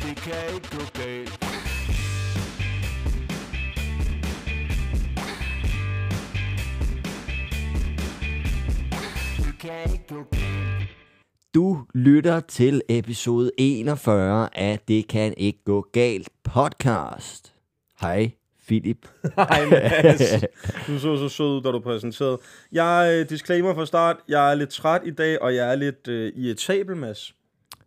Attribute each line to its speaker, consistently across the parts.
Speaker 1: kan ikke gå galt. Det kan ikke gå galt.
Speaker 2: Du lytter til episode 41 af Det kan ikke gå galt podcast. Hej, Philip.
Speaker 3: Ej, Mads. Du så så sød ud, da du præsenterede. Jeg øh, disclaimer fra start. Jeg er lidt træt i dag, og jeg er lidt øh, irritabel, Mads.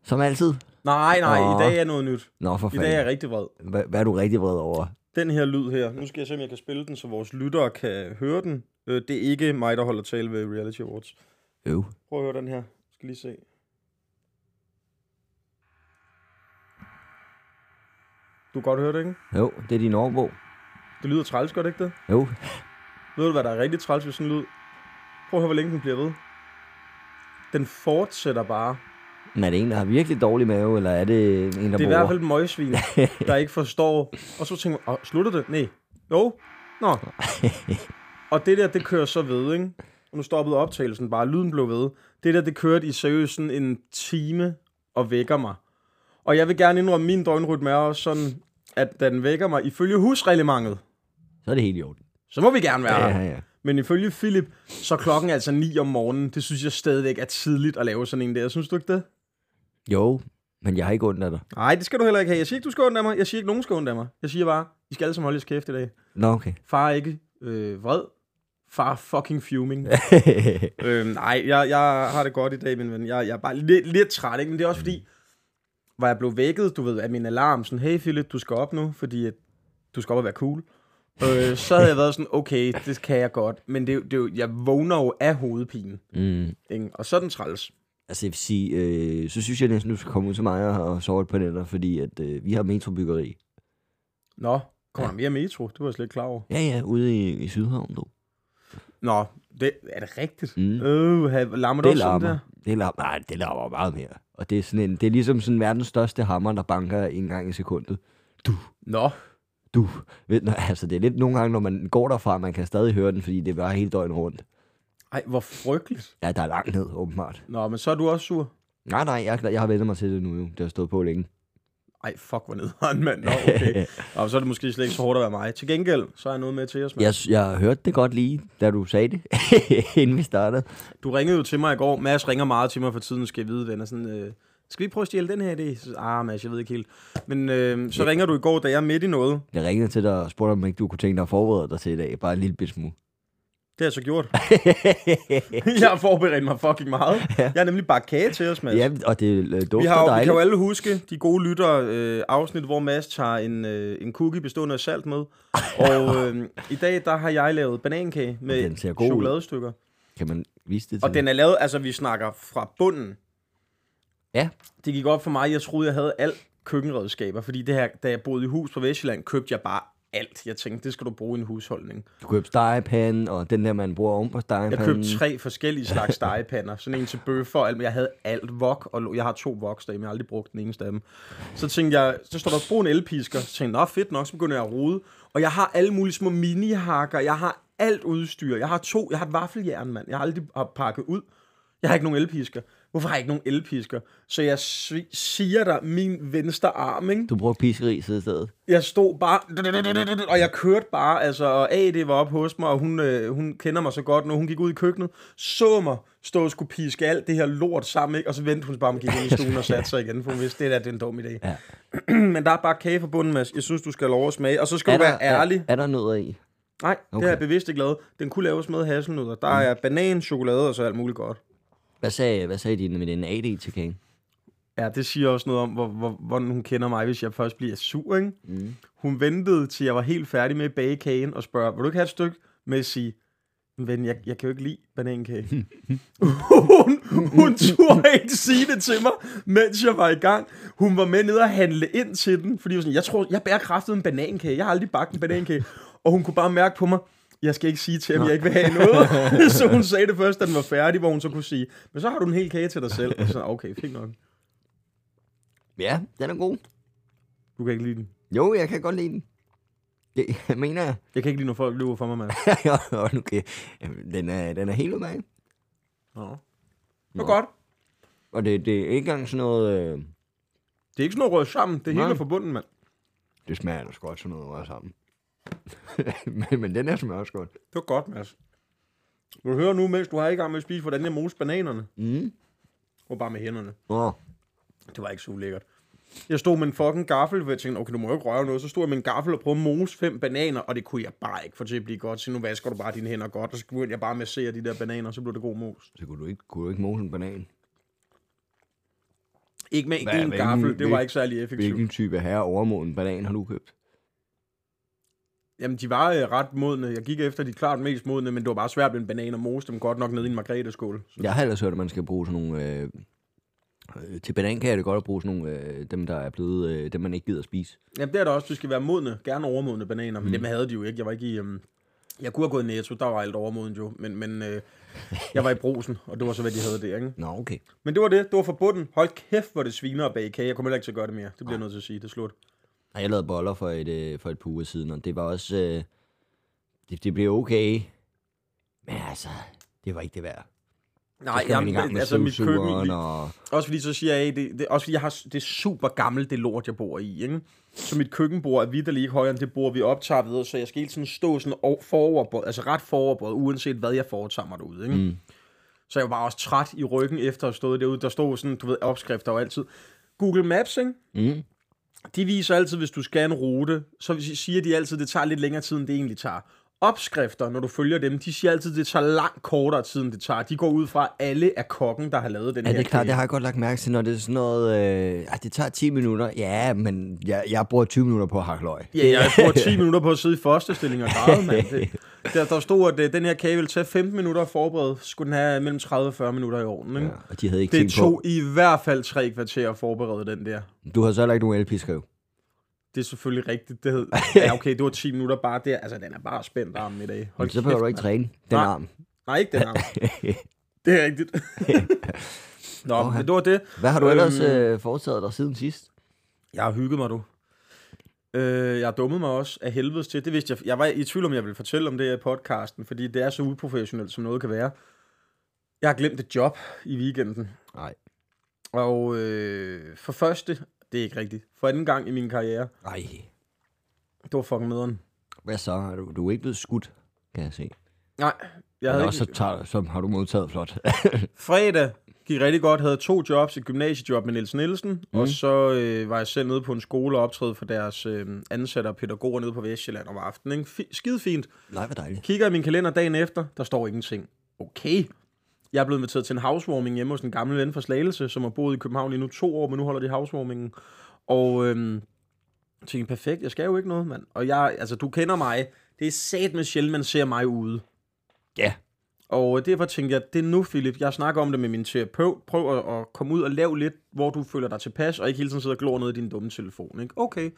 Speaker 2: Som altid.
Speaker 3: Nej, nej,
Speaker 2: Åh.
Speaker 3: i dag er noget nyt.
Speaker 2: Nå, for
Speaker 3: I dag er jeg
Speaker 2: fanden.
Speaker 3: rigtig vred.
Speaker 2: Hva- Hvad er du rigtig vred over?
Speaker 3: Den her lyd her, nu skal jeg se, om jeg kan spille den, så vores lyttere kan høre den. Øh, det er ikke mig, der holder tale ved Reality Awards.
Speaker 2: Øv.
Speaker 3: Prøv at høre den her. Jeg skal lige se. Du kan godt høre det, ikke?
Speaker 2: Jo, det er din ordbog.
Speaker 3: Det lyder træls, gør det ikke det?
Speaker 2: Jo.
Speaker 3: Ved du, hvad der er rigtig træls ved sådan en lyd? Prøv at høre, hvor længe den bliver ved. Den fortsætter bare.
Speaker 2: Men er det en, der har virkelig dårlig mave, eller er det en, der
Speaker 3: Det er i hvert fald et møgsvin, der ikke forstår. Og så tænker man, "Åh, slutter det? Nej. Jo. Nå. Og det der, det kører så ved, ikke? Og nu stoppede optagelsen bare, lyden blev ved. Det der, det kørte i seriøst sådan en time og vækker mig. Og jeg vil gerne indrømme, min døgnrytme er også sådan, at da den vækker mig ifølge husreglementet,
Speaker 2: Så er det helt i orden.
Speaker 3: så må vi gerne være her.
Speaker 2: Ja, ja.
Speaker 3: Men ifølge Philip, så er klokken altså 9 om morgenen. Det synes jeg stadigvæk er tidligt at lave sådan en der. Synes du ikke det?
Speaker 2: Jo, men jeg har ikke ondt af dig.
Speaker 3: Nej, det skal du heller ikke have. Jeg siger ikke, du skal undre mig. Jeg siger ikke, nogen skal undre mig. Jeg siger bare, I skal alle sammen holde jeres kæft i dag.
Speaker 2: Nå, okay.
Speaker 3: Far er ikke øh, vred. Far er fucking fuming. øhm, nej, jeg, jeg har det godt i dag, min ven. Jeg, jeg er bare lidt, lidt træt, ikke? Men det er også fordi, hvor jeg blev vækket, du ved, af min alarm. Sådan, hey Philip, du skal op nu, fordi at du skal op og være cool. øh, så havde jeg været sådan, okay, det kan jeg godt. Men det, er jo- det, er jo- jeg vågner jo af hovedpinen.
Speaker 2: mm.
Speaker 3: Ikke? Og så er den træls.
Speaker 2: Altså, jeg vil sige, øh, så synes jeg næsten, du skal komme ud til mig og, og sove et par nætter, fordi at, øh, vi har metrobyggeri.
Speaker 3: Nå, kommer der mere metro? Det var jeg slet ikke klar over.
Speaker 2: Ja, ja, ude i, i Sydhavn, du.
Speaker 3: Nå, det, er det rigtigt?
Speaker 2: Mm.
Speaker 3: Øh, ha- larmer det
Speaker 2: Det
Speaker 3: også sådan
Speaker 2: larmer.
Speaker 3: der?
Speaker 2: Det larmer. Nej, det larmer meget mere. Og det er, sådan en, det er ligesom sådan verdens største hammer, der banker en gang i sekundet.
Speaker 3: Nå,
Speaker 2: Du. Ved, nå, altså, det er lidt nogle gange, når man går derfra, man kan stadig høre den, fordi det var hele døgnet rundt.
Speaker 3: ej, hvor frygteligt.
Speaker 2: Ja, der er langt ned, åbenbart.
Speaker 3: Nå, men så er du også sur.
Speaker 2: Nej, nej, jeg, er glad. jeg har vendt mig til det nu. jo. Det har stået på længe.
Speaker 3: Ej, fuck, hvor nederen, mand. Nå, okay. Og så er det måske slet ikke så hårdt at være mig. Til gengæld, så er jeg noget med til os, mand.
Speaker 2: Jeg, jeg hørte det godt lige, da du sagde det, inden vi startede.
Speaker 3: Du ringede jo til mig i går. Mads ringer meget til mig for tiden, skal jeg vide, venner. Sådan, øh, skal vi prøve at stjæle den her idé? Så, ah, Mads, jeg ved ikke helt. Men øh, så ringer du i går, da jeg er midt i noget.
Speaker 2: Jeg ringede til dig og spurgte, om ikke du kunne tænke dig at forberede dig til i dag. Bare en lille bit smule.
Speaker 3: Det har jeg så gjort. jeg har forberedt mig fucking meget.
Speaker 2: Ja.
Speaker 3: Jeg har nemlig bare kage til os, Mads.
Speaker 2: ja, og det øh, dufter
Speaker 3: Vi, har, jo- vi kan
Speaker 2: dejligt.
Speaker 3: jo alle huske de gode lytter øh, afsnit, hvor Mads tager en, øh, en cookie bestående af salt med. Og øh, i dag, der har jeg lavet banankage
Speaker 2: Den ser
Speaker 3: med
Speaker 2: god ud.
Speaker 3: chokoladestykker.
Speaker 2: Kan man vise det til
Speaker 3: Og den er lavet, altså vi snakker fra bunden.
Speaker 2: Ja.
Speaker 3: Det gik op for mig, jeg troede, jeg havde alt køkkenredskaber. Fordi det her, da jeg boede i hus på Vestjylland, købte jeg bare alt. Jeg tænkte, det skal du bruge i en husholdning.
Speaker 2: Du købte stegepanden, og den der, man bruger oven på
Speaker 3: Jeg
Speaker 2: stegepanden.
Speaker 3: købte tre forskellige slags stegepander. Sådan en til bøffer og alt, men jeg havde alt vok, og lo- jeg har to voks derhjemme, jeg har aldrig brugt den eneste af dem. Så tænkte jeg, så står der, brug en elpisker. Så tænkte jeg, nå fedt nok, så begynder jeg at rode. Og jeg har alle mulige små minihakker, jeg har alt udstyr. Jeg har to, jeg har et vaffeljern, mand. Jeg har aldrig har pakket ud. Jeg har ikke nogen elpisker. Hvorfor har jeg ikke nogen elpisker? Så jeg svi- siger dig, min venstre arm, ikke?
Speaker 2: Du brugte pisseris i stedet.
Speaker 3: Jeg stod bare, og jeg kørte bare, altså, og AD var op hos mig, og hun, øh, hun kender mig så godt nu, hun gik ud i køkkenet, så mig stå og skulle piske alt det her lort sammen, ikke? og så vendte hun sig bare, om gik ind i stuen og satte sig igen, for hun vidste, det der det er en dum idé.
Speaker 2: Ja.
Speaker 3: Men der er bare kage for bunden, Mads. Jeg synes, du skal have lov at smage, og så skal
Speaker 2: Er
Speaker 3: du
Speaker 2: der,
Speaker 3: være ærlig.
Speaker 2: er, er der noget i? Okay.
Speaker 3: Nej, okay.
Speaker 2: Mm.
Speaker 3: det har jeg bevidst ikke lavet. Den kunne laves med hasselnødder. Der er banan, chokolade og så alt muligt godt.
Speaker 2: Hvad sagde, hvad sagde din med den AD til Kane?
Speaker 3: Ja, det siger også noget om, hvor, hvor, hvordan hun kender mig, hvis jeg først bliver sur, ikke? Mm. Hun ventede, til jeg var helt færdig med at bage kagen, og spørger, vil du ikke have et stykke? Med at sige, men jeg, jeg kan jo ikke lide banankage. hun, hun turde ikke sige det til mig, mens jeg var i gang. Hun var med ned og handle ind til den, fordi hun var sådan, jeg tror, jeg bærer kraftet en banankage. Jeg har aldrig bagt en banankage. Og hun kunne bare mærke på mig, jeg skal ikke sige til ham, jeg ikke vil have noget. så hun sagde det først, da den var færdig, hvor hun så kunne sige, men så har du en hel kage til dig selv. Og så, okay, fint nok.
Speaker 2: Ja, den er god.
Speaker 3: Du kan ikke lide den.
Speaker 2: Jo, jeg kan godt lide den. Det jeg mener jeg.
Speaker 3: Jeg kan ikke lide, når folk lyver for mig, mand.
Speaker 2: Hold nu kæft. Jamen, den er, den er helt udmærket.
Speaker 3: Nå. Det var godt.
Speaker 2: Og det, det er ikke engang sådan noget... Øh,
Speaker 3: Det er ikke sådan noget rødt sammen. Det
Speaker 2: Nej.
Speaker 3: hele er forbundet, mand.
Speaker 2: Det smager ellers godt, sådan noget rød sammen. men, men den her smager også godt.
Speaker 3: Det var godt, Mads. Vil du høre nu, mens du har i gang med at spise, hvordan jeg moser bananerne?
Speaker 2: Mm.
Speaker 3: Og bare med hænderne.
Speaker 2: Nå,
Speaker 3: Det var ikke så ulækkert. Jeg stod med en fucking gaffel, hvor jeg tænkte, okay, du må jo ikke røre noget. Så stod jeg med en gaffel og prøvede at mose fem bananer, og det kunne jeg bare ikke få til at blive godt. Så nu vasker du bare dine hænder godt, og så begyndte jeg bare med at se de der bananer, og så blev det god mos.
Speaker 2: så kunne du ikke, kunne du ikke mose en banan.
Speaker 3: Ikke med en
Speaker 2: Hvad-
Speaker 3: en
Speaker 2: hvilken-
Speaker 3: gaffel, det var
Speaker 2: hvil-
Speaker 3: ikke særlig effektivt.
Speaker 2: Hvilken type herre overmoden banan har du købt?
Speaker 3: Jamen, de var øh, ret modne. Jeg gik efter de klart mest modne, men det var bare svært med en banan og mose dem godt nok ned i en margrethe-skål. Så-
Speaker 2: Jeg har ellers hørt, at man skal bruge sådan nogle... Øh, øh, til banankager er det godt at bruge sådan nogle, øh, dem der er blevet, øh, dem man ikke gider at spise.
Speaker 3: Jamen, det er der også. Du skal være modne. Gerne overmodne bananer. Men mm. dem havde de jo ikke. Jeg var ikke i... Um... Jeg kunne have gået i Netto. Der var alt overmodent jo. Men, men øh, jeg var i brusen, og det var så, hvad de havde der, ikke?
Speaker 2: Nå, okay.
Speaker 3: Men det var det. Det var for bunden. Hold kæft, hvor det sviner og bage kage. Jeg kommer heller ikke til at gøre det mere. Det bliver jeg nødt til at sige. Det er slut.
Speaker 2: Og jeg lavede boller for et, øh, for et par uger siden, og det var også... Øh, det, det blev okay. Men altså, det var ikke det værd. Så
Speaker 3: Nej,
Speaker 2: skal man i
Speaker 3: jamen,
Speaker 2: gang med
Speaker 3: altså mit køkken...
Speaker 2: støvsugeren
Speaker 3: Lige,
Speaker 2: og...
Speaker 3: også fordi så siger jeg, det, det, også fordi jeg har, det er super gammelt, det lort, jeg bor i, ikke? Så mit køkkenbord er vidderlig ikke højere end det bord, vi optager ved, så jeg skal hele tiden stå sådan o- foroverbøjet, altså ret foroverbøjet, uanset hvad jeg foretager mig derude, ikke? Mm. Så jeg var også træt i ryggen efter at have stået derude. Der stod sådan, du ved, opskrifter og altid. Google Maps, ikke?
Speaker 2: Mm.
Speaker 3: De viser altid, hvis du skal en rute, så siger de altid, det tager lidt længere tid, end det egentlig tager. Opskrifter, når du følger dem, de siger altid, det tager langt kortere tid, end det tager. De går ud fra, at alle er kokken, der har lavet den
Speaker 2: Ja,
Speaker 3: her
Speaker 2: det er klart,
Speaker 3: kage.
Speaker 2: det har jeg godt lagt mærke til, når det er sådan noget... Øh, ah, det tager 10 minutter. Ja, men jeg, jeg bruger 20 minutter på at hakke løg.
Speaker 3: Ja, jeg bruger 10 minutter på at sidde i fosterstilling og græde, mand. Det, der, der stod, at øh, den her kage ville tage 15 minutter at forberede. Skulle den have mellem 30 og 40 minutter i ovnen, ikke?
Speaker 2: Ja, og de havde ikke
Speaker 3: Det
Speaker 2: tænkt
Speaker 3: tog
Speaker 2: på...
Speaker 3: i hvert fald tre kvarter at forberede den der.
Speaker 2: Du har så heller ikke nogen LP-skriv.
Speaker 3: Det er selvfølgelig rigtigt. Det hed, ja, okay, det var 10 minutter bare der. Altså, den er bare spændt armen i dag.
Speaker 2: Så behøver du ikke træne den
Speaker 3: Nej.
Speaker 2: arm.
Speaker 3: mand. Nej, ikke den arm. Det er rigtigt. Nå,
Speaker 2: Åh,
Speaker 3: men det var det.
Speaker 2: Hvad har du ellers
Speaker 3: Øhm.
Speaker 2: øh, foretaget dig siden sidst?
Speaker 3: Jeg har hygget mig, du. Øh, jeg har dummet mig også af helvedes til. Det vidste jeg. Jeg var i tvivl om, jeg ville fortælle om det her i podcasten, fordi det er så uprofessionelt, som noget kan være. Jeg har glemt et job i weekenden.
Speaker 2: Nej.
Speaker 3: Og øh, for første, det er ikke rigtigt, for anden gang i min karriere,
Speaker 2: Nej.
Speaker 3: det var fucking nederen.
Speaker 2: Hvad så? Er Du, du er ikke blevet skudt, kan jeg se.
Speaker 3: Nej, jeg
Speaker 2: Jeg Eller
Speaker 3: havde ikke...
Speaker 2: også så, tager, så har du modtaget flot.
Speaker 3: fredag gik rigtig godt, havde to jobs, et gymnasiejob med Niels Nielsen, mm. og så øh, var jeg selv nede på en skole og optræde for deres øh, ansatte og pædagoger nede på Vestjylland om aftenen. Ikke? Fi- skide fint.
Speaker 2: Nej, hvor dejligt.
Speaker 3: Kigger i min kalender dagen efter, der står ingenting. Okay. Jeg er blevet inviteret til en housewarming hjemme hos en gammel ven fra Slagelse, som har boet i København i nu to år, men nu holder de housewarmingen. Og øhm, jeg tænkte, perfekt, jeg skal jo ikke noget, mand. Og jeg, altså, du kender mig. Det er sat med sjældent, man ser mig ude.
Speaker 2: Ja.
Speaker 3: Og øh, derfor tænkte jeg, det er nu, Philip. Jeg snakker om det med min terapeut. Prøv at, at komme ud og lave lidt, hvor du føler dig tilpas, og ikke hele tiden sidde og glor ned i din dumme telefon. Ikke? Okay,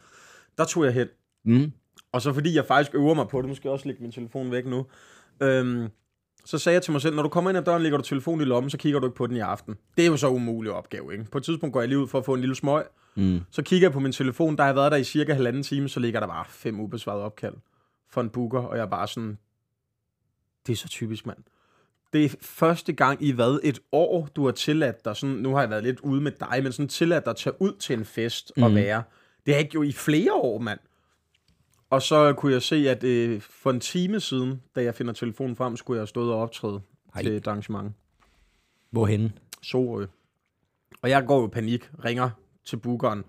Speaker 3: der tog jeg hen.
Speaker 2: Mm.
Speaker 3: Og så fordi jeg faktisk øver mig på det, nu skal jeg også lægge min telefon væk nu. Øhm, så sagde jeg til mig selv, når du kommer ind ad døren, lægger du telefonen i lommen, så kigger du ikke på den i aften. Det er jo så umulig opgave, ikke? På et tidspunkt går jeg lige ud for at få en lille smøg.
Speaker 2: Mm.
Speaker 3: Så kigger jeg på min telefon, der har jeg været der i cirka halvanden time, så ligger der bare fem ubesvarede opkald for en booker, og jeg er bare sådan, det er så typisk, mand. Det er første gang i hvad, et år, du har tilladt dig, sådan, nu har jeg været lidt ude med dig, men sådan tilladt dig at tage ud til en fest og være. Det har jeg ikke jo i flere år, mand. Og så kunne jeg se, at øh, for en time siden, da jeg finder telefonen frem, skulle jeg have stået og optræde
Speaker 2: Ej.
Speaker 3: Ej. til et arrangement.
Speaker 2: Hvorhenne?
Speaker 3: Sorø. Og jeg går jo i panik, ringer til bookeren.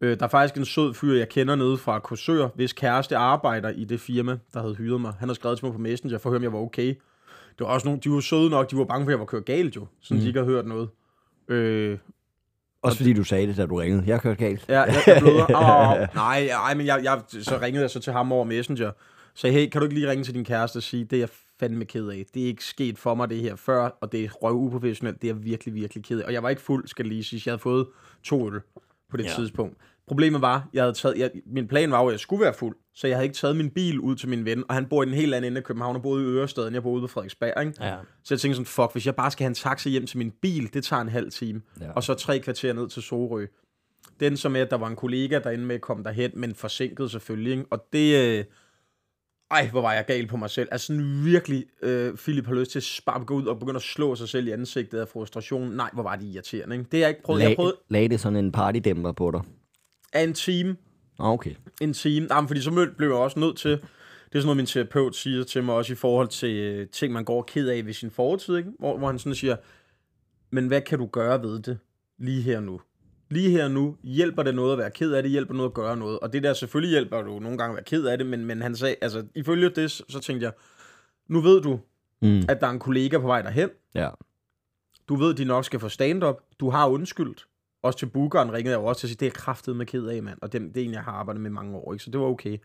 Speaker 3: Øh, der er faktisk en sød fyr, jeg kender nede fra Korsør, hvis kæreste arbejder i det firma, der havde hyret mig. Han har skrevet til mig på Messenger for at høre, om jeg var okay. Det var også nogle, de var søde nok, de var bange for, at jeg var kørt galt jo, sådan mm. de ikke havde hørt noget. Øh,
Speaker 2: Også fordi du sagde det, da du ringede. Jeg kørte galt.
Speaker 3: Ja, jeg, jeg bløder. Au, au. Nej, nej, men jeg, jeg, så ringede jeg så til ham over Messenger. Så hey, kan du ikke lige ringe til din kæreste og sige, det er jeg fandme ked af. Det er ikke sket for mig det her før, og det er røv uprofessionelt. Det er jeg virkelig, virkelig ked af. Og jeg var ikke fuld, skal det lige sige. Jeg havde fået to øl på det
Speaker 2: Ja.
Speaker 3: ja. tidspunkt. Problemet var, jeg havde taget, jeg, min plan var jo, at jeg skulle være fuld, så jeg havde ikke taget min bil ud til min ven, og han bor i den helt anden ende af København, og boede i Ørestaden, jeg boede ude på Frederiksberg, ikke?
Speaker 2: Ja.
Speaker 3: Så jeg tænkte sådan, fuck, hvis jeg bare skal have en taxa hjem til min bil, det tager en halv time.
Speaker 2: Ja.
Speaker 3: Ja. Og så tre kvarter ned til Sorø. Den som er, at der var en kollega derinde med, kom derhen, men forsinket selvfølgelig. Ikke? Og det, øh, ej, hvor var jeg gal på mig selv. Altså sådan virkelig, øh, Philip har lyst til at sparke gå ud og begynde at slå sig selv i ansigtet af frustration. Nej, hvor var det irriterende, ikke? Det har jeg ikke prøvet. Jeg har prøvet
Speaker 2: lag det sådan en partydæmper på dig?
Speaker 3: af en time,
Speaker 2: Ah, Okay.
Speaker 3: en time. Nej, men fordi så mød- blev jeg også nødt til, det er sådan noget, min terapeut siger til mig, også i forhold til øh, ting, man går ked af ved sin fortid, ikke? Hvor, hvor han sådan siger, men hvad kan du gøre ved det lige her nu? Lige her nu, hjælper det noget at være ked af det, hjælper noget at gøre noget? Og det der selvfølgelig hjælper du nogle gange at være ked af det, men, men han sagde, altså ifølge det, så så tænkte jeg, nu ved du,
Speaker 2: Mm.
Speaker 3: at der er en kollega på vej derhen,
Speaker 2: Ja.
Speaker 3: du ved, de nok skal få stand-up. Du har undskyldt. Også til bookeren ringede jeg jo også til at sige, det er jeg kraftet med ked af, mand. Og det, det er en, jeg har arbejdet med i mange år, ikke? så det var okay.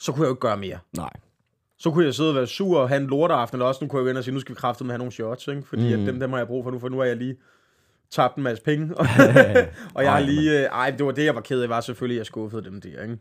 Speaker 3: Så kunne jeg jo ikke gøre mere.
Speaker 2: Nej.
Speaker 3: Så kunne jeg sidde og være sur og have en lorteaften, eller også nu kunne jeg jo ind og sige, nu skal vi kraftet med have nogle shots, ikke? fordi mm.
Speaker 2: Mhm.
Speaker 3: at dem, dem har jeg brug for nu, for nu har jeg lige tabt en masse penge. og jeg har
Speaker 2: Ej,
Speaker 3: lige, øh, ej, det var det, jeg var ked af, var selvfølgelig, at jeg skuffede dem der, ikke?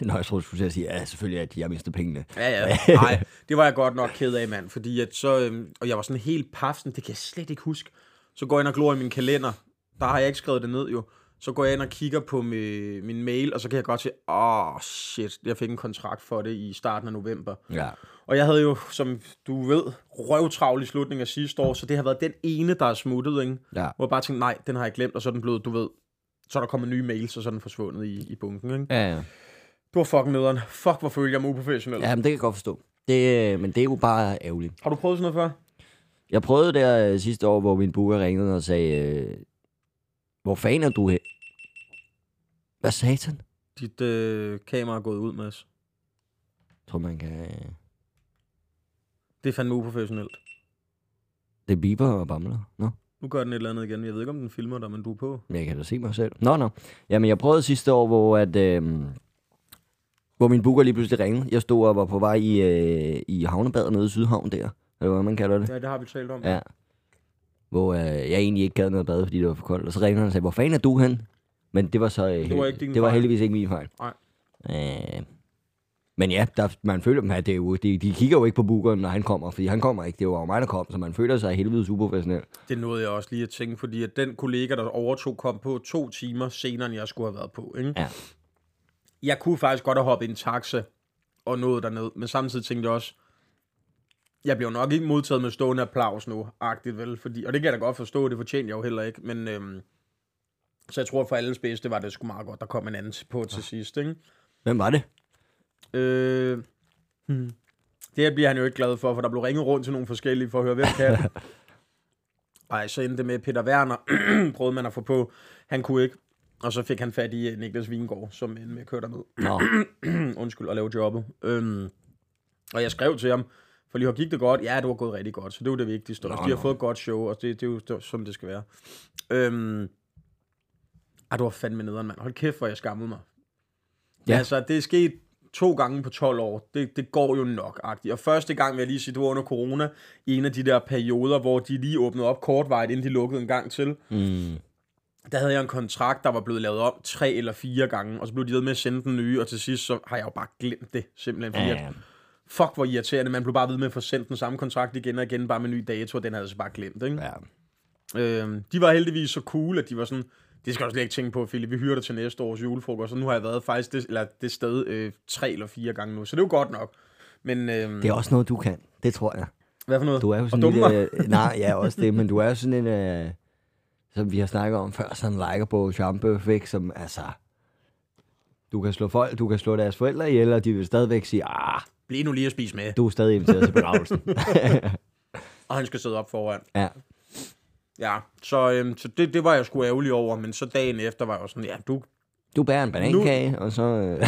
Speaker 2: Nå, jeg troede, du skulle til at sige, ja, selvfølgelig, at jeg mister pengene.
Speaker 3: Ja, ja. Nej, det var jeg godt nok ked af, mand. Fordi at så, øhm, og jeg var sådan helt pafsen, det kan jeg slet ikke huske. Så går jeg ind og glor i min kalender. Der har jeg ikke skrevet det ned jo. Så går jeg ind og kigger på mi- min mail, og så kan jeg godt se, åh oh, shit, jeg fik en kontrakt for det i starten af november.
Speaker 2: Ja.
Speaker 3: Og jeg havde jo, som du ved, røvtravl i slutningen af sidste år, så det har været den ene, der er smuttet, ikke?
Speaker 2: Ja.
Speaker 3: Hvor jeg bare tænkte, nej, den har jeg glemt, og så er den blevet, du ved, så er der kommet nye mails, og så er den forsvundet i, i bunken, ikke?
Speaker 2: Ja, ja.
Speaker 3: Du var fucking nederen. Fuck, hvor følte jeg mig uprofessionel.
Speaker 2: ja men det kan jeg godt forstå. Det, øh, men det er jo bare ærgerligt.
Speaker 3: Har du prøvet sådan noget før?
Speaker 2: Jeg prøvede der øh, sidste år, hvor min booker ringede og sagde, øh, hvor fanden er du her? Hvad satan?
Speaker 3: Dit øh, kamera er gået ud, Mads.
Speaker 2: Jeg tror, man kan... Øh,
Speaker 3: Det er fandme uprofessionelt.
Speaker 2: det er Bieber og Bamler. Nå,
Speaker 3: Nu gør den et eller andet igen. Jeg ved ikke, om den filmer dig, men du er på.
Speaker 2: men jeg kan da se mig selv. Nå, nå. Jamen, jeg prøvede sidste år, hvor at... Øh, hvor min booker lige pludselig ringede. Jeg stod og var på vej i, øh, i havnebadet nede i Sydhavn der. Eller hvad man kalder det.
Speaker 3: Ja, det har vi talt om.
Speaker 2: Ja. Hvor øh, jeg egentlig ikke gad noget bad, fordi det var for koldt. Og så ringede han og sagde, hvor fanden er du hen? Men det var så... Øh,
Speaker 3: Det var
Speaker 2: hel-
Speaker 3: ikke din
Speaker 2: det var
Speaker 3: fejl.
Speaker 2: heldigvis ikke min fejl.
Speaker 3: Nej.
Speaker 2: Øh, men ja, der, man føler dem her, det er jo, de, de kigger jo ikke på bookeren, når han kommer, fordi han kommer ikke. Det var jo mig, der kom, så man føler sig helvedes uprofessionel.
Speaker 3: Det nåede jeg også lige at tænke, fordi at den kollega, der overtog, kom på to timer senere, end jeg skulle have været på. Ikke?
Speaker 2: Ja.
Speaker 3: Jeg kunne faktisk godt have hoppet i en taxa og nået derned, men samtidig tænkte jeg også, jeg bliver jo nok ikke modtaget med stående applaus nu, agtigt vel, fordi, og det kan jeg da godt forstå, det fortjente jeg jo heller ikke, men øhm, så jeg tror for alles bedste var det sgu meget godt, der kom en anden på til sidst, ikke?
Speaker 2: Hvem var det?
Speaker 3: Øh, hmm. Det her bliver han jo ikke glad for, for der blev ringet rundt til nogle forskellige for at høre, hvem kan. Ej, så endte det med Peter Werner, prøvede man at få på. Han kunne ikke. Og så fik han fat i øh, Niklas Vingård, som endte med at køre derned.
Speaker 2: Nå,
Speaker 3: Undskyld, at lave jobbet. Øhm, og jeg skrev til ham, for lige hvor gik det godt? Ja, det var gået rigtig godt, så det var det vigtigste. Og
Speaker 2: Nå,
Speaker 3: de har
Speaker 2: nå.
Speaker 3: fået et godt show, og det, det er jo det er jo, som det skal være. Øhm, ej, du var fandme nederen, mand. Hold kæft, hvor jeg skammede mig.
Speaker 2: Ja.
Speaker 3: Ja. Altså, det er sket to gange på 12 år. Det, det går jo nok, -agtigt. Og første gang vil jeg lige sige, det var under corona, i en af de der perioder, hvor de lige åbnede op kortvarigt, inden de lukkede en gang til
Speaker 2: mm,
Speaker 3: der havde jeg en kontrakt, der var blevet lavet om tre eller fire gange, og så blev de ved med at sende den nye, og til sidst så har jeg jo bare glemt det, simpelthen. Fordi
Speaker 2: ja,
Speaker 3: ja.
Speaker 2: ja.
Speaker 3: fuck, hvor irriterende, man blev bare ved med at få sendt den samme kontrakt igen og igen, bare med ny dato, og den havde jeg så bare glemt, ikke?
Speaker 2: ja.
Speaker 3: Ja. Øhm, de var heldigvis så cool, at de var sådan, det skal du slet ikke tænke på, Philip, vi hyrer dig til næste års julefrokost, og nu har jeg været faktisk det, eller det sted øh, tre eller fire gange nu, så det er jo godt nok. Men øhm,
Speaker 2: Det er også noget, du kan. Det tror jeg.
Speaker 3: hvad for noget?
Speaker 2: Du er jo sådan øh,
Speaker 3: og dumme mig.
Speaker 2: en lille, Nej, ja, også det, men du er jo sådan en, øh, som vi har snakket om før, sådan en liker på Champeuf, ikke? som altså... Du kan slå folk, du kan slå deres forældre ihjel, og de vil stadigvæk sige, ah,
Speaker 3: Bliv nu lige at spise med,
Speaker 2: du er stadig inviteret til begravelsen.
Speaker 3: og han skal sidde op foran.
Speaker 2: ja.
Speaker 3: Ja, så, øhm, så det, det var jeg sgu ærgerlig over, men så dagen efter var jeg jo sådan, ja, du,
Speaker 2: Du bærer en banankage, og så, øh,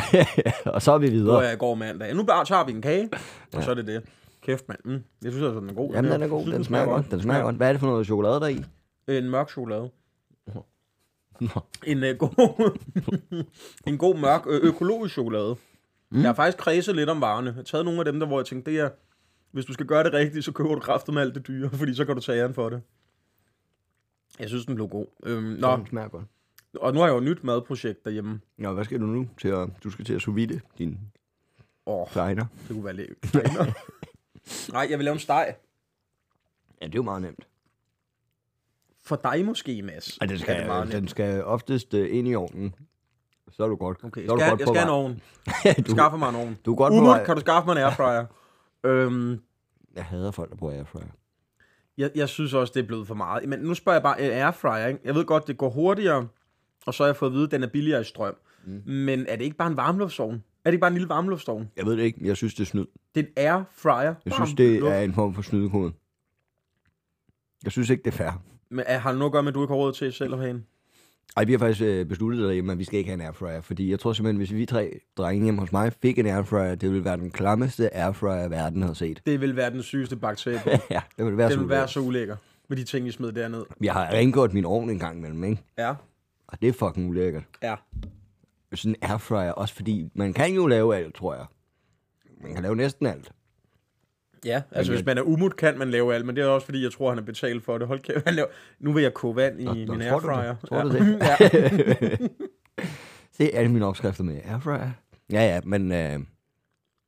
Speaker 2: og så er vi
Speaker 3: hvor
Speaker 2: videre.
Speaker 3: jeg i går mandag. Nu bare tager vi en kage, og så er det det. Kæft, mand. Mm. Jeg synes, altså, den er god.
Speaker 2: Jamen,
Speaker 3: her.
Speaker 2: den er
Speaker 3: Jeg
Speaker 2: god.
Speaker 3: synes,
Speaker 2: Den smager godt. Den smager godt. Hvad er det for noget chokolade, der er i?
Speaker 3: En mørk chokolade.
Speaker 2: Nå.
Speaker 3: En, øh, god, en god mørk øh, økologisk chokolade. Mm. Jeg har faktisk kredset lidt om varerne. Jeg har taget nogle af dem, der, hvor jeg tænkte, det er, hvis du skal gøre det rigtigt, så køber du kraftet med alt det dyre, fordi så kan du tage æren for det. Jeg synes, den blev god. Øhm, nå,
Speaker 2: Den smager godt.
Speaker 3: og nu har jeg jo et nyt madprojekt derhjemme.
Speaker 2: Nå, hvad skal du nu til at... Du skal til at sous vide din
Speaker 3: Åh,
Speaker 2: kleiner.
Speaker 3: det kunne være lidt. Nej, jeg vil lave en steg.
Speaker 2: Ja, det er jo meget nemt.
Speaker 3: For dig måske, Mads.
Speaker 2: Og den
Speaker 3: er
Speaker 2: skal,
Speaker 3: meget
Speaker 2: den skal oftest øh, ind i øh, ovnen. så er du godt.
Speaker 3: Okay, jeg
Speaker 2: så er du
Speaker 3: skal,
Speaker 2: godt
Speaker 3: jeg
Speaker 2: på
Speaker 3: skal have en
Speaker 2: vej.
Speaker 3: ovn.
Speaker 2: du,
Speaker 3: Skaffer mig en ovn.
Speaker 2: du er godt på
Speaker 3: Umut,
Speaker 2: vej.
Speaker 3: kan du skaffe mig en airfryer? øhm,
Speaker 2: Jeg hader folk, der bruger airfryer.
Speaker 3: jeg, jeg synes også, det er blevet for meget. Men nu spørger jeg bare en airfryer. Ikke? Jeg ved godt, det går hurtigere, og så har jeg fået at vide, at den er billigere i strøm. Mm. Men er det ikke bare en varmluftsovn? Er det ikke bare en lille varmluftsovn?
Speaker 2: Jeg ved det ikke, men jeg synes, det er snyd.
Speaker 3: Det er en airfryer.
Speaker 2: Jeg
Speaker 3: Varm
Speaker 2: synes, det
Speaker 3: luft.
Speaker 2: er en form for snydekode. Jeg synes ikke, det er fair.
Speaker 3: Men er- har det noget at gøre med, at du ikke har råd til selv at have en?
Speaker 2: Ej, vi har faktisk øh, besluttet derhjemme, at vi skal ikke have en airfryer, fordi jeg tror simpelthen, hvis vi tre drenge hjemme hos mig fik en airfryer, det ville være den klammeste airfryer, verden havde set.
Speaker 3: Det vil være den sygeste bakterie på.
Speaker 2: ja, det ville være
Speaker 3: den
Speaker 2: så
Speaker 3: vil være
Speaker 2: ulækkert.
Speaker 3: så ulækker med de ting, I smed derned.
Speaker 2: Jeg har rengjort min ovn en gang imellem, ikke?
Speaker 3: Ja,
Speaker 2: Og det er fucking ulækkert.
Speaker 3: ja.
Speaker 2: Sådan en airfryer, også fordi man kan jo lave alt, tror jeg. Man kan lave næsten alt.
Speaker 3: Ja, altså
Speaker 2: Men
Speaker 3: hvis man er umut, kan man lave alt, men det er også fordi, jeg tror, han er betalt for det. Hold kæft, han laver... Nu vil jeg koge vand i
Speaker 2: Nå,
Speaker 3: min
Speaker 2: nå, tror du det?
Speaker 3: airfryer.
Speaker 2: Tror
Speaker 3: ja.
Speaker 2: du det?
Speaker 3: ja.
Speaker 2: Det er alle mine opskrifter med airfryer. Ja, ja, men, øh,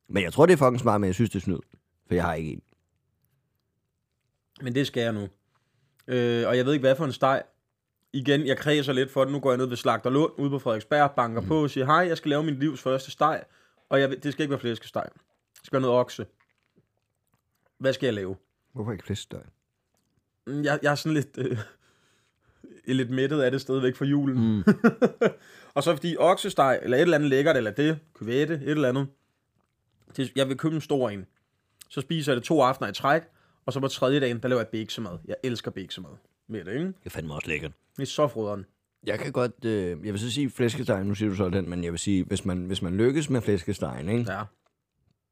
Speaker 2: men jeg tror, det er fucking smart, men jeg synes, det er snyd. For jeg har ikke en.
Speaker 3: Men det skal jeg nu. Øh, og jeg ved ikke, hvad for en steg. Igen, jeg kredser lidt for det. Nu går jeg ned ved Slagter Lund, ude på Frederiksberg, banker mm. på og siger, hej, jeg skal lave min livs første steg. Og jeg, ved- det skal ikke være flæskesteg. Det skal være noget okse. Hvad skal jeg lave?
Speaker 2: Hvorfor ikke flæskesteg?
Speaker 3: Mm, Jeg, jeg er sådan lidt, øh, lidt mættet af det stadigvæk for julen. Mm. og så fordi oksesteg, eller et eller andet lækkert, eller det, kvæte, et eller andet. Det, jeg vil købe en stor en. Så spiser jeg det to aftener i træk, og så på tredje dagen, der laver jeg bæksemad. Jeg elsker bæksemad med det, ikke?
Speaker 2: Det er fandme også lækkert.
Speaker 3: Det er så frøderen.
Speaker 2: Jeg kan godt, øh, jeg vil så sige flæskestegen, nu siger du så den, men jeg vil sige, hvis man, hvis man lykkes med flæskestegen, ikke? Ja.
Speaker 3: Ja.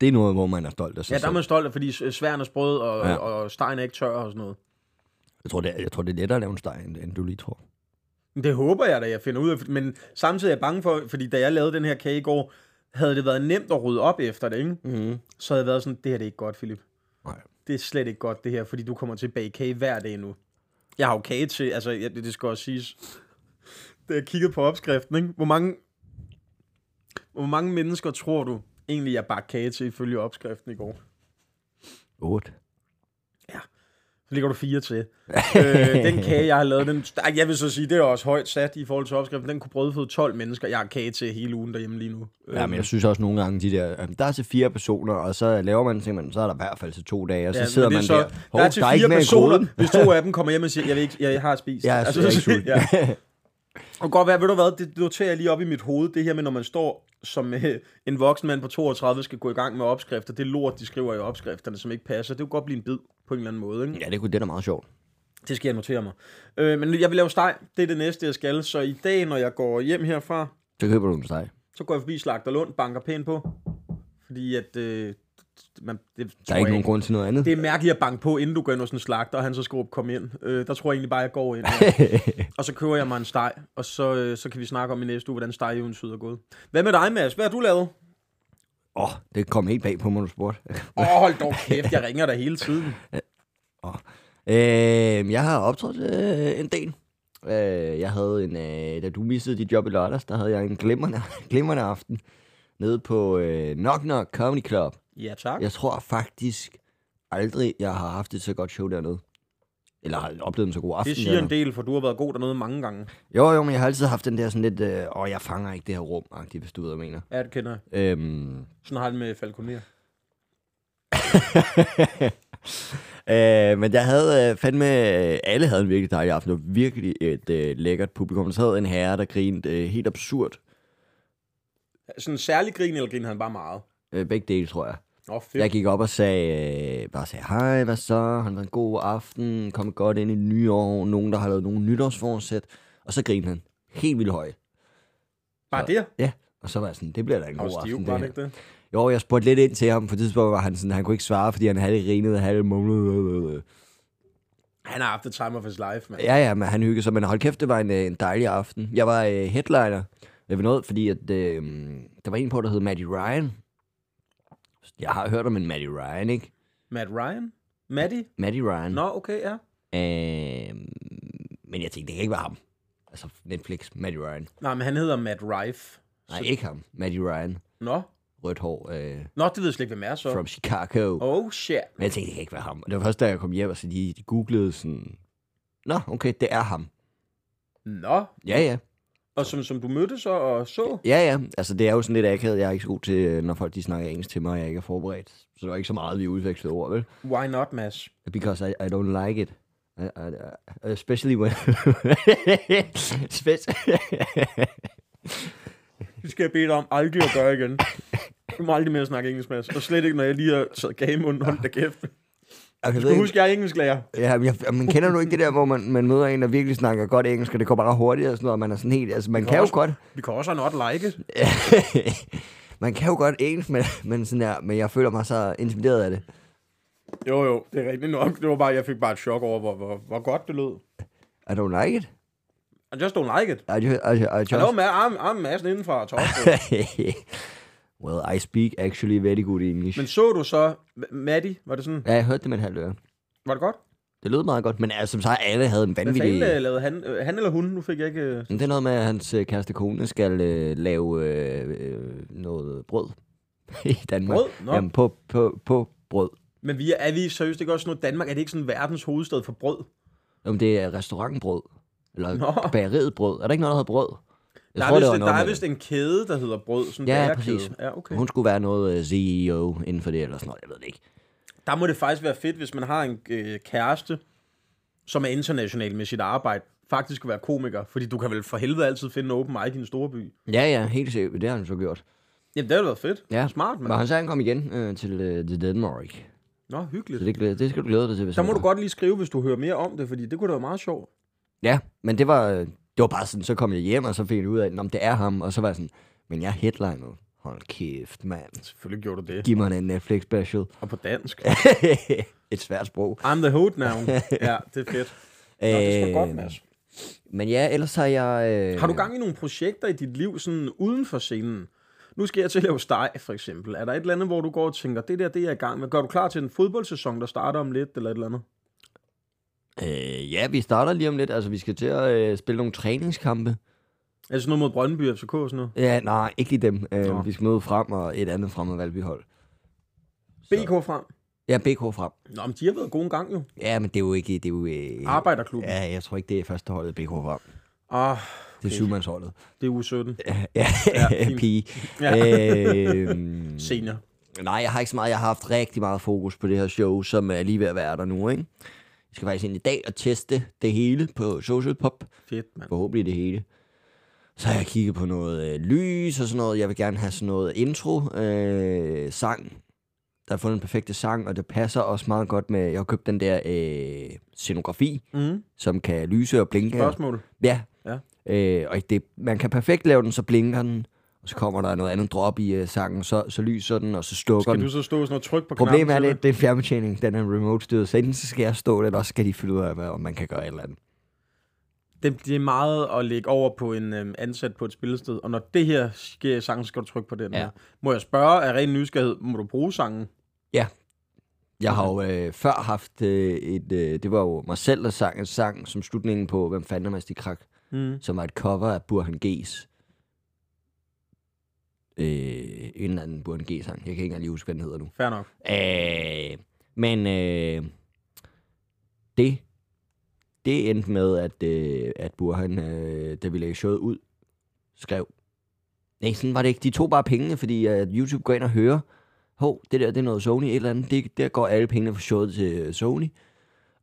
Speaker 2: det er noget, hvor man er stolt af sig
Speaker 3: ja, der er
Speaker 2: selv.
Speaker 3: man stolt af, fordi s- sværen er sprød, og,
Speaker 2: Ja.
Speaker 3: ja. og, og stegen er ikke tør og sådan noget.
Speaker 2: Jeg, tror, det er, jeg tror, det er lettere at lave en steg, end, end du lige tror.
Speaker 3: Men Det håber jeg da, jeg finder ud af. Men samtidig er jeg bange for, fordi da jeg lavede den her kage i går, havde det været nemt at rydde op efter det, ikke?
Speaker 2: Mm-hmm.
Speaker 3: så havde jeg været sådan, det her det er ikke godt, Philip.
Speaker 2: Nej.
Speaker 3: Det er slet ikke godt, det her, fordi du kommer til at bage kage hver dag nu. Jeg har jo kage til, altså jeg, det det skal også siges, da jeg kiggede på opskriften, ikke? Hvor, mange, hvor mange mennesker tror du egentlig, jeg bagte kage til ifølge opskriften i går?
Speaker 2: 8.
Speaker 3: Så ligger du fire til. øh, den kage, jeg har lavet, den, ej, jeg vil så sige, det er også højt sat i forhold til opskriften. Den kunne brødføde 12 mennesker, jeg har kage til hele ugen derhjemme lige nu.
Speaker 2: Ja, men jeg synes også nogle gange, de der, øhm, der er til fire personer, og så laver man ting, men så er der i hvert fald til to dage, og så ja,
Speaker 3: men
Speaker 2: sidder
Speaker 3: det er
Speaker 2: man så, der. Hov,
Speaker 3: der er til
Speaker 2: ikke
Speaker 3: fire
Speaker 2: mere i
Speaker 3: personer,
Speaker 2: gryden.
Speaker 3: hvis to af dem kommer hjem og siger, jeg, vil ikke, jeg har spist.
Speaker 2: Ja, altså, jeg er ikke sulten.
Speaker 3: ja. Og godt være, ved du hvad, det noterer jeg lige op i mit hoved, det her med, når man står som øh, en voksen mand på 32, skal gå i gang med opskrifter, det er lort, de skriver i opskrifterne, som ikke passer. Det kunne godt blive en bid på en eller anden måde, ikke?
Speaker 2: Ja, det kunne det er da meget sjovt.
Speaker 3: Det skal jeg notere mig. Øh, men jeg vil lave steg, det er det næste, jeg skal. Så i dag, når jeg går hjem herfra,
Speaker 2: Så køber du en steg.
Speaker 3: så går jeg forbi Slagter Lund, banker pænt på, fordi at... Øh, man, det
Speaker 2: Der
Speaker 3: tror
Speaker 2: er
Speaker 3: jeg
Speaker 2: ikke nogen grund til noget andet.
Speaker 3: det er mærkeligt at banke på, inden du går ind hos en slagter, og han så skråb, kom ind. Øh, der tror jeg egentlig bare, jeg går ind. ja. og så køber jeg mig en steg, og så, øh, så kan vi snakke om i næste uge, hvordan stegeventyret er gået. Hvad med dig, Mads? Hvad har du lavet?
Speaker 2: Åh, oh, det kom helt bag på mig, når du spurgte.
Speaker 3: Åh, oh, hold dog kæft, jeg ringer dig hele tiden.
Speaker 2: Øh, jeg har optrådt øh, en del. Øh, jeg havde en, øh, da du missede dit job i lørdags, der havde jeg en glimrende, glimrende aften nede på øh, Knock Knock Comedy Club.
Speaker 3: Ja, tak. Ja.
Speaker 2: Jeg tror faktisk aldrig, jeg har haft et så godt show dernede. Eller har oplevet en så god aften.
Speaker 3: Det siger en del, for du har været god dernede mange gange.
Speaker 2: Jo, jo, men jeg har altid haft den der sådan lidt, øh, åh, jeg fanger ikke det her rum, hvis du ved, hvad jeg mener.
Speaker 3: Ja, det kender jeg.
Speaker 2: Øhm,
Speaker 3: Sådan har jeg det med Falconer.
Speaker 2: Øh, men jeg havde øh, fandme, øh, alle havde en virkelig dejlig aften. Det var virkelig et øh, lækkert publikum. Så havde en herre, der grinede øh, helt absurd.
Speaker 3: Sådan en særlig grin, eller griner han bare meget?
Speaker 2: Øh, begge dele, tror jeg.
Speaker 3: Åh, oh, fedt.
Speaker 2: Jeg gik op og sagde, øh, bare sagde, hej, hvad så? Har det været en god aften? Kom godt ind i det nye år. Nogen, der har lavet nogle nytårsforsæt. Og så grinede han. Helt vildt højt.
Speaker 3: Bare der?
Speaker 2: Ja, og så var jeg sådan, det bliver da en
Speaker 3: Og
Speaker 2: god
Speaker 3: stiv,
Speaker 2: aften.
Speaker 3: var
Speaker 2: Det
Speaker 3: det
Speaker 2: her.
Speaker 3: ikke det?
Speaker 2: Jo, jeg spurgte lidt ind til ham. På et tidspunkt var han sådan, han kunne ikke svare, fordi han havde grinet og havde mumlet. øh,
Speaker 3: Han har haft the time of his life, mand.
Speaker 2: Ja, ja, men han hyggede sig, men hold kæft, det var en, øh, en dejlig aften. Jeg var øh, headliner ved noget, fordi at, øh, der var en på, der hed Matty Ryan. Jeg har hørt om en Matty Ryan, ikke?
Speaker 3: Matt Ryan? Matty?
Speaker 2: Matty Ryan.
Speaker 3: Nå, okay, ja.
Speaker 2: Øh, men jeg tænkte, det kan ikke være ham. Altså Netflix, Matty Ryan.
Speaker 3: Nej, men han hedder Matt Rife.
Speaker 2: Nej, ikke ham. Matty Ryan.
Speaker 3: Nå,
Speaker 2: Rødt hår. Øh,
Speaker 3: Nå, det ved jeg slet ikke, hvem er så.
Speaker 2: from Chicago. Oh.
Speaker 3: Oh shit.
Speaker 2: Men jeg tænkte, det kan ikke være ham. Og det var først, da jeg kom hjem, og så de, de googlede sådan... Nå, okay, det er ham.
Speaker 3: Nå,
Speaker 2: Ja, ja.
Speaker 3: Og som, som du mødte så og så?
Speaker 2: Ja, ja. Altså, det er jo sådan lidt akavet. Jeg er ikke så god til, øh, når folk de snakker engelsk til mig, og jeg ikke er forberedt. Så det var ikke så meget, vi udvekslede ord, vel?
Speaker 3: Why not, Mads?
Speaker 2: Because I, I don't like it. I, I, I- especially when... Spec-
Speaker 3: Det skal jeg bede dig om aldrig at gøre igen. Du må aldrig mere snakke engelsk, Mads. Og slet ikke, når jeg lige har taget gagemunden og holdt dig kæft. Du
Speaker 2: Altså, jeg ved
Speaker 3: skal
Speaker 2: ikke-
Speaker 3: huske, jeg er engelsklærer.
Speaker 2: Ja, men jeg, men kender du ikke det der, hvor man, man møder en, der virkelig snakker godt engelsk, og det går bare hurtigt og sådan noget, og man er sådan helt... Altså, man kan jo
Speaker 3: også-
Speaker 2: godt...
Speaker 3: Vi kan også have not like it.
Speaker 2: man kan jo godt engelsk, men, men, sådan der, men jeg føler mig så intimideret af det.
Speaker 3: Jo, jo, det er rigtigt nok. Det var bare, jeg fik bare et chok over, hvor, hvor, hvor godt det lød.
Speaker 2: I don't like it.
Speaker 3: I just don't like it.
Speaker 2: I just, I, I just,
Speaker 3: Hello, Mads. I'm, I'm Madsen inden fra Torsbro.
Speaker 2: well, I speak actually very good English.
Speaker 3: Men så du så M- Maddie? Var det sådan?
Speaker 2: Ja, jeg hørte det med en halv øre.
Speaker 3: Var det godt?
Speaker 2: Det lød meget godt, men altså, som sagt, alle havde en
Speaker 3: Hvad fanden
Speaker 2: vanvittig...
Speaker 3: øh, lavede han? øh, Han eller hun? Nu fik jeg ikke... øh,
Speaker 2: Men Det er noget med, at hans øh, kæreste kone skal øh, lave øh, øh, noget brød i Danmark.
Speaker 3: Brød? Nå.
Speaker 2: Jamen, på, på, på brød.
Speaker 3: Men vi er, er vi seriøst ikke også noget Danmark? Er det ikke sådan verdens hovedstad for brød?
Speaker 2: Om det er restaurantbrød, eller
Speaker 3: Nå.
Speaker 2: Nå. bageriet brød. Er der ikke noget, der hedder brød? Jeg
Speaker 3: Der er, vist, der
Speaker 2: noget
Speaker 3: er
Speaker 2: med-
Speaker 3: vist en kæde, der hedder brød. Sådan
Speaker 2: Ja,
Speaker 3: en
Speaker 2: ja,
Speaker 3: bagerkæde.
Speaker 2: præcis.
Speaker 3: Ja, okay.
Speaker 2: Hun skulle være noget øh, CEO inden for det, eller sådan noget. Jeg ved det ikke.
Speaker 3: Der må det faktisk være fedt, hvis man har en øh, kæreste, som er international med sit arbejde, faktisk at være komiker. Fordi du kan vel for helvede altid finde en open mic i en stor by.
Speaker 2: Ja, ja, helt sikkert. Det har han så gjort.
Speaker 3: Jamen, det har da været fedt.
Speaker 2: Ja.
Speaker 3: Smart, mand.
Speaker 2: Men han sagde, han kom igen øh, til, øh, til Danmark.
Speaker 3: Nå,
Speaker 2: Så
Speaker 3: hyggeligt.
Speaker 2: det, glæ- det skal du glæde dig til. Hvis
Speaker 3: Så må
Speaker 2: han
Speaker 3: du
Speaker 2: kommer.
Speaker 3: godt lige skrive, hvis du hører mere om det, fordi det kunne da være meget sjovt.
Speaker 2: Ja, men det var, øh, det var bare sådan, så kom jeg hjem, og så fik jeg ud af, at det er ham. Og så var jeg sådan, men jeg er headliner. Hold kæft, mand.
Speaker 3: Selvfølgelig gjorde du det.
Speaker 2: Giv mig en Netflix special.
Speaker 3: Og på dansk.
Speaker 2: Et svært sprog.
Speaker 3: I'm the hood now. Ja, det er fedt. Nå, det er sgu
Speaker 2: Øh,
Speaker 3: godt, Mads.
Speaker 2: Øhm, Men ja, ellers har jeg... Øh,
Speaker 3: Har du gang i nogle projekter i dit liv, sådan uden for scenen? Nu skal jeg til at lave steg, for eksempel. Er der et eller andet, hvor du går og tænker, det der, det er jeg i gang med. Gør du klar til en fodboldsæson, der starter om lidt, eller et eller andet?
Speaker 2: Øh, ja, vi starter lige om lidt. Altså, vi skal til at øh, spille nogle træningskampe.
Speaker 3: Altså noget mod Brøndby, FCK og sådan noget.
Speaker 2: Ja, nej, ikke lige dem.
Speaker 3: Nå.
Speaker 2: Øh, vi skal møde frem og et andet fremmed Valbyhold.
Speaker 3: BK frem.
Speaker 2: Ja, BK frem.
Speaker 3: Nå, men de har været gode en gang jo.
Speaker 2: Ja, men det er jo ikke... Det er jo, øh,
Speaker 3: Arbejderklubben. Ja.
Speaker 2: Ja, jeg tror ikke, det er første holdet BK frem.
Speaker 3: Ah,
Speaker 2: Det er syvmandsholdet.
Speaker 3: det er uge 17.
Speaker 2: Ja,
Speaker 3: Ja, fint.
Speaker 2: pige.
Speaker 3: Ja.
Speaker 2: Øh,
Speaker 3: Senior.
Speaker 2: nej, jeg har ikke så meget. Jeg har haft rigtig meget fokus på det her show, som er lige ved at være der nu, ikke? Jeg skal faktisk ind i dag og teste det hele på Social Pop.
Speaker 3: Fedt, mand.
Speaker 2: forhåbentlig det hele. Så har jeg kigget på noget øh, lys og sådan noget. Jeg vil gerne have sådan noget intro øh, sang. Der er fundet en perfekte sang, og det passer også meget godt med... Jeg har købt den der øh, scenografi,
Speaker 3: Mm.
Speaker 2: som kan lyse og blinke.
Speaker 3: Spørgsmål.
Speaker 2: Ja.
Speaker 3: Ja.
Speaker 2: Øh, og det, man kan perfekt lave den, så blinker den, og så kommer der noget andet drop i øh, sangen, så, så lyser den, og så slukker
Speaker 3: Skal
Speaker 2: den.
Speaker 3: du så stå sådan og trykke på knappen?
Speaker 2: Problemet er
Speaker 3: til
Speaker 2: lidt, det er en fjernbetjening, den er remote styret, så enten så skal jeg stå det, eller også skal de finde ud af, hvad- om man kan gøre et eller andet.
Speaker 3: det, det er meget at lægge over på en øhm, ansat på et spillested, og når det her sker i sangen, skal du trykke på den
Speaker 2: Ja.
Speaker 3: her. Må jeg spørge af ren nysgerrighed, må du bruge sangen?
Speaker 2: Jeg har jo øh, før haft øh, et, øh, det var jo mig selv, der sang en sang som slutningen på Hvem fanden er Masti Krak,
Speaker 3: Mm.
Speaker 2: som var et cover af Burhan G's. Øh, en eller anden Burhan G-sang. Jeg kan ikke engang lige huske, hvad den hedder nu.
Speaker 3: Fair nok.
Speaker 2: Øh, men øh, det, det endte med, at, øh, at Burhan, øh, da vi lagde showet ud, skrev. Nej, sådan var det ikke. De tog bare pengene, fordi at YouTube går ind og hører, hov, det der, det er noget Sony, et eller andet. Det, der går alle pengene fra showet til øh, Sony.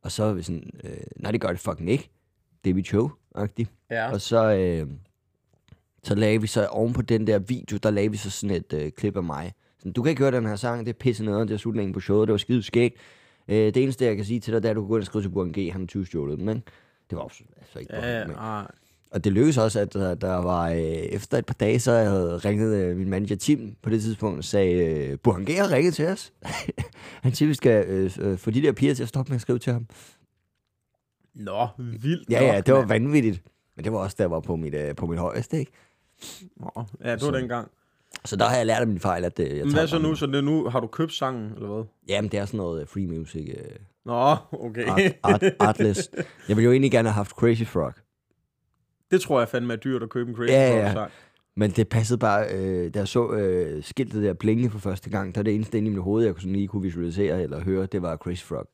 Speaker 2: Og så er vi sådan, øh, nej, det gør det fucking ikke. Det er mit show, agtigt.
Speaker 3: Ja.
Speaker 2: Og så, øh, så lagde vi så oven på den der video, der lagde vi så sådan et øh, klip af mig. Sådan, du kan ikke høre den her sang, det er pisse nederen, det er slutningen på showet, det var skide skægt. Øh, det eneste, jeg kan sige til dig, det er, at du kan gå ind og skrive til Burhan G, han 20 stjålet den, ikke? Det var også altså ikke
Speaker 3: Ja,
Speaker 2: godt,
Speaker 3: ja,
Speaker 2: men-
Speaker 3: ah.
Speaker 2: og det lykkedes også, at der, der var øh, efter et par dage, så jeg havde ringet øh, min manager Tim på det tidspunkt og sagde, øh, Burhan G har ringet til os. han siger, vi skal øh, øh, få de der piger til at stoppe med at skrive til ham.
Speaker 3: Nå, vildt
Speaker 2: Ja, ja,
Speaker 3: nok,
Speaker 2: det var
Speaker 3: mand.
Speaker 2: vanvittigt. Men det var også, der var på mit, øh, på mit højeste, ikke?
Speaker 3: Nå, ja, det var
Speaker 2: Så-
Speaker 3: dengang.
Speaker 2: Så der har jeg lært af min fejl, at øh, jeg
Speaker 3: Men
Speaker 2: tager
Speaker 3: hvad så
Speaker 2: bare-
Speaker 3: nu? Så det er nu har du købt sangen, eller hvad?
Speaker 2: Jamen, det er sådan noget øh, free music, øh,
Speaker 3: Nå, okay.
Speaker 2: art, art, artless. Jeg ville jo egentlig gerne have haft Crazy Frog,
Speaker 3: Det tror jeg fandme er dyrt at købe en Crazy
Speaker 2: Ja,
Speaker 3: Frog
Speaker 2: ja.
Speaker 3: sang.
Speaker 2: men det passede bare, øh, da jeg så øh, skiltet der blinke for første gang, der er det eneste inde i mit hoved, jeg kunne sådan lige kunne visualisere eller høre, det var Crazy Frog.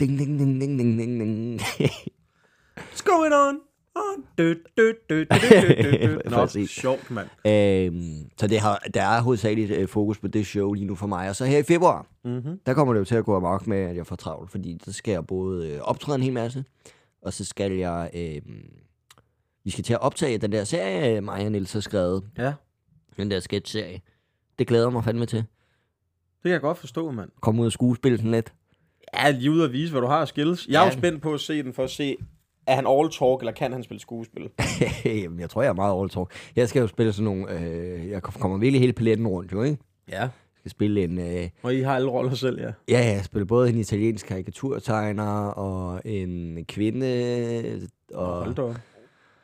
Speaker 2: Ding, ding, ding, ding, ding, ding, ding.
Speaker 3: What's going on? Ah, Dø, dø, dø, dø, dø, dø, dø. Nå,
Speaker 2: Præcis.
Speaker 3: sjovt, mand.
Speaker 2: Øhm, så det har, der er hovedsageligt øh, fokus på det show lige nu for mig. Og så her i februar,
Speaker 3: Mhm.
Speaker 2: der kommer det jo til at gå amok med, at jeg får travlt. Fordi så skal jeg både øh, optræde en hel masse, og så skal jeg... Øh, vi skal til at optage den der serie, mig og Niels har skrevet.
Speaker 3: Ja,
Speaker 2: Den der sketch-serie. Det glæder jeg mig fandme til.
Speaker 3: det kan jeg godt forstå, mand.
Speaker 2: Komme ud og skuespille sådan lidt.
Speaker 3: Ja, lige ud og vise, hvad du har af skills. Jeg er jo
Speaker 2: Ja.
Speaker 3: spændt på at se den for at se, er han all talk, eller kan han spille skuespil?
Speaker 2: Jamen, jeg tror, jeg er meget all talk. Jeg skal jo spille sådan nogle... Øh, jeg kommer virkelig hele paletten rundt, jo, ikke?
Speaker 3: Ja.
Speaker 2: Jeg skal spille en... Øh,
Speaker 3: Og I har alle roller selv, ja.
Speaker 2: Ja, ja, jeg spillede både en italiensk karikaturtegner og en kvinde øh, og
Speaker 3: Hold da. op.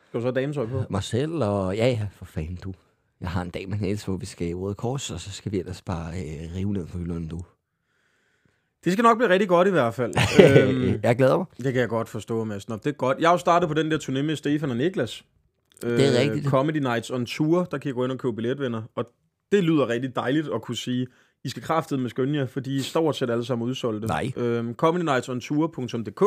Speaker 3: Skal du så have dametøj på?
Speaker 2: mig selv, og ja, ja, for fanden du. Jeg har en dag med Niels, hvor vi skal i Røde Kors, og så skal vi ellers bare øh, rive ned for hylderne, du.
Speaker 3: Mm. Det skal nok blive rigtig godt i hvert fald. øhm,
Speaker 2: Øhm. jeg glæder mig.
Speaker 3: det kan jeg godt forstå, Mads. Nå, det er godt. Jeg har jo startet på den der turné med Stefan og Niklas. Øh,
Speaker 2: Det er rigtigt.
Speaker 3: Comedy Nights on Tour, der kan I gå ind og købe billetvenner. Og det lyder rigtig dejligt at kunne sige, I skal kraftede med skønne jer, fordi I står til alle sammen udsolgte.
Speaker 2: Nej.
Speaker 3: Øhm, comedynightsontour.dk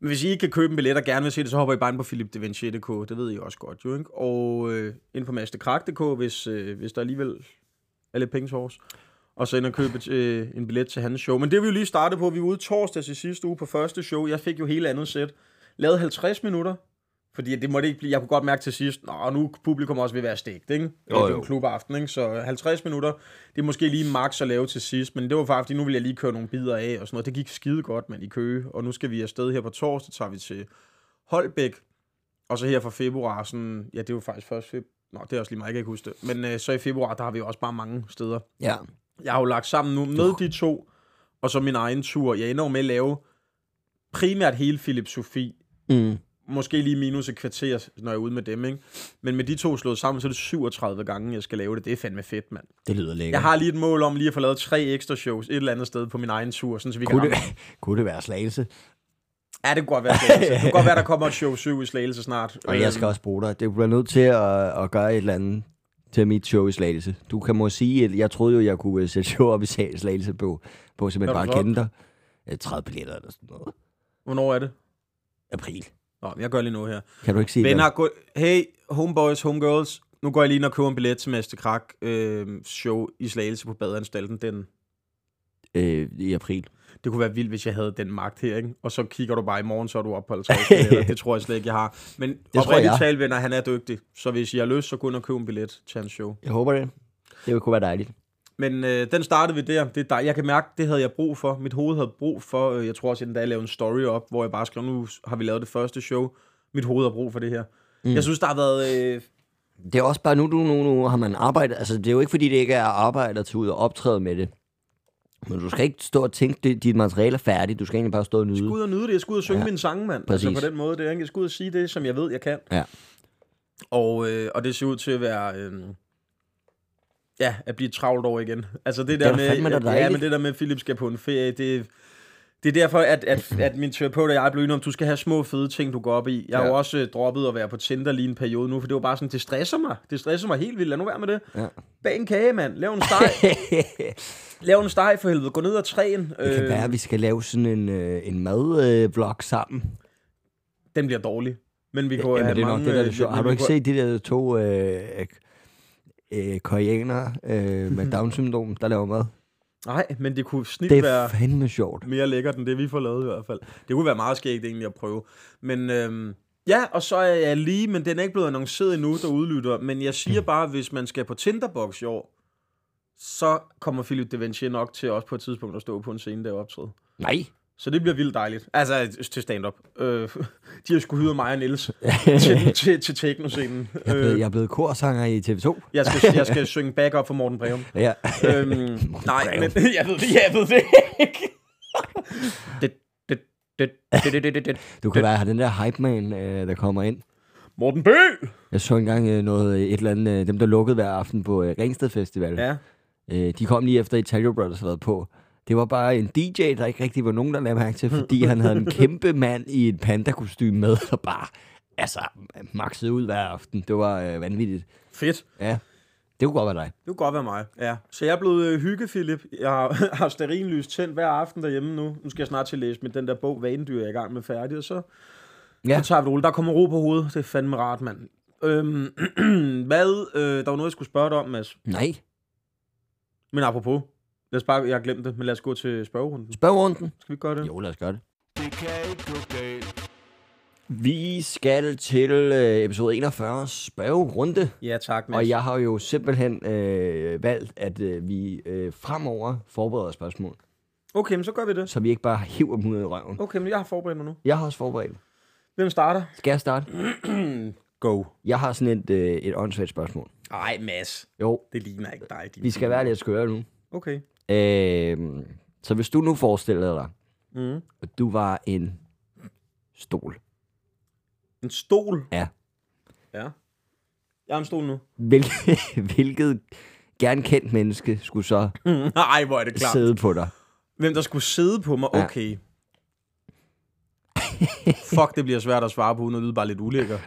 Speaker 3: Men hvis I ikke kan købe en billet og gerne vil se det, så hopper I bare ind på philipdevinci.dk. Det ved I også godt, jo ikke? Og øh, ind på masterkrak.dk, hvis, øh, hvis der alligevel er lidt penge til os. Og så ind og købe øh, en billet til hans show. Men det er vi jo lige startet på. Vi var ude torsdags i sidste uge på første show. Jeg fik jo hele andet sæt. Lavede 50 minutter. Fordi det måtte ikke blive... Jeg kunne godt mærke til sidst, Nå, nu er publikum også ved at være stegt, ikke? Jo, det er jo
Speaker 2: jo.
Speaker 3: en klubaften, ikke? Så 50 minutter, det er måske lige max at lave til sidst. Men det var faktisk, fordi nu vil jeg lige køre nogle bidder af og sådan noget. Det gik skide godt, mand, i Køge. Og nu skal vi afsted her på torsdag, tager vi til Holbæk. Og så her fra februar, sådan, ja, det er jo faktisk først februar. Nå, det er også lige mig, jeg kan ikke huske det. Men øh, så i februar, der har vi jo også bare mange steder.
Speaker 2: Ja,
Speaker 3: Jeg har jo lagt sammen nu med de to, og så min egen tur. Jeg ender jo med at lave primært hele Philip Sofie.
Speaker 2: mm.
Speaker 3: Måske lige minus et kvarter, når jeg er ude med dem, ikke? Men med de to slået sammen, så er det 37 gange, jeg skal lave det. Det er fandme fedt, mand.
Speaker 2: det lyder lækkert.
Speaker 3: Jeg har lige et mål om lige at få lavet tre ekstra shows et eller andet sted på min egen tur, sådan, så vi
Speaker 2: kunne,
Speaker 3: kan...
Speaker 2: det, kunne det være slagelse?
Speaker 3: Ja, det kunne godt være Slagelse. Det kunne godt være, der kommer et show 7 i Slagelse snart. Øhm,
Speaker 2: Og jeg skal også bruge dig. Det bliver nødt til at, at gøre et eller andet til mit show i Slagelse. Du kan må sige, at jeg troede jo, jeg kunne øh, sætte show op i sal- Slagelse på, på simpelthen bare
Speaker 3: Når du
Speaker 2: at
Speaker 3: så-
Speaker 2: kende dig. Øh, 30 billetter eller sådan noget.
Speaker 3: Hvornår er det?
Speaker 2: April.
Speaker 3: Nå, jeg gør lige noget her.
Speaker 2: Kan du ikke sige
Speaker 3: Venner, gå... hey, homeboys, homegirls. Nu går jeg lige ind og køber en billet til Mester Krak øh, show i Slagelse på Badeanstalten. Den,
Speaker 2: det? Øh, I april.
Speaker 3: det kunne være vildt, hvis jeg havde den magt her, ikke? Og så kigger du bare i morgen, så er du oppe på 50 billetter. Det tror jeg slet ikke, jeg har. Men
Speaker 2: tror
Speaker 3: oprigtigt
Speaker 2: jeg.
Speaker 3: talt, venner, han er dygtig. Så hvis I har lyst, så gå ind og købe en billet til hans show.
Speaker 2: Jeg håber det. Det kunne være dejligt.
Speaker 3: Men øh, den startede vi der. Det er dej- jeg kan mærke, det havde jeg brug for. Mit hoved havde brug for, øh, jeg tror også, at den dag lavede en story op, hvor jeg bare skrev, nu har vi lavet det første show. Mit hoved har brug for det her. Mm. Jeg synes, der har været... Øh,
Speaker 2: Det er også bare, nu, nu, nu, nu har man arbejdet, altså det er jo ikke fordi, det ikke er arbejde at tage ud og optræde med det. Men du skal ikke stå og tænke, det, dit materiale er færdigt, du skal egentlig bare stå og nyde.
Speaker 3: Jeg skal ud og nyde det. Jeg skal ud og synge ja.
Speaker 2: Ja.
Speaker 3: mine sange, mand. Altså
Speaker 2: Præcis.
Speaker 3: på den måde. Det er, ikke? jeg skal ud og sige det, som jeg ved, jeg kan.
Speaker 2: Ja.
Speaker 3: Og, øh, og det ser ud til at være... Øh, ja, at blive et travlt over igen. Altså det der
Speaker 2: da fandme
Speaker 3: med...
Speaker 2: da
Speaker 3: ja,
Speaker 2: dejligt.
Speaker 3: men det der med, at Philip skal på en ferie, det... Det er derfor, at, at, at min terapeut og jeg er blevet enige om, at du skal have små fede ting, du går op i. Jeg har
Speaker 2: Ja.
Speaker 3: jo også øh, droppet at være på Tinder lige en periode nu, for det var bare sådan, det stresser mig. Det stresser mig helt vildt. Lad nu være med det.
Speaker 2: Ja.
Speaker 3: Bag en kage, mand. Lav en steg. Lav en steg for helvede. Gå ned og træn.
Speaker 2: Det kan være, at vi skal lave sådan en, øh, en madvlog sammen.
Speaker 3: den bliver dårlig. Men vi kunne
Speaker 2: Jamen,
Speaker 3: have
Speaker 2: det er nok
Speaker 3: mange...
Speaker 2: det, der er
Speaker 3: øh,
Speaker 2: det sjove.
Speaker 3: men
Speaker 2: Har du
Speaker 3: vi
Speaker 2: ikke
Speaker 3: kunne-
Speaker 2: set de der to øh, øh, koreanere øh, med Down-syndrom, der laver mad?
Speaker 3: Nej, men det kunne snit
Speaker 2: Det
Speaker 3: være
Speaker 2: er fandme sjovt.
Speaker 3: mere lækkert end det, vi får lavet i hvert fald. Det kunne være meget skægt egentlig at prøve. Men øhm, ja, og så er jeg lige, men den er ikke blevet annonceret endnu, der udlytter. Men jeg siger bare, hvis man skal på Tinderbox i år, så kommer Philip De Vinci nok til også på et tidspunkt at stå på en scene der og optræde.
Speaker 2: Nej.
Speaker 3: Så det bliver vildt dejligt. Altså, til stand-up. Øh, de har sgu hyret mig og Niels til, til, til teknoscenen.
Speaker 2: Jeg er blevet,
Speaker 3: Øh,
Speaker 2: jeg er blevet korsanger i TV2.
Speaker 3: jeg, skal, jeg skal synge backup for Morten Breum.
Speaker 2: Ja.
Speaker 3: øhm, nej,
Speaker 2: Brev.
Speaker 3: men jeg ved det, jeg ved det ikke. det, det, det, det, det, det, det, det.
Speaker 2: Du kan være den der hype man, øh, der kommer ind.
Speaker 3: Morten Bø!
Speaker 2: Jeg så engang øh, noget, øh, et eller andet, øh, dem der lukkede hver aften på øh, Ringsted Festival.
Speaker 3: Ja,
Speaker 2: Øh, de kom lige efter Italio Brothers havde været på. Det var bare en DJ, der ikke rigtig var nogen, der lagde mærke til, fordi han havde en kæmpe mand i et panda-kostyme med, der bare altså, maxede ud hver aften. Det var øh, vanvittigt.
Speaker 3: fedt.
Speaker 2: Ja, det kunne godt være dig.
Speaker 3: Det kunne godt være mig. Ja. Så jeg er blevet øh, hygge, Philip. Jeg har, har sterinlys tændt hver aften derhjemme nu. Nu skal jeg snart til at læse med den der bog, Vanedyr, jeg er i gang med færdig, og så
Speaker 2: Ja.
Speaker 3: Ja. Så tager vi det roligt. Der kommer ro på hovedet. Det er fandme rart, mand. Øhm, hvad? Øh, der var noget, jeg skulle spørge dig om, Mads.
Speaker 2: Nej.
Speaker 3: Men apropos. Lad os bare, jeg har glemt det, men lad os gå til spørgerunden.
Speaker 2: Spørg runden.
Speaker 3: Skal vi gøre det?
Speaker 2: Jo, lad os gøre det.
Speaker 1: Det kan ikke gå galt.
Speaker 2: Vi skal til øh, episode 41, spørgerunde.
Speaker 3: Ja, tak, Mads.
Speaker 2: Og jeg har jo simpelthen øh, valgt, at øh, vi øh, fremover forbereder spørgsmål,
Speaker 3: Okay, men så gør vi det.
Speaker 2: så vi ikke bare hiver dem ud af røven.
Speaker 3: Okay, men jeg har forberedt mig nu.
Speaker 2: Jeg har også forberedt.
Speaker 3: Hvem starter?
Speaker 2: Skal jeg starte?
Speaker 3: Go.
Speaker 2: Jeg har sådan et, øh, et åndssvagt spørgsmål.
Speaker 3: Ej, Mads.
Speaker 2: Jo,
Speaker 3: Det ligner ikke dig. din-
Speaker 2: vi skal være lidt skøre nu.
Speaker 3: Okay.
Speaker 2: Øh, så hvis du nu forestillede dig,
Speaker 3: Mm.
Speaker 2: at du var en stol,
Speaker 3: En stol.
Speaker 2: Ja.
Speaker 3: Ja. Jeg er en stol nu.
Speaker 2: hvilket, hvilket gerne kendt menneske skulle så
Speaker 3: Nej, Mm. hvor er det klart.
Speaker 2: sidde på dig?
Speaker 3: Hvem der skulle sidde på mig?
Speaker 2: Ja.
Speaker 3: Okay. Fuck, det bliver svært at svare på, uden at lyde bare lidt ulækker.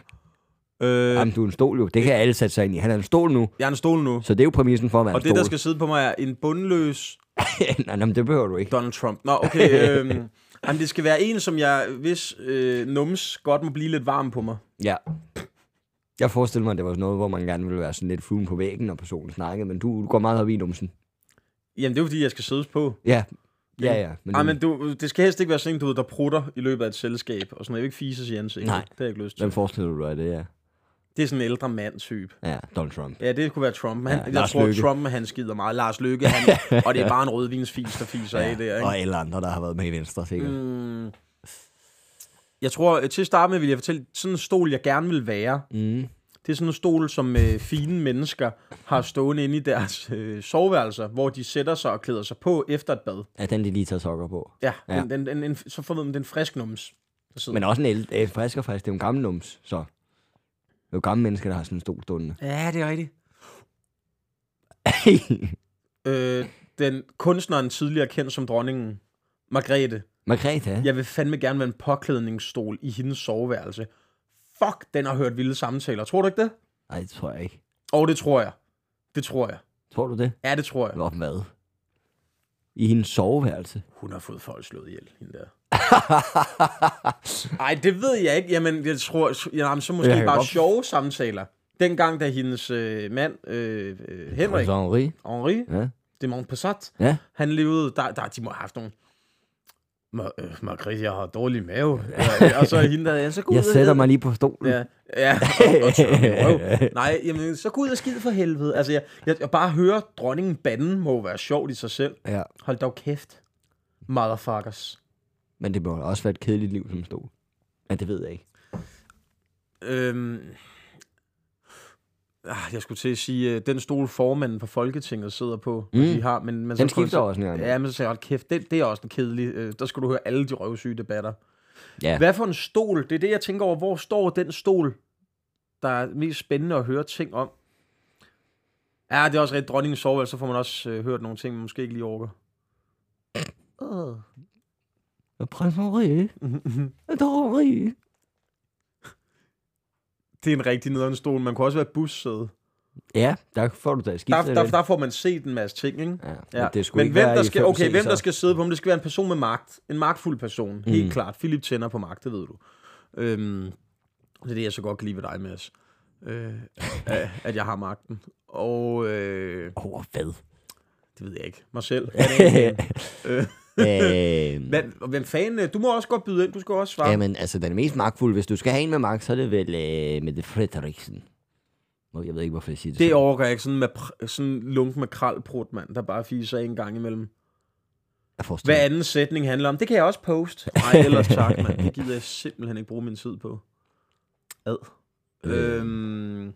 Speaker 3: Øh,
Speaker 2: Jamen, du er en stol jo. Det kan alle sætte sig ind i. Han er en stol nu,
Speaker 3: jeg er en stol nu.
Speaker 2: så det er jo præmissen for at være
Speaker 3: Og
Speaker 2: en stol.
Speaker 3: det, der skal sidde på mig, er en bundløs
Speaker 2: nej, nej, men det behøver du ikke.
Speaker 3: Donald Trump. Nå, okay. Øh, jamen, det skal være en, som jeg, hvis øh, nums, godt må blive lidt varm på mig.
Speaker 2: Ja. Jeg forestiller mig, at det var sådan noget, hvor man gerne ville være sådan lidt fluen på væggen, når personen snakkede, men du, du går meget op i numsen.
Speaker 3: Jamen, det er jo, fordi jeg skal siddes på.
Speaker 2: Ja, ja, ja.
Speaker 3: Nej, men du, det skal helst ikke være sådan en, du ved, der prutter i løbet af et selskab. Og sådan noget. Jeg vil ikke fises i ansigtet.
Speaker 2: Nej.
Speaker 3: Det har jeg ikke lyst til.
Speaker 2: Hvem forestiller du dig, at det er?
Speaker 3: Det er sådan en ældre mand-type.
Speaker 2: Ja, Donald Trump.
Speaker 3: Ja, det kunne være Trump.
Speaker 2: Ja,
Speaker 3: Han, ja, jeg
Speaker 2: Lars
Speaker 3: tror,
Speaker 2: Løkke.
Speaker 3: Trump han skider meget. Lars Løkke, han, og det er bare en rødvinsfis, der fiser ja, af der. Ikke?
Speaker 2: Og alle andre, der har været med i Venstre, sikkert. Mm.
Speaker 3: Mm. Jeg tror, øh, til at starte med vil jeg fortælle, sådan en stol, jeg gerne vil være,
Speaker 2: Mm.
Speaker 3: det er sådan en stol, som øh, fine mennesker har stående inde i deres øh, soveværelser, hvor de sætter sig og klæder sig på efter et bad.
Speaker 2: Ja, den de lige tager sokker på.
Speaker 3: Ja,
Speaker 2: Ja.
Speaker 3: ja. Den, den, den, den, så får man den frisk nums. der sidder.
Speaker 2: Men også en ældre, øh, frisker faktisk. Det er jo en gammel nums, så. Det er jo gamle mennesker, der har sådan en stol stående.
Speaker 3: Ja, det er rigtigt. Øh, den kunstneren tidligere kendt som dronningen, Margrethe,
Speaker 2: Margrethe, ja.
Speaker 3: Jeg vil fandme gerne være en påklædningsstol i hendes soveværelse. Fuck, den har hørt vilde samtaler. Tror du ikke det?
Speaker 2: Nej, det tror jeg ikke.
Speaker 3: Og oh, det tror jeg. Det tror jeg.
Speaker 2: Tror du det?
Speaker 3: Ja, det tror jeg.
Speaker 2: Hvor hvad? I hendes soveværelse.
Speaker 3: Hun har fået folk slået ihjel, hende der. Nej, det ved jeg ikke. Jamen, jeg tror, jamen, så måske
Speaker 2: Jeg kan
Speaker 3: bare
Speaker 2: godt-
Speaker 3: sjove samtaler. Dengang, da hendes øh, mand, øh, øh, Henrik
Speaker 2: Altså, Henri.
Speaker 3: Henri,
Speaker 2: Ja.
Speaker 3: det er Montpassat,
Speaker 2: Ja.
Speaker 3: han levede, der, der, de må have haft nogle, Ma- øh, Margrethe, jeg har dårlig mave. Ja, og så er hende der, ja, så gå ud
Speaker 2: Jeg
Speaker 3: og-
Speaker 2: sætter mig lige på stolen.
Speaker 3: Ja, ja. Og tør min røv. Nej, jamen, så gå ud og skid for helvede. Altså, jeg, jeg, jeg bare hører dronningen banden må jo være sjovt i sig selv.
Speaker 2: ja.
Speaker 3: Hold dog kæft, motherfuckers.
Speaker 2: Men det må også være et kedeligt liv som stol. Men det ved jeg ikke.
Speaker 3: Øhm, ah, jeg skulle til at sige, øh, den stol formanden på Folketinget sidder på, mm.
Speaker 2: Mm.
Speaker 3: de har, men, men
Speaker 2: Den
Speaker 3: så kom jeg
Speaker 2: skifter
Speaker 3: til-
Speaker 2: også en gang.
Speaker 3: Ja, men så sagde jeg, hold kæft, det, det er også en kedelig, øh, der skulle du høre alle de røvsyge debatter.
Speaker 2: Ja.
Speaker 3: Hvad for en stol, det er det, jeg tænker over, hvor står den stol, der er mest spændende at høre ting om? Ja, det er også rigtigt, dronningens soveværelse, så får man også øh, hørt nogle ting, man måske ikke lige orker.
Speaker 2: Prins Henri. Henri.
Speaker 3: Det er en rigtig nederen stol, man kunne også være bussæde.
Speaker 2: Ja, der får du da skiftet.
Speaker 3: Der, der, der får man set en masse ting, ikke?
Speaker 2: Ja,
Speaker 3: Ja.
Speaker 2: men det skulle
Speaker 3: men
Speaker 2: ikke
Speaker 3: hvem
Speaker 2: være
Speaker 3: der
Speaker 2: i
Speaker 3: skal,
Speaker 2: fem
Speaker 3: okay, hvem
Speaker 2: C'er.
Speaker 3: der skal sidde på dem, det skal være en person med magt. En magtfuld person, mm. helt klart. Philip tænder på magt, det ved du. Øhm, det er det, jeg så godt kan lide ved dig, Mads. Øh, at- at jeg har magten. Og øh,
Speaker 2: Over hvad?
Speaker 3: det ved jeg ikke. Mig selv. Hvad er det, jeg mener? Øh,
Speaker 2: Øhm,
Speaker 3: Hvad, og hvem fanden? øh, Du må også godt byde ind. Du skal også svare.
Speaker 2: Jamen, altså, den mest magtfulde, hvis du skal have en med magt, så er det vel øh, Mette Frederiksen. Nå, jeg ved ikke, hvorfor jeg siger det.
Speaker 3: det
Speaker 2: sådan.
Speaker 3: overgår jeg ikke. Sådan, med, pr- sådan lunk med kralprut, mand, der bare fiser en gang imellem.
Speaker 2: Jeg forstår.
Speaker 3: Hvad anden sætning handler om, det kan jeg også poste. Nej, ellers tak, mand. Det gider jeg simpelthen ikke bruge min tid på. Ad.
Speaker 2: Øh.
Speaker 3: Øhm.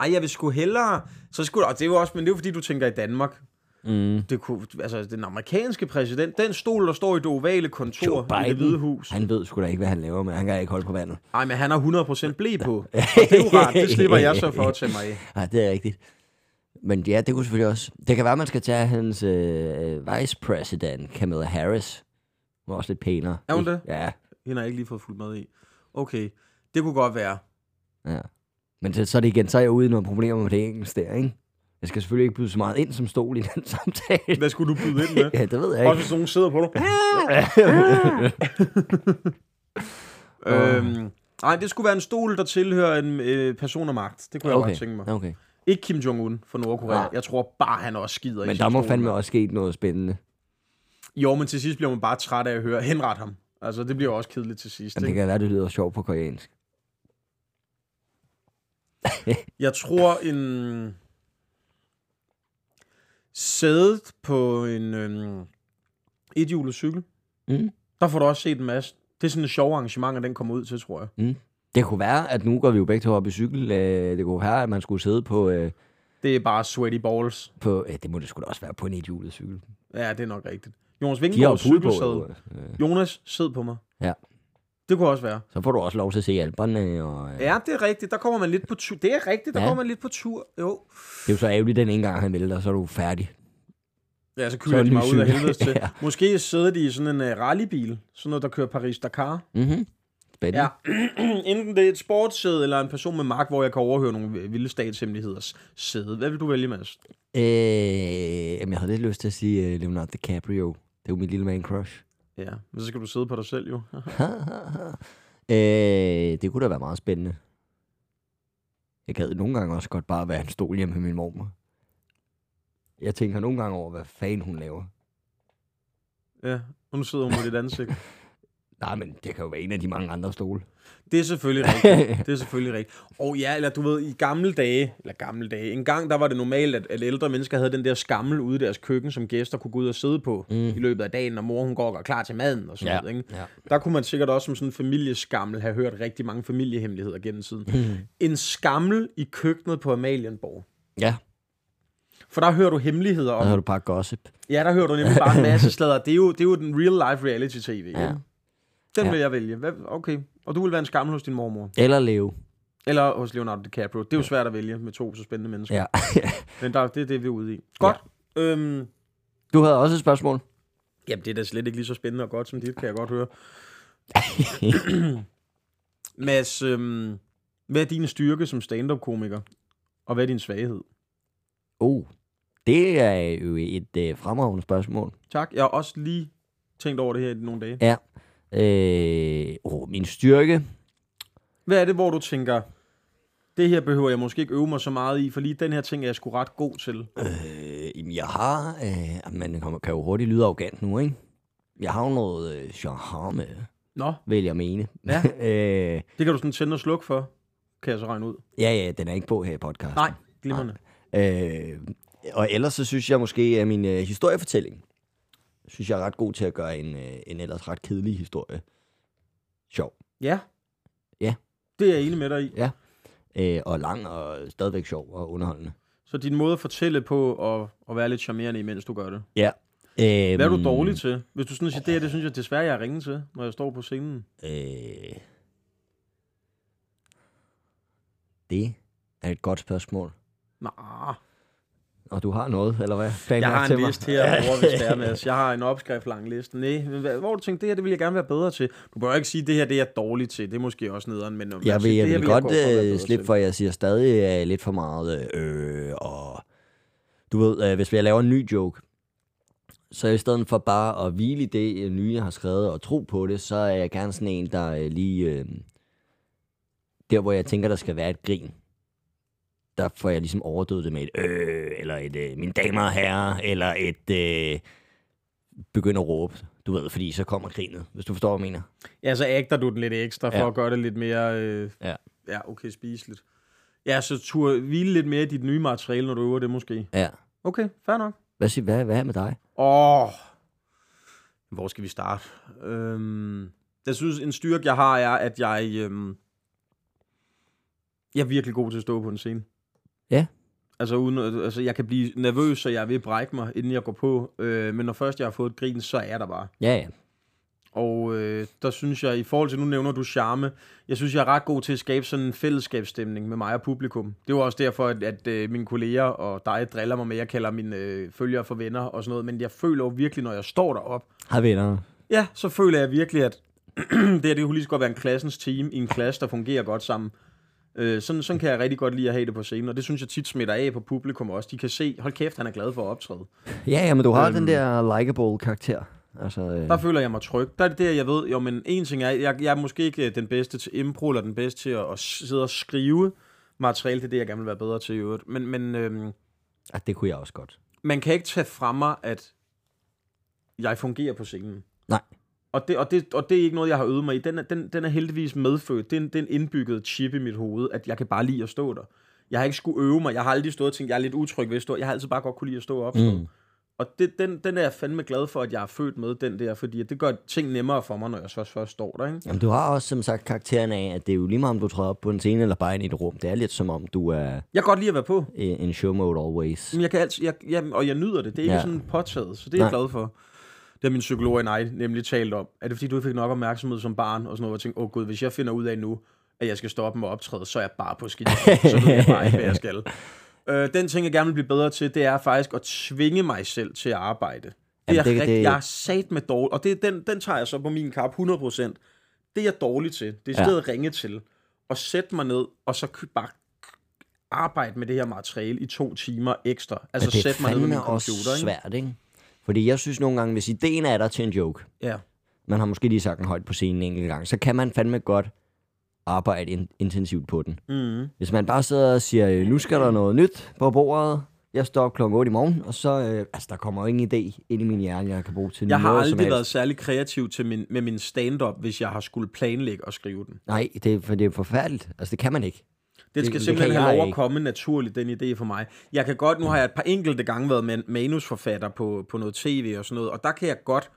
Speaker 3: Ej, jeg vil sgu hellere... Så skulle, og det er jo også, men det er jo fordi, du tænker i Danmark.
Speaker 2: Mm.
Speaker 3: Det kunne, altså, den amerikanske præsident, den stol, der står i det ovale
Speaker 2: Joe
Speaker 3: kontor i det
Speaker 2: Biden,
Speaker 3: hvide hus.
Speaker 2: han ved sgu da ikke, hvad han laver med. Han kan ikke holde på vandet.
Speaker 3: Ej, men han har 100% blæ på. Og det er jo rart, det slipper jeg så for at tage mig af.
Speaker 2: Nej, det er rigtigt. Men ja, det kunne selvfølgelig også... Det kan være, man skal tage hans øh, vicepræsident, Kamala Harris. Hun er også lidt pænere.
Speaker 3: Er hun
Speaker 2: Ikke?
Speaker 3: det?
Speaker 2: Ja,
Speaker 3: Hende har jeg ikke lige fået fuldt med i. Okay, det kunne godt være.
Speaker 2: ja. Men så, så er det igen, så er jeg ude i nogle problemer med det engelske der, ikke? Jeg skal selvfølgelig ikke byde så meget ind som stol i den samtale.
Speaker 3: Hvad skulle du byde ind med?
Speaker 2: ja, det ved jeg
Speaker 3: Også
Speaker 2: ikke.
Speaker 3: hvis nogen sidder på dig.
Speaker 2: Åh.
Speaker 3: Øhm, nej, det skulle være en stol, der tilhører en øh, person af magt. Det kunne jeg
Speaker 2: Okay,
Speaker 3: godt tænke mig.
Speaker 2: okay.
Speaker 3: Ikke Kim Jong-un fra Nordkorea.
Speaker 2: Nej.
Speaker 3: Jeg tror bare, han også skider i
Speaker 2: Men
Speaker 3: sin
Speaker 2: der må
Speaker 3: stol,
Speaker 2: fandme
Speaker 3: mand.
Speaker 2: også ske noget spændende.
Speaker 3: Jo, men til sidst bliver man bare træt af at høre, henret ham. Altså, det bliver også kedeligt til sidst.
Speaker 2: Jamen,
Speaker 3: Ikke?
Speaker 2: det kan være, det lyder sjovt på koreansk.
Speaker 3: Jeg tror, en... Sædet på en øhm, ethjulet cykel,
Speaker 2: Mm.
Speaker 3: der får du også set en masse. Det er sådan et sjovt arrangement, at den kommer ud til, tror jeg.
Speaker 2: Det kunne være, at nu går vi jo begge to op i cykel. Øh, Det kunne være, at man skulle sidde på... Øh,
Speaker 3: Det er bare sweaty balls.
Speaker 2: på øh, det må det skulle også være på en ethjulet
Speaker 3: Mm.
Speaker 2: cykel.
Speaker 3: Ja, det er nok rigtigt. Jonas
Speaker 2: De har jo
Speaker 3: Vingegaard
Speaker 2: pude på.
Speaker 3: cykelsæde.
Speaker 2: jo. Øh,
Speaker 3: Jonas, sid på mig.
Speaker 2: Ja.
Speaker 3: Det kunne også være.
Speaker 2: Så får du også lov til at se alberne. Og, øh,
Speaker 3: Ja, det er rigtigt. Der kommer man lidt på tur. Det er rigtigt, der
Speaker 2: Ja.
Speaker 3: ja. kommer man lidt på tur. Jo.
Speaker 2: Det er jo så ærgerligt, den ene gang han vælter, så er du færdig.
Speaker 3: Ja, så
Speaker 2: Så
Speaker 3: kører
Speaker 2: er
Speaker 3: de
Speaker 2: det
Speaker 3: mig
Speaker 2: ny
Speaker 3: ud af
Speaker 2: cykel.
Speaker 3: helvedes til.
Speaker 2: Ja.
Speaker 3: Måske sidder de i sådan en uh, rallybil. Sådan noget, der kører Paris-Dakar.
Speaker 2: Mm-hmm. Spændende.
Speaker 3: Ja. Enten det er et sportssæde eller en person med magt, hvor jeg kan overhøre nogle vilde statshemmeligheders sæde. Hvad vil du vælge, Mads?
Speaker 2: Øh, jamen, jeg havde lidt lyst til at sige uh, Leonardo DiCaprio. Det er jo mit lille man crush.
Speaker 3: Ja, men så skal du sidde på dig selv jo.
Speaker 2: øh, det kunne da være meget spændende. Jeg gad nogle gange også godt bare være en stol hjemme med min mormor. Jeg tænker nogle gange over, hvad fanden hun laver.
Speaker 3: Ja, og nu sidder hun med dit ansigt.
Speaker 2: Nej, men det kan jo være en af de mange andre stole.
Speaker 3: Det er selvfølgelig rigtigt. Det er selvfølgelig rigtigt. Og ja, eller du ved, i gamle dage, eller gamle dage, en gang der var det normalt, at, at ældre mennesker havde den der skammel ude i deres køkken, som gæster kunne gå ud og sidde på
Speaker 2: Mm.
Speaker 3: mm. i løbet af dagen, når mor hun går og gør klar til maden og sådan noget. Ikke?
Speaker 2: ja.
Speaker 3: Der kunne man sikkert også som sådan en familieskammel have hørt rigtig mange familiehemmeligheder gennem tiden.
Speaker 2: Mm.
Speaker 3: En skammel i køkkenet på Amalienborg.
Speaker 2: ja.
Speaker 3: For der hører du hemmeligheder
Speaker 2: Og så har
Speaker 3: om.
Speaker 2: du bare gossip.
Speaker 3: Ja, der hører du nemlig bare en masse sladder. Det er jo, det er jo den real life reality tv. ikke?
Speaker 2: Ja.
Speaker 3: Den
Speaker 2: Ja.
Speaker 3: vil jeg vælge. Hvad? Okay. Og du vil være en skammel hos din mormor.
Speaker 2: Eller leve.
Speaker 3: Eller hos Leonardo DiCaprio. Det er jo svært at vælge med to så spændende mennesker.
Speaker 2: Ja.
Speaker 3: Men der, det er det, vi er ude i. Godt. Ja. Øhm,
Speaker 2: Du havde også et spørgsmål.
Speaker 3: jamen, det er da slet ikke lige så spændende og godt som dit, kan jeg godt høre. Mads, øhm, hvad er din styrke som stand-up-komiker? Og hvad er din svaghed?
Speaker 2: Oh, det er jo et øh, fremragende spørgsmål.
Speaker 3: Tak. Jeg har også lige tænkt over det her i nogle dage.
Speaker 2: Ja. Øh, oh, min styrke.
Speaker 3: Hvad er det, hvor du tænker, det her behøver jeg måske ikke øve mig så meget i, for lige den her ting er jeg sgu ret god til.
Speaker 2: Øh, jamen, jeg har... Øh, man kommer- kan jo hurtigt lyde arrogant nu, ikke? Jeg har jo noget øh, charme,
Speaker 3: Nå,
Speaker 2: vil jeg mene.
Speaker 3: Ja.
Speaker 2: øh,
Speaker 3: det kan du sådan tænde og slukke for, kan jeg så regne ud.
Speaker 2: ja, ja, den er ikke på her i podcasten.
Speaker 3: Nej, glimrende.
Speaker 2: Øh, og ellers så synes jeg måske, at min øh, historiefortælling, synes jeg er ret god til at gøre en, øh, en ellers ret kedelig historie sjov.
Speaker 3: Ja.
Speaker 2: Ja.
Speaker 3: Det er jeg enig med dig i.
Speaker 2: Øh, og lang og stadigvæk sjov og underholdende.
Speaker 3: Så din måde at fortælle på og, og være lidt charmerende, imens du gør det.
Speaker 2: Ja. Øh,
Speaker 3: Hvad er du dårlig til? Hvis du sådan siger, det her, det synes jeg desværre, jeg er ringe til, når jeg står på scenen.
Speaker 2: Øh, det er et godt spørgsmål.
Speaker 3: Nå,
Speaker 2: Og du har noget, eller hvad? Planlagt
Speaker 3: jeg har
Speaker 2: til
Speaker 3: en
Speaker 2: mig?
Speaker 3: liste her, over, hvis det er, Mads. Jeg har en opskrift lang liste. Nej, men hvad- hvor har du tænkt, det her, det vil jeg gerne være bedre til. Du bør ikke sige, det her, det er jeg dårlig til. Det er måske også nederen, men... når man
Speaker 2: Jeg vil,
Speaker 3: siger,
Speaker 2: jeg
Speaker 3: det her
Speaker 2: vil godt
Speaker 3: godt være
Speaker 2: øh,
Speaker 3: bedre
Speaker 2: slippe
Speaker 3: til.
Speaker 2: for, at jeg siger stadig øh, lidt for meget. Øh, og du ved, øh, hvis jeg laver en ny joke, så i stedet for bare at hvile i det øh, nye, jeg har skrevet, og tro på det, så er jeg gerne sådan en, der øh, lige... Øh, der, hvor jeg tænker, der skal være et grin, der får jeg ligesom overdødet det med et øh, eller et øh, mine damer og herrer, eller et øh, begynder at råbe, du ved, fordi så kommer grinet, hvis du forstår, hvad jeg mener.
Speaker 3: Ja, så ægter du den lidt ekstra for
Speaker 2: Ja.
Speaker 3: ja. at gøre det lidt mere... Øh,
Speaker 2: Ja.
Speaker 3: ja, okay, spiseligt. Ja, så tur hvile lidt mere i dit nye materiale, når du øver det måske.
Speaker 2: Ja.
Speaker 3: Okay, fair nok.
Speaker 2: Hvad, siger, hvad, hvad er med dig?
Speaker 3: Åh, hvor skal vi starte? Øhm, jeg synes, en styrke, jeg har, er, at jeg... Øhm, jeg er virkelig god til at stå på en scene.
Speaker 2: Ja.
Speaker 3: Altså, uden, at- altså, jeg kan blive nervøs, så jeg er ved at brække mig, inden jeg går på. Øh, men når først jeg har fået et grin, så er jeg der bare.
Speaker 2: Ja, ja.
Speaker 3: Og øh, der synes jeg, i forhold til, nu nævner du charme, jeg synes, jeg er ret god til at skabe sådan en fællesskabsstemning med mig og publikum. Det var også derfor, at, at øh, mine kolleger og dig driller mig med, jeg kalder mine øh, følgere for venner og sådan noget, men jeg føler jo virkelig, når jeg står derop,
Speaker 2: Hej venner.
Speaker 3: ja, så føler jeg virkelig, at det her, det kunne lige så godt være en klassens team i en klasse, der fungerer godt sammen. Øh, sådan, sådan kan jeg rigtig godt lide at have det på scenen, og det synes jeg tit smitter af på publikum også. De kan se, hold kæft, han er glad for at optræde.
Speaker 2: Ja, ja, men du har
Speaker 3: Øhm.
Speaker 2: den der likable karakter. Altså, øh,
Speaker 3: Der føler jeg mig tryg. Der er det der, jeg ved, jo, men en ting er, jeg, jeg er måske ikke øh, den bedste til impro, eller den bedste til at, at sidde og skrive materiale. Det er det, jeg gerne vil være bedre til i øvrigt. Men, men øhm,
Speaker 2: ah, det kunne jeg også godt.
Speaker 3: man kan ikke tage fra mig, at jeg fungerer på scenen.
Speaker 2: Nej.
Speaker 3: Og det, og, det, og det er ikke noget, jeg har øvet mig i. Den er, den, den er heldigvis medfødt. Det er, en, det er en indbygget chip i mit hoved, at jeg kan bare lide at stå der. Jeg har ikke skulle øve mig. Jeg har aldrig stået og tænkt, jeg er lidt utryg ved at stå. Jeg har altid bare godt kunne lide at stå op. Mm. Og det, den, den er jeg fandme glad for, at jeg er født med den der, fordi at det gør ting nemmere for mig, når jeg så først står der. Ikke?
Speaker 2: Jamen, du har også som sagt karakteren af, at det er jo lige meget, om du træder op på en scene eller bare ind i et rum. Det er lidt som om, du er
Speaker 3: Jeg kan godt lide at være på.
Speaker 2: øh, in show mode always.
Speaker 3: Men jeg kan altid, jeg, jeg, og jeg nyder det. Det er ikke
Speaker 2: Ja.
Speaker 3: ja. sådan påtaget, så det er jeg
Speaker 2: Nej.
Speaker 3: glad for. Det har min psykolog og jeg nemlig talt om. Er det fordi, du ikke fik nok opmærksomhed som barn? Og sådan noget, og jeg tænkte, åh oh, gud, hvis jeg finder ud af nu, at jeg skal stoppe med at optræde, så er jeg bare på skidt. så ved jeg bare ikke, hvad jeg skal. Øh, den ting, jeg gerne vil blive bedre til, det er faktisk at tvinge mig selv til at arbejde. Det er
Speaker 2: Jamen,
Speaker 3: Jamen,
Speaker 2: det-
Speaker 3: rigtig,
Speaker 2: det-
Speaker 3: jeg er sat med dårlig, og det, er den, den tager jeg så på min kap 100%. Det er jeg dårlig til. Det er
Speaker 2: Ja.
Speaker 3: stedet at ringe til, og sætte mig ned, og så kø- bare arbejde med det her materiale i to timer ekstra. Altså
Speaker 2: det er
Speaker 3: sætte mig ned med min
Speaker 2: fandme også
Speaker 3: computer. Ikke?
Speaker 2: svært, ikke? Fordi jeg synes nogle gange, hvis ideen er der til en joke,
Speaker 3: Ja.
Speaker 2: man har måske lige sagt den højt på scenen en enkelt gang, så kan man fandme godt arbejde in- intensivt på den.
Speaker 3: Mm.
Speaker 2: Hvis man bare sidder og siger, øh, nu skal der noget nyt på bordet, jeg står op klokken 8 i morgen, og så, øh, altså, der kommer jo ingen idé ind i min hjerne, jeg kan bruge til
Speaker 3: Jeg har
Speaker 2: noget som
Speaker 3: aldrig
Speaker 2: helst.
Speaker 3: været særlig kreativ til min, med min stand-up, hvis jeg har skulle planlægge og skrive den.
Speaker 2: Nej, det er, for det er forfærdeligt. Altså, det kan man ikke.
Speaker 3: Det skal
Speaker 2: det
Speaker 3: det,
Speaker 2: kan
Speaker 3: simpelthen
Speaker 2: jeg
Speaker 3: have lov at
Speaker 2: ikke.
Speaker 3: komme naturligt, den idé for mig. Jeg kan godt, nu har jeg et par enkelte gange været man, manusforfatter på, på noget tv og sådan noget, og der kan jeg godt,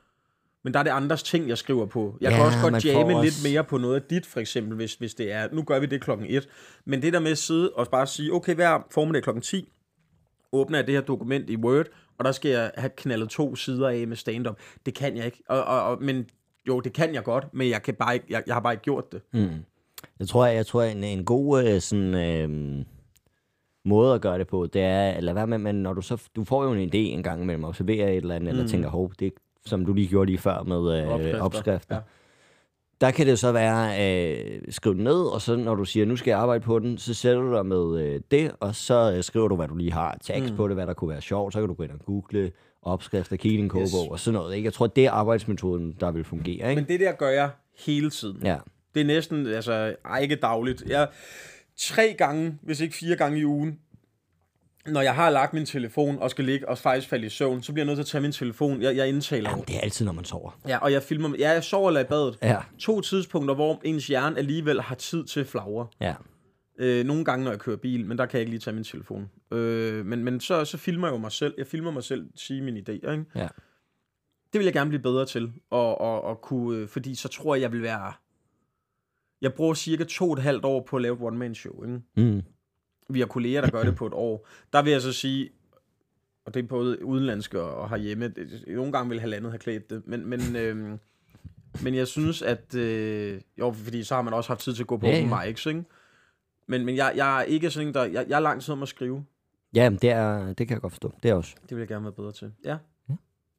Speaker 3: men der er det andres ting, jeg skriver på. Jeg
Speaker 2: Ja,
Speaker 3: ja, kan også
Speaker 2: man
Speaker 3: godt
Speaker 2: får
Speaker 3: jamme også...
Speaker 2: også-
Speaker 3: lidt mere på noget af dit, for eksempel, hvis, hvis det er, nu gør vi det klokken et. Men det der med at sidde og bare sige, okay, hver formiddag klokken 10, åbner jeg det her dokument i Word, og der skal jeg have knaldet to sider af med stand-up. Det kan jeg ikke. Og, og, og, men jo, det kan jeg godt, men jeg, kan bare ikke, jeg, jeg har bare ikke gjort det.
Speaker 2: Jeg tror, jeg, jeg tror en, en god øh, sådan, øh, måde at gøre det på, det er at lade være med, men når du så, du får jo en idé en gang imellem, observerer et eller andet, mm. eller tænker, hov, det er ikke, som du lige gjorde lige før med øh, opskrifter.
Speaker 3: Hmm. Opskrifter.
Speaker 2: opskrifter. Ja.
Speaker 3: Ja.
Speaker 2: Der kan det så være, øh, skriv den ned, og så når du siger, nu skal jeg arbejde på den, så sætter du dig med øh, det, og så øh, skriver du, hvad du lige har, tags mm. på det, hvad der kunne være sjovt, så kan du gå ind og google opskrifter, kigge i en kogebog, yes. og sådan noget. Ikke? Jeg tror, det er arbejdsmetoden, der vil fungere. Ikke?
Speaker 3: Men det der gør jeg hele tiden.
Speaker 2: ja.
Speaker 3: Det er næsten, altså, ej, ikke dagligt. Jeg, tre gange, hvis ikke fire gange i ugen, når jeg har lagt min telefon og skal ligge og faktisk falde i søvn, så bliver jeg nødt til at tage min telefon. Jeg, jeg indtaler
Speaker 2: Jamen,
Speaker 3: jo.
Speaker 2: det er altid, når man sover.
Speaker 3: Ja, og jeg filmer. Ja, jeg sover eller i badet.
Speaker 2: Ja.
Speaker 3: To tidspunkter, hvor ens hjerne alligevel har tid til flagre.
Speaker 2: Ja.
Speaker 3: Øh, nogle gange, når jeg kører bil, men der kan jeg ikke lige tage min telefon. Øh, men men så, så filmer jeg jo mig selv. Jeg filmer mig selv sige mine idéer, ikke?
Speaker 2: Ja.
Speaker 3: Det vil jeg gerne blive bedre til, og, og, og kunne, øh, fordi så tror jeg, jeg vil være... Jeg bruger cirka to og et halvt år på at lave et one-man-show, ikke?
Speaker 2: Mm.
Speaker 3: Vi har kolleger, der gør det på et år. Der vil jeg så sige, og det er både udenlandske og, og herhjemme, det- nogle gange vil halvandet have klædt det, men, men, øhm, men jeg synes, at... Øh, jo, fordi så har man også haft tid til at gå på
Speaker 2: Ja,
Speaker 3: open
Speaker 2: ja.
Speaker 3: mics, ikke? Men, men jeg, jeg er ikke sådan en, der... Jeg, jeg er lang tid om at skrive.
Speaker 2: Ja, men det, er, det kan jeg godt forstå. Det er også.
Speaker 3: Det vil jeg gerne være bedre til. Ja.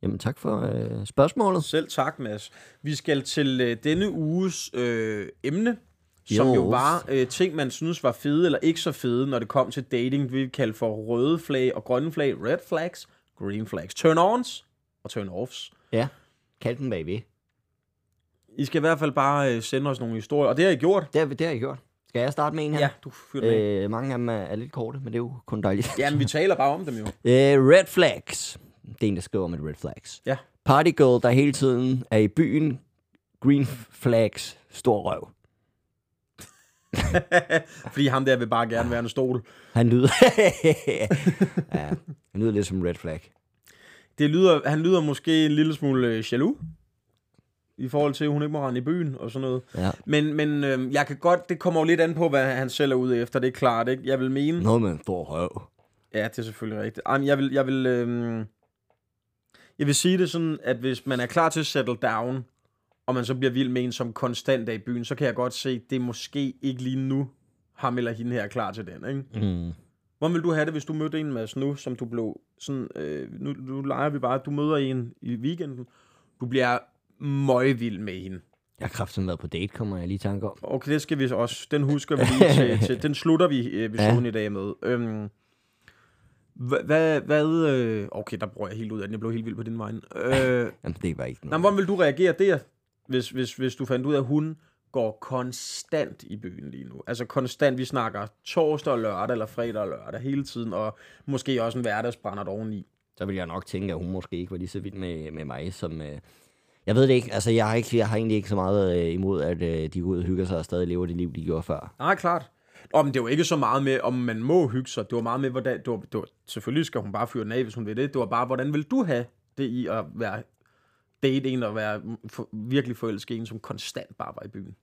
Speaker 2: Jamen tak for øh, spørgsmålet.
Speaker 3: Selv tak, Mads. Vi skal til øh, denne uges øh, emne, som
Speaker 2: Yes.
Speaker 3: jo var øh, ting, man synes var fede eller ikke så fede, når det kom til dating. Vi kalder for røde flag og grønne flag, red flags, green flags, turn-ons og turn-offs.
Speaker 2: Ja. Kald den bagved.
Speaker 3: I skal i hvert fald bare øh, sende os nogle historier, og det har I gjort.
Speaker 2: Det har, vi- det har I gjort. Skal jeg starte med en her?
Speaker 3: Ja, du fyrte øh.
Speaker 2: Øh, mange af dem er, er lidt korte, men det er jo kun dejligt.
Speaker 3: Jamen, vi taler bare om dem jo.
Speaker 2: Øh, red flags. Det er en, der skriver om et red flags.
Speaker 3: Ja.
Speaker 2: Party girl, der hele tiden er i byen. Green flags. Stor røv.
Speaker 3: Fordi ham der vil bare gerne være en stol.
Speaker 2: Han lyder... ja, han lyder lidt som red flag.
Speaker 3: Det lyder, han lyder måske en lille smule øh, jaloux, i forhold til, at hun ikke må rende i byen og sådan noget.
Speaker 2: Ja.
Speaker 3: Men, men øh, jeg kan godt, det kommer jo lidt an på, hvad han selv er ude efter, det er klart, ikke? Jeg vil mene,
Speaker 2: Noget med en stor røv.
Speaker 3: ja, det er selvfølgelig rigtigt. Ej, men jeg vil, jeg vil, øh, jeg vil sige det sådan, at hvis man er klar til at settle down, og man så bliver vild med en, som konstant er i byen, så kan jeg godt se, at det er måske ikke lige nu, ham eller hende her er klar til den, ikke?
Speaker 2: Mm.
Speaker 3: Hvordan ville du have det, hvis du mødte en, Mads, nu, som du blev sådan, øh, nu, nu leger vi bare, at du møder en i weekenden, du bliver møgvild med hende.
Speaker 2: Jeg har kraftigt været på date, kommer jeg lige i tanke om.
Speaker 3: Okay, det skal vi så også. Den husker vi lige til. til den slutter vi øh, episoden
Speaker 2: Ja.
Speaker 3: ja. i dag med. Øhm, Hva- Hvad, hvad, øh, okay, der bruger jeg helt ud af den. Jeg blev helt vild på din vej. Øh,
Speaker 2: Jamen, det var ikke
Speaker 3: Nå, men
Speaker 2: noget.
Speaker 3: hvordan vil du reagere der, hvis, hvis, hvis du fandt ud af, at hun går konstant i byen lige nu? Altså konstant, vi snakker torsdag og lørdag, eller fredag og lørdag hele tiden, og måske også en hverdagsbrænder oveni.
Speaker 2: så ville jeg nok tænke, at hun måske ikke var lige så vild med, med mig, som... Øh, jeg ved det ikke. Altså, jeg har, ikke, jeg har egentlig ikke så meget øh, imod, at øh, de går ud og hygger sig og stadig lever det liv, de gjorde før.
Speaker 3: Nej, klart. Om det var ikke så meget med, om man må hygge sig. Det var meget med, hvordan... Det var, det var, selvfølgelig skal hun bare fyre den af, hvis hun vil det. Det var bare, hvordan vil du have det i at være date en og være for, virkelig forelsket i en, som konstant bare var i byen.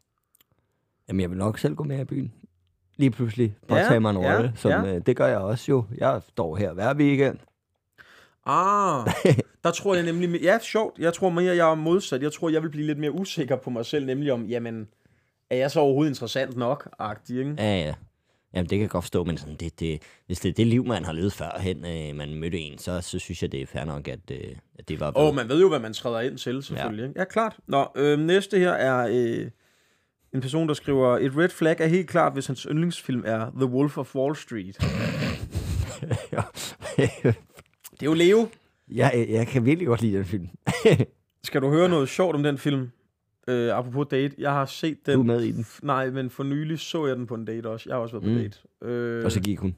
Speaker 2: Jamen, jeg vil nok selv gå med i byen. Lige pludselig bare
Speaker 3: Ja,
Speaker 2: ja, tage mig en
Speaker 3: ja,
Speaker 2: rolle, ja, som
Speaker 3: ja.
Speaker 2: ja. Øh, det gør jeg også jo. Jeg står her hver weekend.
Speaker 3: Ah, der tror jeg nemlig... Ja, sjovt. Jeg tror mere, jeg er modsat. Jeg tror, jeg vil blive lidt mere usikker på mig selv, nemlig om, jamen, er jeg så overhovedet interessant nok? Agtig, ikke?
Speaker 2: Ja, ja. Jamen, det kan jeg godt forstå, men sådan, det, det, hvis det er det liv, man har levet førhen, øh, man mødte en, så, så synes jeg, det er fair nok, at, øh, at det var...
Speaker 3: Og man ved jo, hvad man træder ind til, selvfølgelig. ikke? Ja, klart. Nå, øh, næste her er øh, en person, der skriver, et red flag er helt klart, hvis hans yndlingsfilm er The Wolf of Wall Street. Det er jo Leo.
Speaker 2: jeg, jeg kan virkelig godt lide den film.
Speaker 3: Skal du høre noget sjovt om den film? Øh, apropos date, jeg har set den.
Speaker 2: Du er med i den.
Speaker 3: F- Nej, men for nylig så jeg den på en date også. Jeg har også været på
Speaker 2: Mm.
Speaker 3: date. Øh,
Speaker 2: Og så gik hun.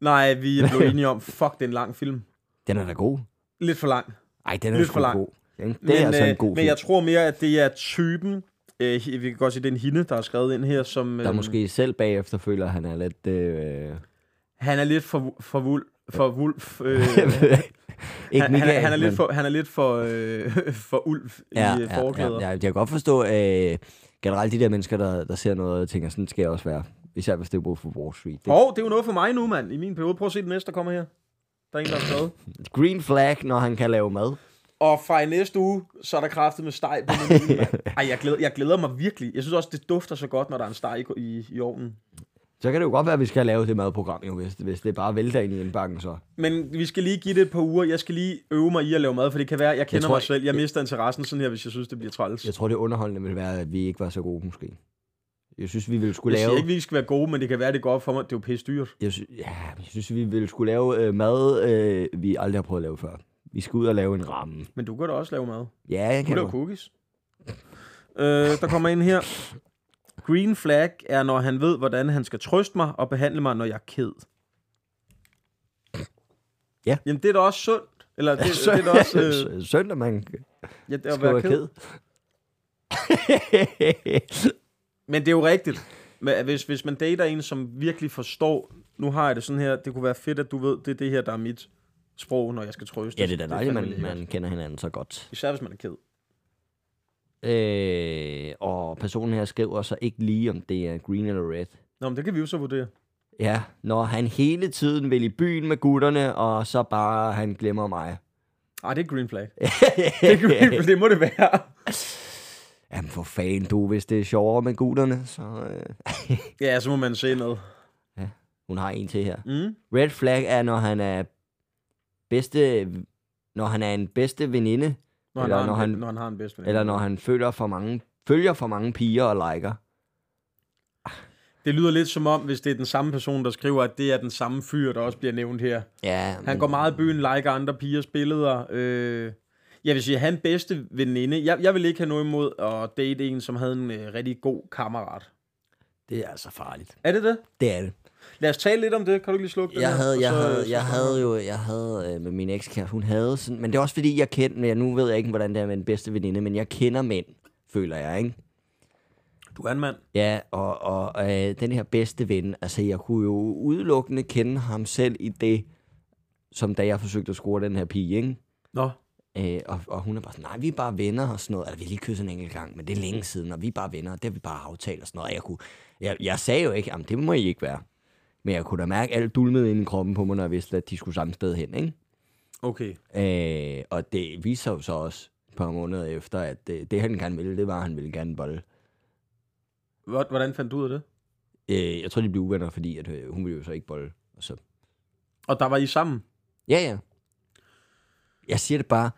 Speaker 3: Nej, vi blev enige om, fuck, det er en lang film.
Speaker 2: Den er da god.
Speaker 3: Lidt for lang.
Speaker 2: Ej, den er
Speaker 3: Lidt
Speaker 2: sgu
Speaker 3: for lang.
Speaker 2: god. Den, det men, er altså en god
Speaker 3: øh,
Speaker 2: film.
Speaker 3: Men jeg tror mere, at det er typen, øh, vi kan godt sige, det er en hinde, der er skrevet ind her, som
Speaker 2: der
Speaker 3: øhm,
Speaker 2: måske selv bagefter føler, at han er lidt... Øh,
Speaker 3: han er lidt for, for, vul, for vulf. Øh,
Speaker 2: ikke
Speaker 3: han, han, er-
Speaker 2: Michael,
Speaker 3: han, er lidt
Speaker 2: men-
Speaker 3: for, han er lidt for, øh, for ulv i øh, forklæder.
Speaker 2: Ja, ja, jeg kan godt forstå øh, generelt de der mennesker, der, der ser noget og tænker, sådan skal jeg også være. Især hvis det er brug for Wall Street. Det,
Speaker 3: Og det er jo noget for mig nu, mand, i min periode. Prøv at se den næste, der kommer her. Der er en, der er skrevet.
Speaker 2: Green flag, når han kan lave mad.
Speaker 3: Og fra i næste uge, så er der kraftet med steg på menuen, mand. Ej, jeg glæder, jeg glæder mig virkelig. Jeg synes også, det dufter så godt, når der er en steg i, i, i ovnen.
Speaker 2: Så kan det jo godt være, at vi skal lave det madprogram, jo, hvis, hvis det bare vælter ind i indbakken så.
Speaker 3: Men vi skal lige give det et par uger. Jeg skal lige øve mig i at lave mad, for det kan være, jeg kender jeg
Speaker 2: tror
Speaker 3: mig
Speaker 2: ikke-
Speaker 3: selv. Jeg mister interessen sådan her, hvis jeg synes, det bliver træls. Jeg,
Speaker 2: Jeg tror, det underholdende vil være, at vi ikke var så gode, måske. Jeg synes, vi ville skulle
Speaker 3: jeg siger
Speaker 2: lave...
Speaker 3: ikke, vi skal være gode, men det kan være, det går op for mig. Det er jo pisse dyrt.
Speaker 2: Jeg, sy- ja, men jeg synes, vi ville skulle lave øh, mad, øh, vi aldrig har prøvet at lave før. Vi skal ud og lave en ramme.
Speaker 3: Men du kan da også lave mad.
Speaker 2: Ja, jeg
Speaker 3: Du
Speaker 2: kan
Speaker 3: laver
Speaker 2: godt.
Speaker 3: cookies. øh, der kommer en her. Green flag er, når han ved, hvordan han skal trøste mig og behandle mig, når jeg er ked.
Speaker 2: Ja.
Speaker 3: Jamen, det er da også sundt. Eller det, det er da også... Øh,
Speaker 2: Øh... Søndag, man
Speaker 3: ja, det er at
Speaker 2: skal
Speaker 3: være
Speaker 2: være
Speaker 3: ked.
Speaker 2: ked.
Speaker 3: Men det er jo rigtigt. Men øh, Hvis, hvis man dater en, som virkelig forstår, nu har jeg det sådan her, det kunne være fedt, at du ved, det er det her, der er mit sprog, når jeg skal trøste.
Speaker 2: ja, det er da dejligt,
Speaker 3: fandme
Speaker 2: man,
Speaker 3: lækkert.
Speaker 2: man kender hinanden så godt.
Speaker 3: Især hvis man er ked.
Speaker 2: Øh, og personen her skriver så ikke lige, om det er green eller red.
Speaker 3: Nå, men det kan vi jo så vurdere.
Speaker 2: Ja, når han hele tiden vil i byen med gutterne, og så bare han glemmer mig.
Speaker 3: Ej, Ah, det er green flag. Det, er green flag, det må det være.
Speaker 2: Jamen for fanden, du, hvis det er sjovere med gutterne, så... Øh.
Speaker 3: Ja, så må man se noget.
Speaker 2: Hun har en til her.
Speaker 3: Mm.
Speaker 2: Red flag er, når han er bedste... Når han er en bedste veninde,
Speaker 3: Når,
Speaker 2: Eller
Speaker 3: eller han
Speaker 2: når
Speaker 3: har en,
Speaker 2: han-
Speaker 3: ven- når han har en bedst
Speaker 2: eller når han følger for mange, følger for mange piger og liker.
Speaker 3: Det lyder lidt som om, hvis det er den samme person, der skriver, at det er den samme fyr, der også bliver nævnt her.
Speaker 2: Ja,
Speaker 3: Han går meget i byen, liker andre pigers billeder. Øh, jeg vil sige, han bedste veninde. Jeg, jeg vil ikke have noget imod at date en, som havde en øh, rigtig god kammerat.
Speaker 2: Det er altså farligt.
Speaker 3: Er det det?
Speaker 2: Det er det.
Speaker 3: Lad os tale lidt om det. Kan du lige slukke den
Speaker 2: Jeg
Speaker 3: her?
Speaker 2: havde,
Speaker 3: Og
Speaker 2: jeg
Speaker 3: så-
Speaker 2: havde,
Speaker 3: så
Speaker 2: jeg
Speaker 3: snakker
Speaker 2: havde
Speaker 3: vi.
Speaker 2: jo, jeg havde øh, med min ekskæreste, hun havde sådan, men det er også fordi, jeg kendte, ja, nu ved jeg ikke, hvordan det er med den bedste veninde, men jeg kender mænd, føler jeg, ikke?
Speaker 3: Du er en mand.
Speaker 2: Ja, og, og øh, den her bedste ven, altså jeg kunne jo udelukkende kende ham selv i det, som da jeg forsøgte at score den her pige, ikke?
Speaker 3: Nå.
Speaker 2: Øh, og, og hun er bare sådan, nej, vi er bare venner og sådan noget. Eller vi har lige kysset en enkelt gang, men det er længe siden, og vi er bare venner, og det har vi bare aftalt og sådan noget. Og jeg, kunne, jeg, jeg sagde jo ikke, jamen det må I ikke være. Men jeg kunne da mærke alt dulmet inde i kroppen på mig, når jeg vidste, at de skulle samme sted hen, ikke?
Speaker 3: Okay.
Speaker 2: Øh, og det viser jo så også et par måneder efter, at det, det han gerne ville, det var, at han ville gerne bolle.
Speaker 3: Hvor- Hvordan fandt du ud af det?
Speaker 2: Øh, jeg tror, de blev uvenner, fordi at, øh, hun ville jo så ikke bolle. Og så.
Speaker 3: Og der var I sammen?
Speaker 2: Ja, ja. Jeg siger det bare.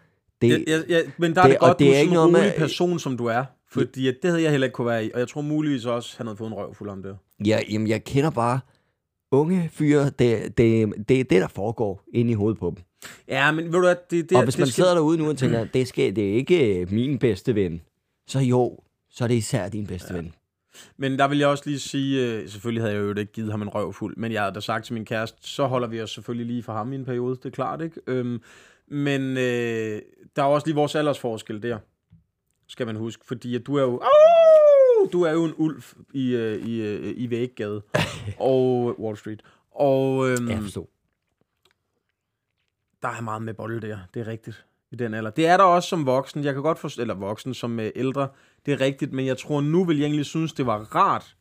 Speaker 2: Det,
Speaker 3: Jeg, jeg, jeg, men der er det,
Speaker 2: det-
Speaker 3: det
Speaker 2: og
Speaker 3: godt,
Speaker 2: det
Speaker 3: du
Speaker 2: er
Speaker 3: er
Speaker 2: ikke
Speaker 3: sådan en
Speaker 2: noget med-
Speaker 3: rolig person, som du er. Fordi at det havde jeg heller ikke kunne være i. Og jeg tror muligvis også, han havde fået en røv fuld om det.
Speaker 2: Ja, jamen, jeg kender bare unge fyre, det, det, det er det, der foregår inde i hovedet på dem.
Speaker 3: Ja, men ved du hvad, det, det,
Speaker 2: og hvis
Speaker 3: det
Speaker 2: man sidder derude nu og tænker, det, skal, det er ikke øh, min bedste ven, så jo, så er det især din bedste ja. ven.
Speaker 3: Mm. Men der vil jeg også lige sige, øh, selvfølgelig havde jeg jo ikke givet ham en røv fuld, men jeg havde da sagt til min kæreste, så holder vi os selvfølgelig lige for ham i en periode, det er klart, ikke? Øhm, men øh, der er også lige vores aldersforskel der, skal man huske, fordi at du er jo... Au! Du er jo en ulv i, øh, i, øh, i Væggade og Wall Street. Og øhm,
Speaker 2: Ja, jeg forstår.
Speaker 3: der er meget med bolde der, det er rigtigt, i den alder. Det er der også som voksen, jeg kan godt forstå, eller voksen som øh, ældre, det er rigtigt, men jeg tror, nu vil jeg egentlig synes, det var rart.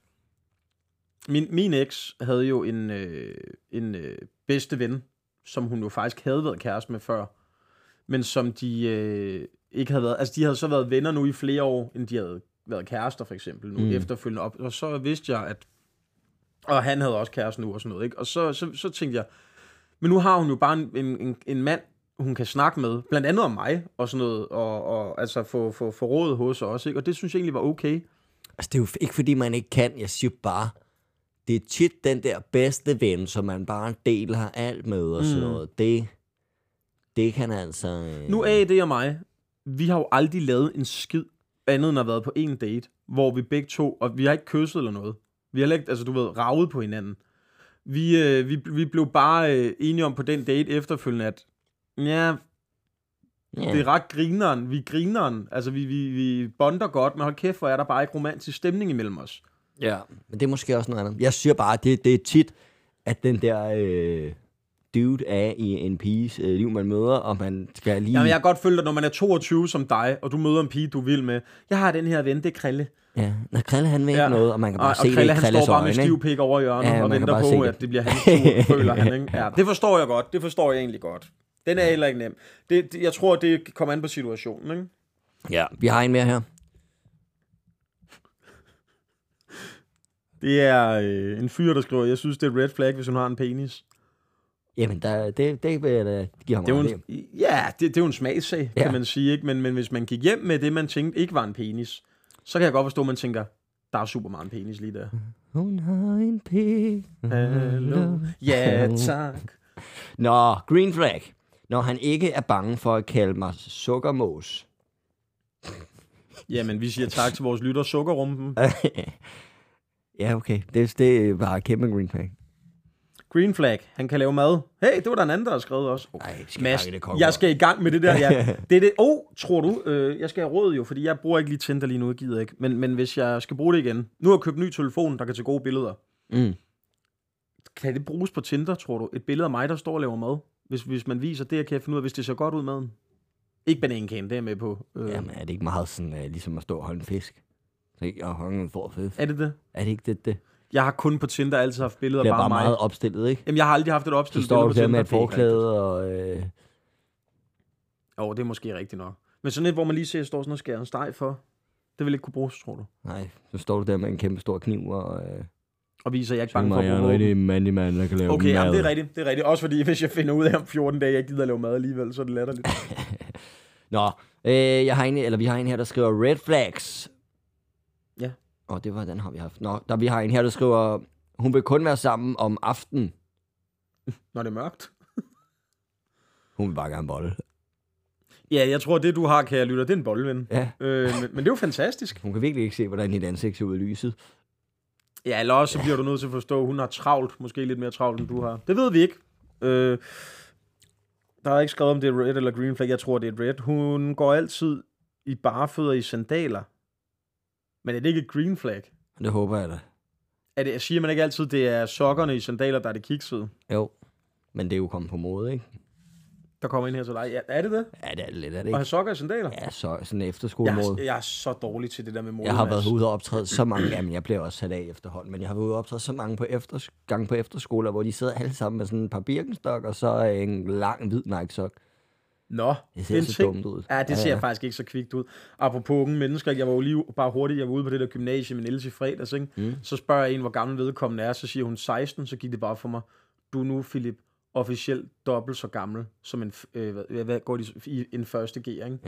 Speaker 3: Min, min eks havde jo en, øh, en øh, bedste ven, som hun jo faktisk havde været kæreste med før, men som de øh, ikke havde været, altså de havde så været venner nu i flere år, end de havde været kærester for eksempel nu, mm. efterfølgende op, og så vidste jeg, at og han havde også kæreste nu og sådan noget, ikke? Og så, så, så tænkte jeg, men nu har hun jo bare en, en, en, en mand, hun kan snakke med, blandt andet om mig og sådan noget, og, og altså få, få, få råd hos os, ikke? Og det synes jeg egentlig var okay.
Speaker 2: Altså, det er jo ikke, fordi man ikke kan. Jeg siger bare, det er tit den der bedste ven, som man bare deler alt med og sådan mm. noget. Det, det kan altså... øh,
Speaker 3: Nu er det og mig, vi har jo aldrig lavet en skid andet end at have været på en date, hvor vi begge to, og vi har ikke kysset eller noget. Vi har heller ikke, altså du ved, ravet på hinanden. Vi, øh, vi, vi blev bare øh, enige om på den date efterfølgende, at ja,
Speaker 2: ja.
Speaker 3: Det er ret grineren. Vi er grineren. Altså, vi, vi, vi bonder godt, men hold kæft, hvor er der bare ikke romantisk stemning imellem os.
Speaker 2: Ja, men det er måske også noget andet. Jeg siger bare, det, det er tit, at den der øh, dude er i en piges øh, liv, man møder, og man skal lige...
Speaker 3: Jamen, jeg kan godt føle dig, når man er 22 som dig, og du møder en pige, du vil med. Jeg har den her ven, det er Krille.
Speaker 2: ja. Når Krille, han vil ikke
Speaker 3: Ja.
Speaker 2: ja. noget, og man kan bare
Speaker 3: og,
Speaker 2: se
Speaker 3: og Krille,
Speaker 2: det i
Speaker 3: han står
Speaker 2: Krilles
Speaker 3: bare med
Speaker 2: øjne,
Speaker 3: stiv
Speaker 2: ikke?
Speaker 3: pik over hjørnet
Speaker 2: Ja,
Speaker 3: ja, og
Speaker 2: man kan
Speaker 3: venter
Speaker 2: bare
Speaker 3: på,
Speaker 2: se det.
Speaker 3: at det bliver hans tur, føler han, ikke? Ja, det forstår jeg godt. Det forstår jeg egentlig godt. Den er heller ikke nem. Det, det, jeg tror, det kommer an på situationen, ikke?
Speaker 2: Ja, vi har en mere her.
Speaker 3: Det er øh, en fyr, der skriver, jeg synes, det er et red flag, hvis hun har en penis.
Speaker 2: Jamen, der, det, det vil jeg da give ham
Speaker 3: Det er jo
Speaker 2: ret i.
Speaker 3: en, ja, det, det er jo en smagssag, ja.
Speaker 2: Ja.
Speaker 3: kan man sige. Ikke? Men, men hvis man gik hjem med det, man tænkte ikke var en penis, så kan jeg godt forstå, at man tænker, der er super meget en penis lige der.
Speaker 2: Hun har en pik.
Speaker 3: Hallo. Ja, tak.
Speaker 2: Nå, green flag. Når han ikke er bange for at kalde mig sukkermås.
Speaker 3: Jamen, vi siger tak til vores lytter Sukkerrumpen.
Speaker 2: ja, okay. Det, det var kæmpe green flag.
Speaker 3: Green Flag, han kan lave mad. Hey, det var der en anden, der har skrevet også.
Speaker 2: Ej, skal
Speaker 3: Mads,
Speaker 2: pakke det kokkebrød.
Speaker 3: jeg skal i gang med det der. Ja. Det er det. Oh, tror du? Øh, jeg skal have råd jo, fordi jeg bruger ikke lige Tinder lige nu, jeg gider ikke. Men, men hvis jeg skal bruge det igen. Nu har jeg købt ny telefon, der kan tage gode billeder.
Speaker 2: Mm.
Speaker 3: Kan det bruges på Tinder, tror du? Et billede af mig, der står og laver mad? Hvis, hvis man viser det, kan jeg finde ud af, hvis det ser godt ud maden. Ikke banankagen, det er jeg med på. Øh,
Speaker 2: Jamen, er det ikke meget sådan, uh, ligesom at stå og holde en fisk? Se, jeg har en stor fisk.
Speaker 3: er det det?
Speaker 2: Er det ikke det, det?
Speaker 3: Jeg har kun på Tinder altid haft billeder
Speaker 2: Det
Speaker 3: af
Speaker 2: er
Speaker 3: bare
Speaker 2: bare
Speaker 3: mig.
Speaker 2: meget opstillet, ikke?
Speaker 3: Jamen, jeg har aldrig haft et
Speaker 2: Så
Speaker 3: opstillet
Speaker 2: står du
Speaker 3: billede
Speaker 2: der
Speaker 3: på
Speaker 2: med et
Speaker 3: Tinder. det er ikke rigtigt.
Speaker 2: forklæde, og øh,
Speaker 3: Åh, det er måske rigtigt nok. Men sådan et, hvor man lige ser, at jeg står sådan og skærer en steg for, det vil ikke kunne bruges, tror du.
Speaker 2: nej, så står du der med en kæmpe stor kniv, og øh,
Speaker 3: Og viser, at jeg ikke er bange for at bruge våben.
Speaker 2: mandig mand, der kan lave
Speaker 3: Okay, jamen, det er rigtigt, det er rigtigt. Også fordi, hvis jeg finder ud af om 14 dage, jeg gider lave mad alligevel, så er det latterligt.
Speaker 2: Nå, øh, jeg har en, eller vi har en her, der skriver red flags.
Speaker 3: Ja.
Speaker 2: Åh, oh, det var den, har vi haft. Nå, der vi har en her, der skriver, hun vil kun være sammen om aftenen.
Speaker 3: Når det er mørkt.
Speaker 2: Hun vil bare gerne bolle.
Speaker 3: Ja, jeg tror, det du har, kære lytter, det er en boldven.
Speaker 2: Ja.
Speaker 3: Øh, men, men det er jo fantastisk.
Speaker 2: Hun kan virkelig ikke se, hvordan hendes ansigt ser ud i lyset.
Speaker 3: Ja, eller også så bliver du nødt til at forstå, at hun har travlt. Måske lidt mere travlt, end du har. Det ved vi ikke. Øh, der er ikke skrevet, om det er red eller green flag. Jeg tror, det er red. Hun går altid i barefødder i sandaler. Men er det ikke et green flag?
Speaker 2: Det håber jeg da.
Speaker 3: Er det, siger man ikke altid, det er sokkerne i sandaler, der er det kiksede?
Speaker 2: Jo. Men det er jo kommet på mode, ikke?
Speaker 3: Der kommer ind her til dig. Ja, er det det?
Speaker 2: Ja, det er det lidt, er det
Speaker 3: Og
Speaker 2: ikke?
Speaker 3: have sokker i sandaler?
Speaker 2: Ja, så sådan
Speaker 3: Jeg, er-
Speaker 2: efterskolemode.
Speaker 3: jeg er så dårlig til det der med mode.
Speaker 2: Jeg har været
Speaker 3: Mads.
Speaker 2: ude og optræde så mange, jamen jeg bliver også sat af efterhånden, men jeg har været ude og optræde så mange på efter, gange på efterskoler, hvor de sidder alle sammen med sådan en par birkenstok, og så øh, en lang hvid Nike-sok.
Speaker 3: Nå,
Speaker 2: Det ser
Speaker 3: er en
Speaker 2: så
Speaker 3: ting.
Speaker 2: dumt ud.
Speaker 3: Ja, det ser
Speaker 2: Ja,
Speaker 3: ja,
Speaker 2: ja.
Speaker 3: faktisk ikke så kvikt ud. Apropos unge mennesker, jeg var jo lige bare hurtigt, jeg var ude på det der gymnasie med Niels i fredags, ikke? Mm. så spørger jeg en, hvor gammel vedkommende er, så siger hun 16, så gik det bare for mig, du er nu, Philip, officielt dobbelt så gammel som en, f- øh, hvad, hvad går de, s- i, en første G, ikke?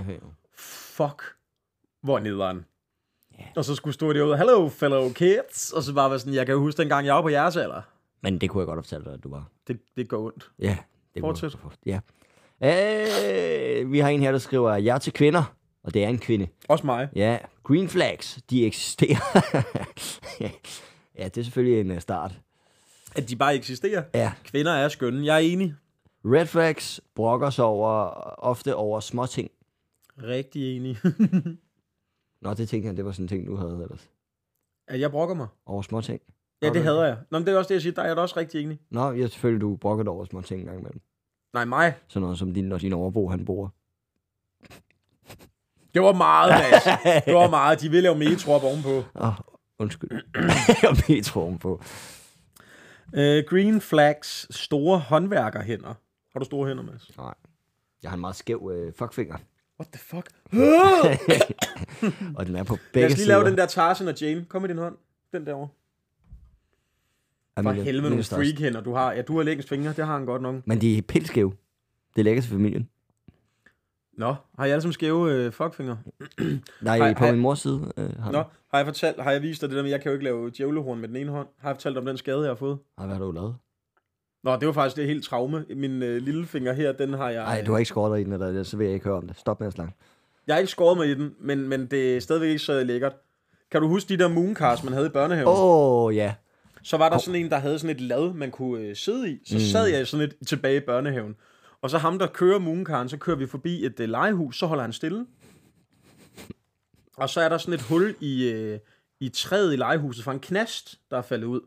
Speaker 3: Fuck, hvor nederen. Og så skulle stå derude, hello fellow kids, og så bare være sådan, jeg kan jo huske dengang, jeg var på jeres alder.
Speaker 2: Men det kunne jeg godt have fortalt dig, at du var.
Speaker 3: Det, det går ondt.
Speaker 2: Ja, det kunne jeg
Speaker 3: Fortsæt.
Speaker 2: godt have fortalt- Ja. Øh, vi har en her, der skriver, jeg er til kvinder, og det er en kvinde.
Speaker 3: Også mig.
Speaker 2: Ja, green flags, de eksisterer. ja, det er selvfølgelig en øh, start.
Speaker 3: At de bare eksisterer.
Speaker 2: Ja,
Speaker 3: Kvinder er skønne. Jeg er enig.
Speaker 2: red flags brokker sig over, ofte over småting.
Speaker 3: Rigtig enig.
Speaker 2: Nå, det tænkte jeg, det var sådan en ting, du havde ellers.
Speaker 3: at jeg brokker mig.
Speaker 2: Over småting.
Speaker 3: Ja,
Speaker 2: Har
Speaker 3: det
Speaker 2: du-
Speaker 3: hader jeg. Nå, men det er også det, jeg siger. Der er jeg da også rigtig enig.
Speaker 2: Nå, ja, selvfølgelig, du brokker dig over småting en gang imellem.
Speaker 3: Nej, mig.
Speaker 2: Sådan noget som din, når din overbo, han bor.
Speaker 3: Det var meget, Mads. Det var meget. De vil lave metro op ovenpå.
Speaker 2: Åh, undskyld. Og metroen på.
Speaker 3: Øh, green Flags store håndværkerhænder. Har du store hænder, Mads?
Speaker 2: Nej. Jeg har en meget skæv øh, fuckfinger.
Speaker 3: What the fuck?
Speaker 2: og den er på
Speaker 3: Lad
Speaker 2: begge
Speaker 3: os lige
Speaker 2: sider.
Speaker 3: lave den der Tarzan og Jane. Kom med din hånd. Den derovre.
Speaker 2: af
Speaker 3: For
Speaker 2: mine-
Speaker 3: helvede
Speaker 2: mine
Speaker 3: nogle
Speaker 2: største.
Speaker 3: freakhænder, du har. Ja, du har lækkens fingre. Det har han godt nok.
Speaker 2: Men de er pilskæve. Det er lækkert til familien.
Speaker 3: Nå, har jeg alle sammen skæve øh, fuckfingre?
Speaker 2: Nej,
Speaker 3: Hej,
Speaker 2: på
Speaker 3: hej.
Speaker 2: min mors side. Øh, har
Speaker 3: Nå,
Speaker 2: Nå.
Speaker 3: har jeg, fortalt, har jeg vist dig det der med, at jeg kan jo ikke lave djævlehorn med den ene hånd? Har jeg fortalt om den skade, jeg har fået?
Speaker 2: Ej, hvad har du lavet?
Speaker 3: Nå, det var faktisk det helt traume. Min øh, lillefinger her, den har jeg... øh,
Speaker 2: Nej, du har ikke skåret dig i den, eller det, så vil jeg ikke høre om det. Stop med at slange.
Speaker 3: Jeg har ikke skåret mig i den, men, men det er stadigvæk ikke så lækkert. Kan du huske de der mooncars, man havde i børnehaven? Oh.
Speaker 2: Åh, oh, ja.
Speaker 3: Så var der sådan en, der havde sådan et lad, man kunne øh, sidde i. Så mm. sad jeg sådan lidt tilbage i børnehaven. Og så ham, der kører mooncaren, så kører vi forbi et øh, legehus, så holder han stille. Og så er der sådan et hul i, øh, i træet i legehuset fra en knast, der er faldet ud.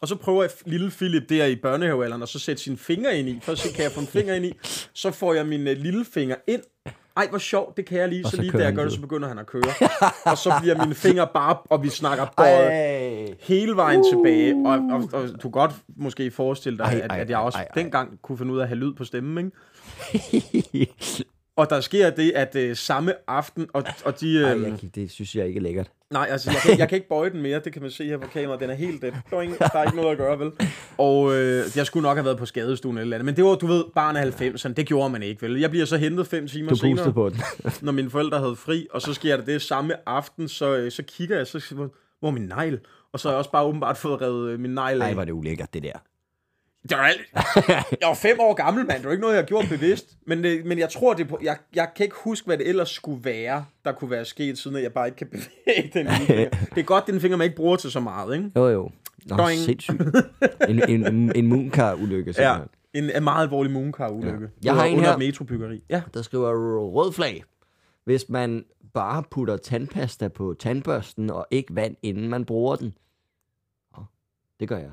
Speaker 3: Og så prøver F- lille Philip der i børnehavealderen, og så sætte sine fingre ind i. Først så kan jeg få en finger ind i, så får jeg min øh, lille finger ind. Ej, hvor sjovt, det kan jeg lige. Så,
Speaker 2: så
Speaker 3: lige da
Speaker 2: kører
Speaker 3: jeg
Speaker 2: han
Speaker 3: gør det,
Speaker 2: ud.
Speaker 3: så begynder han at køre. og så bliver mine fingre bare, og vi snakker bare
Speaker 2: Ej.
Speaker 3: hele vejen uh. tilbage. Og, og, og, du kan godt måske forestille dig,
Speaker 2: Uh. Ej,
Speaker 3: ej, at,
Speaker 2: ej,
Speaker 3: at jeg også
Speaker 2: ej,
Speaker 3: ej,
Speaker 2: ej.
Speaker 3: dengang kunne finde ud af at have lyd på stemmen, ikke? Og der sker det, at øh, samme aften, og, og de... Øh,
Speaker 2: Ej, jeg, kan- det synes jeg ikke er lækkert.
Speaker 3: Nej, altså, jeg kan, jeg kan ikke bøje den mere. Det kan man se her på kameraet. Den er helt det. Der er, ingen, der er ikke noget at gøre, vel? Og øh, jeg skulle nok have været på skadestuen eller et eller andet. Men det var, du ved, barn af 90'erne. Det gjorde man ikke, vel? Jeg bliver så hentet fem timer
Speaker 2: Du
Speaker 3: senere,
Speaker 2: pustede på den.
Speaker 3: når mine forældre havde fri. Og så sker der det samme aften, så, øh, så kigger jeg, så siger jeg, hvor er min negl? Og så har jeg også bare åbenbart fået revet øh, min negl af.
Speaker 2: Nej, var det ulækkert, det der.
Speaker 3: Det var alt. Jeg var fem år gammel, mand. Det var ikke noget, jeg gjorde bevidst. Men, øh, men jeg tror, det er på, jeg, jeg kan ikke huske, hvad det ellers skulle være, der kunne være sket, siden at jeg bare ikke kan bevæge den ene finger. Det er godt, den finger, man ikke bruger til så meget, ikke?
Speaker 2: Jo, jo. Nå,
Speaker 3: Doing.
Speaker 2: sindssygt. En, en, en moonkar-ulykke,
Speaker 3: Ja.
Speaker 2: simpelthen.
Speaker 3: En, en meget alvorlig moonkar-ulykke.
Speaker 2: Ja. Jeg har en
Speaker 3: under
Speaker 2: her.
Speaker 3: et metrobyggeri. Ja.
Speaker 2: der skriver rød flag. Hvis man bare putter tandpasta på tandbørsten og ikke vand, inden man bruger den. Nå, det gør jeg.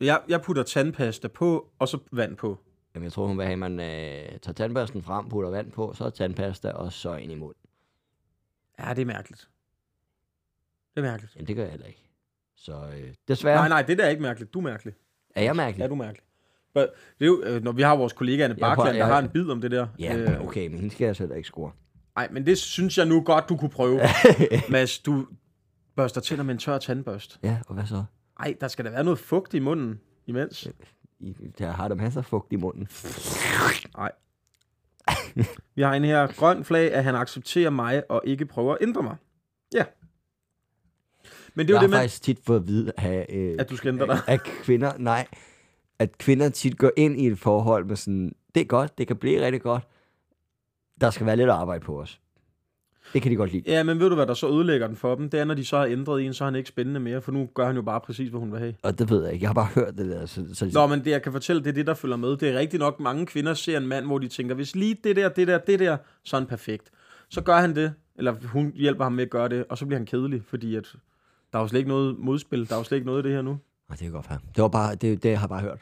Speaker 3: Jeg, jeg putter tandpasta på, og så vand på.
Speaker 2: Jamen, jeg tror, hun vil have, at man øh, tager tandbørsten frem, putter vand på, så tandpasta, og så ind i munden.
Speaker 3: Ja, det er mærkeligt. Det er mærkeligt.
Speaker 2: Jamen, det gør jeg heller ikke. Så øh, desværre
Speaker 3: Nej, nej, det der er ikke mærkeligt. Du er mærkelig.
Speaker 2: er jeg mærkelig.
Speaker 3: Ja, du er mærkelig. But, det er jo, øh, når vi har vores kollega Anne
Speaker 2: prøver-
Speaker 3: Barkland, der
Speaker 2: jeg-
Speaker 3: har en bid om det der.
Speaker 2: Ja,
Speaker 3: Øh,
Speaker 2: men okay, men hende skal jeg selv ikke score.
Speaker 3: Nej, men det synes jeg nu godt, du kunne prøve. Mads, du børster tænder med en tør tandbørst.
Speaker 2: Ja, og hvad så?
Speaker 3: Ej, der skal da være noget fugt i munden imens.
Speaker 2: I, der har der masser af fugt i munden.
Speaker 3: Nej. Vi har en her grøn flag, at han accepterer mig og ikke prøver at ændre mig. Ja. Men det er
Speaker 2: jeg
Speaker 3: jo det
Speaker 2: har
Speaker 3: med,
Speaker 2: faktisk tit fået at vide, at, øh,
Speaker 3: at du skal ændre dig.
Speaker 2: at kvinder, nej, at kvinder tit går ind i et forhold med sådan, det er godt, det kan blive rigtig godt. Der skal være lidt arbejde på os. Det kan de godt lide.
Speaker 3: Ja, men ved du hvad, der så ødelægger den for dem? Det er, når de så har ændret en, så er han ikke spændende mere, for nu gør han jo bare præcis, hvad hun vil have.
Speaker 2: Og det ved jeg ikke. Jeg har bare hørt det der. Så, ligesom- så
Speaker 3: Nå, men det jeg kan fortælle, det er det, der følger med. Det er rigtigt nok, mange kvinder ser en mand, hvor de tænker, hvis lige det der, det der, det der, så er han perfekt. Så gør han det, eller hun hjælper ham med at gøre det, og så bliver han kedelig, fordi at der er jo slet ikke noget modspil, der er jo slet ikke noget af det her nu.
Speaker 2: Nå, det kan godt være. Det, var bare, det, det har jeg bare hørt.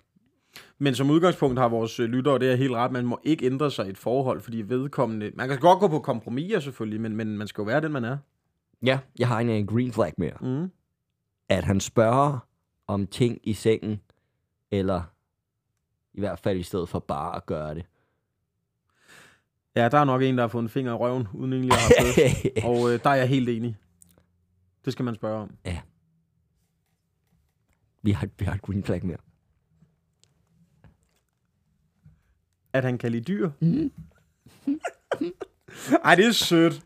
Speaker 3: Men som udgangspunkt har vores øh, lyttere det er helt ret, man må ikke ændre sig i et forhold, fordi vedkommende, man kan godt gå på kompromiser selvfølgelig, men, men man skal jo være den, man er.
Speaker 2: Ja, jeg har en, en green flag mere.
Speaker 3: Mm.
Speaker 2: At han spørger om ting i sengen, eller i hvert fald i stedet for bare at gøre det.
Speaker 3: Ja, der er nok en, der har fået en finger i røven, uden egentlig at have fået. Og øh, der er jeg helt enig. Det skal man spørge om.
Speaker 2: vi, har, vi har et green flag mere.
Speaker 3: At han kan lide dyr? Ej, det er sødt.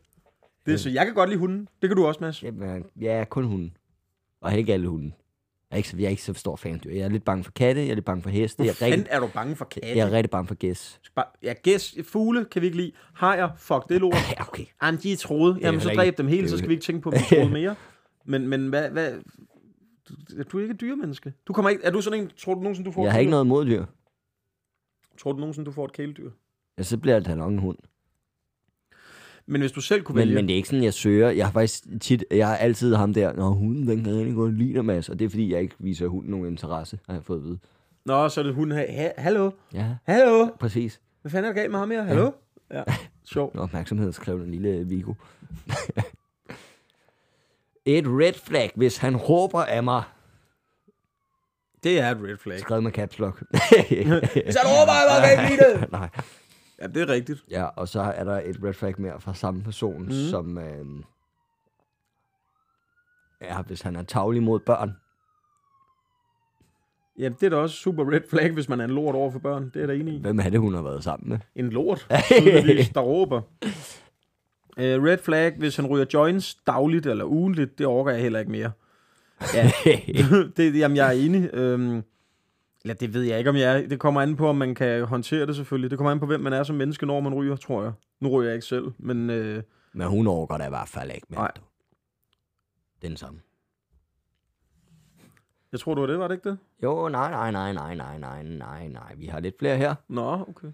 Speaker 3: Det er sødt. Jeg kan godt lide hunden. Det kan du også, Mads.
Speaker 2: Jamen, ja, kun hunden. Og ikke alle hunden. Jeg er ikke, så- jeg er ikke så stor fan. Jeg er lidt bange for katte, jeg er lidt bange for heste. Jeg er
Speaker 3: Fanden
Speaker 2: rigtig,
Speaker 3: er du bange for katte?
Speaker 2: jeg er rigtig bange for gæs.
Speaker 3: Bare- Ja, gæs, fugle kan vi ikke lide. Hajer, fuck det lort.
Speaker 2: Ja, okay.
Speaker 3: Jamen, de er troede. Jamen, så
Speaker 2: heller
Speaker 3: dræb
Speaker 2: ikke-
Speaker 3: dem
Speaker 2: det
Speaker 3: hele,
Speaker 2: er
Speaker 3: så
Speaker 2: jo-
Speaker 3: skal vi ikke tænke på, at vi troede mere. Men, men hvad, hvad... Du, du er ikke et dyremenneske. Du kommer ikke... Er du sådan en... Tror du nogensinde, du får
Speaker 2: Jeg
Speaker 3: et
Speaker 2: har ikke
Speaker 3: kæledyr?
Speaker 2: noget mod dyr.
Speaker 3: Tror du nogensinde, du får et kæledyr?
Speaker 2: Ja, så bliver det da nok en hund.
Speaker 3: Men hvis du selv kunne
Speaker 2: Men,
Speaker 3: vælge...
Speaker 2: men det er ikke sådan, jeg søger. Jeg har faktisk tit, jeg har altid ham der, når hunden den kan rigtig godt lide dig, Mads. Og det er fordi, jeg ikke viser hunden nogen interesse, har jeg fået at vide.
Speaker 3: Nå, så er det hunden her. Ha- Hallo?
Speaker 2: Ja,
Speaker 3: Hallo?
Speaker 2: præcis.
Speaker 3: Hvad fanden er der galt med ham her? Hallo? Ja. Sjov.
Speaker 2: En opmærksomhedskrævende lille Vigo. Et red flag, hvis han råber af mig.
Speaker 3: Det er et red flag.
Speaker 2: Skrevet med caps lock.
Speaker 3: Så du råber, jeg kan ikke lide det.
Speaker 2: Nej.
Speaker 3: Ja, det er rigtigt.
Speaker 2: Ja, og så er der et red flag mere fra samme person, mm. som... Øh, ja, hvis han er tavlig mod børn.
Speaker 3: Ja, det er da også super red flag, hvis man er en lort over for børn. Det er jeg da enig i.
Speaker 2: Hvem er det, hun har været sammen med?
Speaker 3: En lort, tydeligvis, der råber. Uh, red flag, hvis han ryger joints dagligt eller ugenligt, det overgår jeg heller ikke mere. Ja, det, jamen, jeg er enig. Øhm, eller det ved jeg ikke, om jeg er. Det kommer an på, om man kan håndtere det selvfølgelig. Det kommer an på, hvem man er som menneske, når man ryger, tror jeg. Nu ryger jeg ikke selv, men øh,
Speaker 2: Men hun overgår da i hvert fald ikke med
Speaker 3: Nej.
Speaker 2: det. Den samme.
Speaker 3: jeg tror, du var det, var det ikke det?
Speaker 2: Jo, nej, nej, nej, nej, nej, nej, nej, nej. Vi har lidt flere her.
Speaker 3: Nå, okay.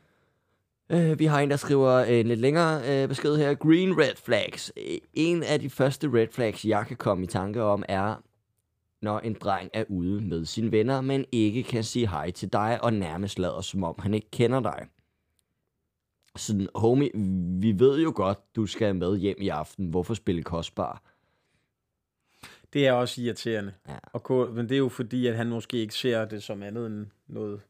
Speaker 2: Øh, vi har en, der skriver en lidt længere øh, besked her. Green red flags. Øh, En af de første red flags, jeg kan komme i tanke om, er, når en dreng er ude med sine venner, men ikke kan sige hej til dig, og nærmest lader som om, han ikke kender dig. Sådan, homie, vi ved jo godt, du skal med hjem i aften. Hvorfor spille kostbar?
Speaker 3: Det er også irriterende.
Speaker 2: Ja.
Speaker 3: Og, ko- men det er jo fordi, at han måske ikke ser det som andet end noget,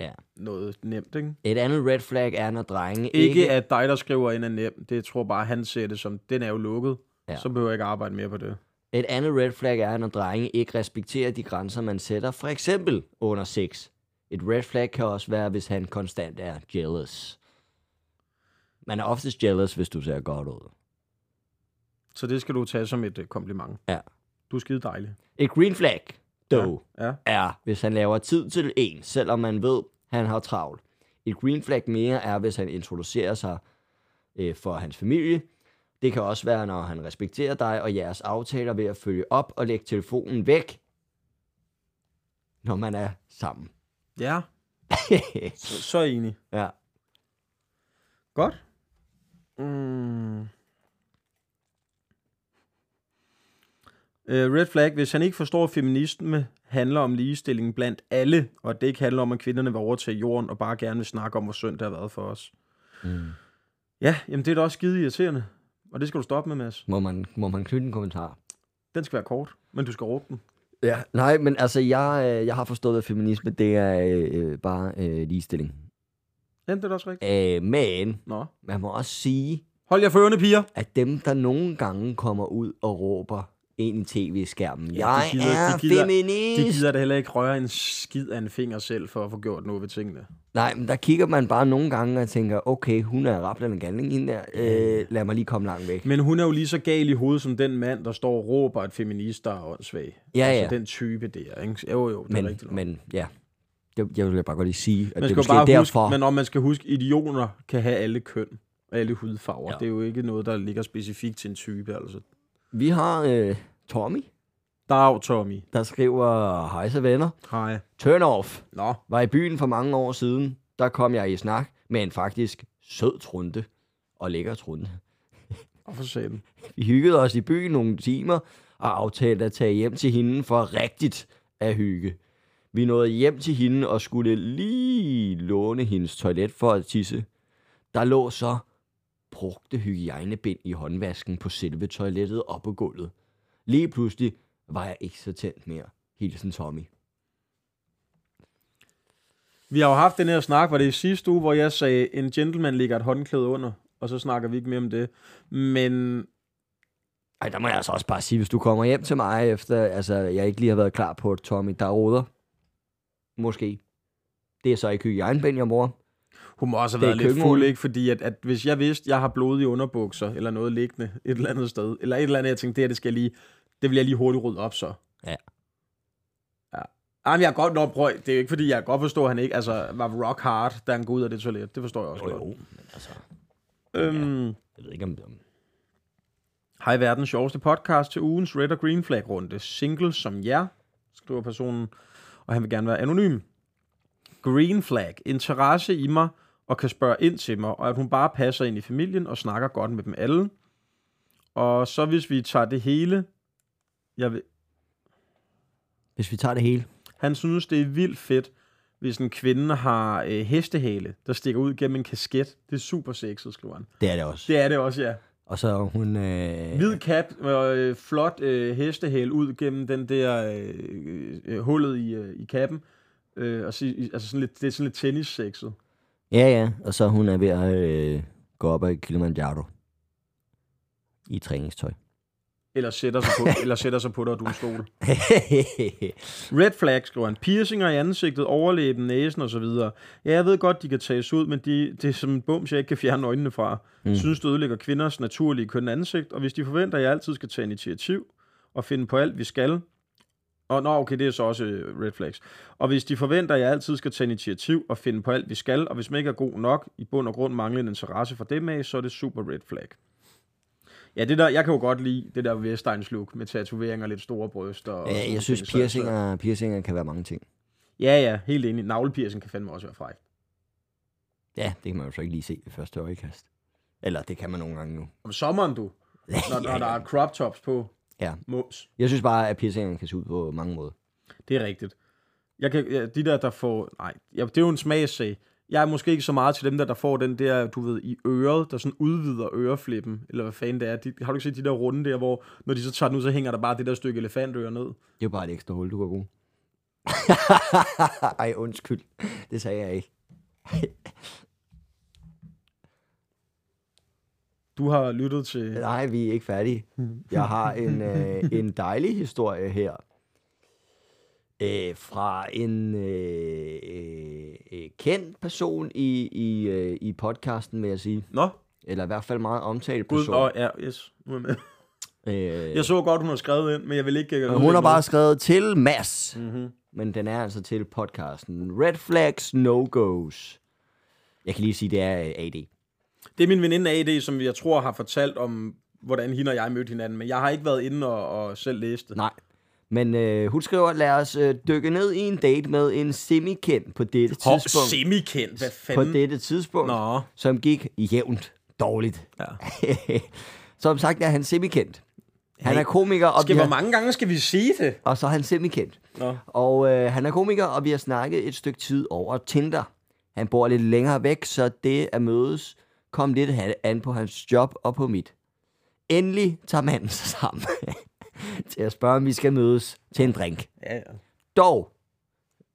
Speaker 2: Ja.
Speaker 3: noget nemt, ikke?
Speaker 2: Et andet red flag er, når drenge
Speaker 3: Ikke,
Speaker 2: ikke
Speaker 3: at dig, der skriver ind, er nem. Det tror bare, han ser det som, den er jo lukket.
Speaker 2: Ja.
Speaker 3: Ja. Så behøver jeg ikke arbejde mere på det.
Speaker 2: Et andet red flag er, når drenge ikke respekterer de grænser, man sætter, for eksempel under sex. Et red flag kan også være, hvis han konstant er jealous. Man er oftest jealous, hvis du ser godt ud.
Speaker 3: Så det skal du tage som et øh, kompliment.
Speaker 2: Ja.
Speaker 3: Du er skide dejlig.
Speaker 2: Et green flag, dog,
Speaker 3: Ja.
Speaker 2: er, hvis han laver tid til en, selvom man ved, han har travlt. Et green flag mere er, hvis han introducerer sig øh, for hans familie. Det kan også være, når han respekterer dig og jeres aftaler ved at følge op og lægge telefonen væk, når man er sammen.
Speaker 3: Ja, så, så enig.
Speaker 2: ja.
Speaker 3: Godt. Mm. Øh, Red flag, hvis han ikke forstår, at feminisme handler om ligestilling blandt alle, og at det ikke handler om, at kvinderne var over til jorden og bare gerne vil snakke om, hvor synd det har været for os.
Speaker 2: Mm.
Speaker 3: Ja, jamen det er da også skide irriterende. Og det skal du stoppe med, Mads.
Speaker 2: Må, man, må man knytte en kommentar?
Speaker 3: Den skal være kort, men du skal råbe den.
Speaker 2: Ja, nej, men altså, jeg, øh, jeg har forstået, at feminisme, det er øh, øh, bare øh, ligestilling.
Speaker 3: Ja, det er da også
Speaker 2: Øh,
Speaker 3: rigtigt.
Speaker 2: men
Speaker 3: Nå.
Speaker 2: man må også sige,
Speaker 3: Hold jer for ørerne, piger.
Speaker 2: at dem, der nogle gange kommer ud og råber ind i tv-skærmen, ja,
Speaker 3: Ja,
Speaker 2: jeg
Speaker 3: de gider-
Speaker 2: er
Speaker 3: de gider- De
Speaker 2: feminist!
Speaker 3: gider da heller ikke røre en skid af en finger selv for at få gjort noget ved tingene.
Speaker 2: Nej, men der kigger man bare nogle gange og tænker, okay, hun er rapplet en galning hende der, øh, lad mig lige komme langt væk.
Speaker 3: Men hun er jo lige så gal i hovedet som den mand, der står og råber, at feminister er åndssvag.
Speaker 2: Ja,
Speaker 3: altså,
Speaker 2: ja.
Speaker 3: den type der, ikke? Jo, jo, det er
Speaker 2: Men,
Speaker 3: rigtigt. nok.
Speaker 2: men ja, det, jeg vil bare godt lige sige, at det
Speaker 3: man
Speaker 2: er
Speaker 3: skal jo
Speaker 2: måske
Speaker 3: bare
Speaker 2: derfor.
Speaker 3: huske, men om man skal huske, idioter kan have alle køn og alle hudfarver.
Speaker 2: Ja.
Speaker 3: Ja. Det er jo ikke noget, der ligger specifikt til en type, altså.
Speaker 2: Vi har øh, Tommy,
Speaker 3: Dag, Tommy.
Speaker 2: der skriver, hej så venner.
Speaker 3: Hej.
Speaker 2: Turn off.
Speaker 3: Nå,
Speaker 2: Var i byen for mange år siden. Der kom jeg i snak med en faktisk sød trunte. Og lækker trunte.
Speaker 3: hvorfor sagde den?
Speaker 2: Vi hyggede os i byen nogle timer og aftalte at tage hjem til hende for rigtigt at hygge. Vi nåede hjem til hende og skulle lige låne hendes toilet for at tisse. Der lå så brugte hygiejnebind i håndvasken på selve toilettet og på gulvet. Lige pludselig var jeg ikke så tændt mere. Hilsen Tommy.
Speaker 3: Vi har jo haft den her snak, var det i sidste uge, hvor jeg sagde, en gentleman ligger et håndklæde under, og så snakker vi ikke mere om det. Men
Speaker 2: Ej, der må jeg altså også bare sige, hvis du kommer hjem til mig efter, altså jeg ikke lige har været klar på, at Tommy, der roder. Måske. Det er så ikke hygiejnebind, jeg mor.
Speaker 3: Hun må også have
Speaker 2: Det er
Speaker 3: været lidt
Speaker 2: køkkenrullen.
Speaker 3: fuld, ikke? Fordi at, at hvis jeg vidste, jeg har blod i underbukser, eller noget liggende et eller andet sted, eller et eller andet, jeg tænkte, det her, det skal jeg lige, det vil jeg lige hurtigt rydde op så.
Speaker 2: Ja.
Speaker 3: Jamen, jeg er godt nok prøv, det er jo ikke fordi, jeg kan godt forstår, at han ikke altså, var rock hard, da han går ud af det toilet. Det forstår jeg også
Speaker 2: Jo,
Speaker 3: godt.
Speaker 2: jo, men altså,
Speaker 3: Øhm,
Speaker 2: jeg ved ikke om... om
Speaker 3: Hej verdens sjoveste podcast til ugens Red og Green Flag runde. Single som jer, skriver personen, og han vil gerne være anonym. Green Flag, interesse i mig og kan spørge ind til mig, og at hun bare passer ind i familien og snakker godt med dem alle. Og så hvis vi tager det hele, jeg vil,
Speaker 2: hvis vi tager det hele.
Speaker 3: han synes det er vildt fedt, hvis en kvinde har øh, hestehale, der stikker ud gennem en kasket. Det er super sexet, skriver han.
Speaker 2: Det er det også.
Speaker 3: Det er det også, ja.
Speaker 2: Og så er hun... Øh,
Speaker 3: Hvid cap og øh, flot øh, hestehæl ud gennem den der øh, øh, hullet i, øh, i kappen. Øh, og så, i- altså sådan lidt, det er sådan lidt tennis-sexet.
Speaker 2: Ja, ja. Og så hun er ved at øh, gå op ad Kilimanjaro. I træningstøj. Mm.
Speaker 3: Eller sætter sig på, eller sætter sig på dig, og du er en stol. Red flag, skriver han. Piercinger i ansigtet, overlæben, næsen osv. Ja, jeg ved godt, de kan tages ud, men de, det er som en bums, jeg ikke kan fjerne øjnene fra. Mm. Synes, du ødelægger kvinders naturlige kønne ansigt, og hvis de forventer, at jeg altid skal tage initiativ og finde på alt, vi skal... Og nå, okay, det er så også øh, red flags. Og hvis de forventer, at jeg altid skal tage initiativ og finde på alt, vi skal, og hvis man ikke er god nok, i bund og grund mangler en interesse for dem af, så er det super red flag. Ja, det der, jeg kan jo godt lide det der Vestegns look med tatoveringer, lidt store bryster. Og
Speaker 2: ja,
Speaker 3: sådan
Speaker 2: jeg synes,
Speaker 3: ting. Så- så-
Speaker 2: piercinger, piercinger kan være mange ting.
Speaker 3: Ja, ja, helt enig. Navlepiercing kan fandme også være fræk.
Speaker 2: Ja, det kan man jo så ikke lige se ved første øjekast. Eller det kan man nogle gange nu.
Speaker 3: Om sommeren, du. Når, når der er crop tops på.
Speaker 2: Ja.
Speaker 3: Mås.
Speaker 2: Jeg synes bare, at piercingerne kan se ud på mange måder.
Speaker 3: Det er rigtigt. Jeg kan, ja, de der, der får... Nej, ja, det er jo en smagssag. Jeg er måske ikke så meget til dem der, der får den der, du ved, i øret, der sådan udvider øreflippen, eller hvad fanden det er. De, har du ikke set de der runde der, hvor når de så tager den ud, så hænger der bare det der stykke elefantøre ned?
Speaker 2: Det er jo bare et ekstra hul, du kan bruge. Ej, undskyld. Det sagde jeg ikke.
Speaker 3: Du har lyttet til...
Speaker 2: Nej, vi er ikke færdige. Jeg har en, øh, en dejlig historie her. Øh, fra en øh, øh, øh, kendt person i, i, øh, i podcasten, vil jeg sige.
Speaker 3: Nå,
Speaker 2: Eller i hvert fald meget omtalt
Speaker 3: gud,
Speaker 2: person.
Speaker 3: og ja, yes, nu er jeg med.
Speaker 2: Øh,
Speaker 3: Jeg så godt, hun har skrevet ind, men jeg vil ikke... øh,
Speaker 2: og hun har
Speaker 3: noget.
Speaker 2: bare skrevet til Mads.
Speaker 3: Mhm.
Speaker 2: Mm-hmm. Men den er altså til podcasten. Red flags, no-goes. Jeg kan lige sige, det er øh, AD.
Speaker 3: Det er min veninde AD, som jeg tror har fortalt om, hvordan hende og jeg mødte hinanden, men jeg har ikke været inde og, og selv læst det.
Speaker 2: Nej. Men øh, hun skriver, lad os øh, dykke ned i en date med en semikendt på dette
Speaker 3: Hov,
Speaker 2: tidspunkt.
Speaker 3: semikendt, hvad
Speaker 2: på
Speaker 3: fanden?
Speaker 2: dette tidspunkt,
Speaker 3: Nå.
Speaker 2: som gik jævnt dårligt.
Speaker 3: Ja.
Speaker 2: som sagt er han semikendt. Han er komiker, og,
Speaker 3: Skal,
Speaker 2: vi
Speaker 3: hvor
Speaker 2: har,
Speaker 3: mange gange skal vi sige det?
Speaker 2: og så er han semikendt.
Speaker 3: Nå.
Speaker 2: Og øh, han er komiker, og vi har snakket et stykke tid over Tinder. Han bor lidt længere væk, så det at mødes kom lidt ha- an på hans job og på mit. Endelig tager manden sig sammen til at spørge, om vi skal mødes til en drink.
Speaker 3: Ja, ja.
Speaker 2: dog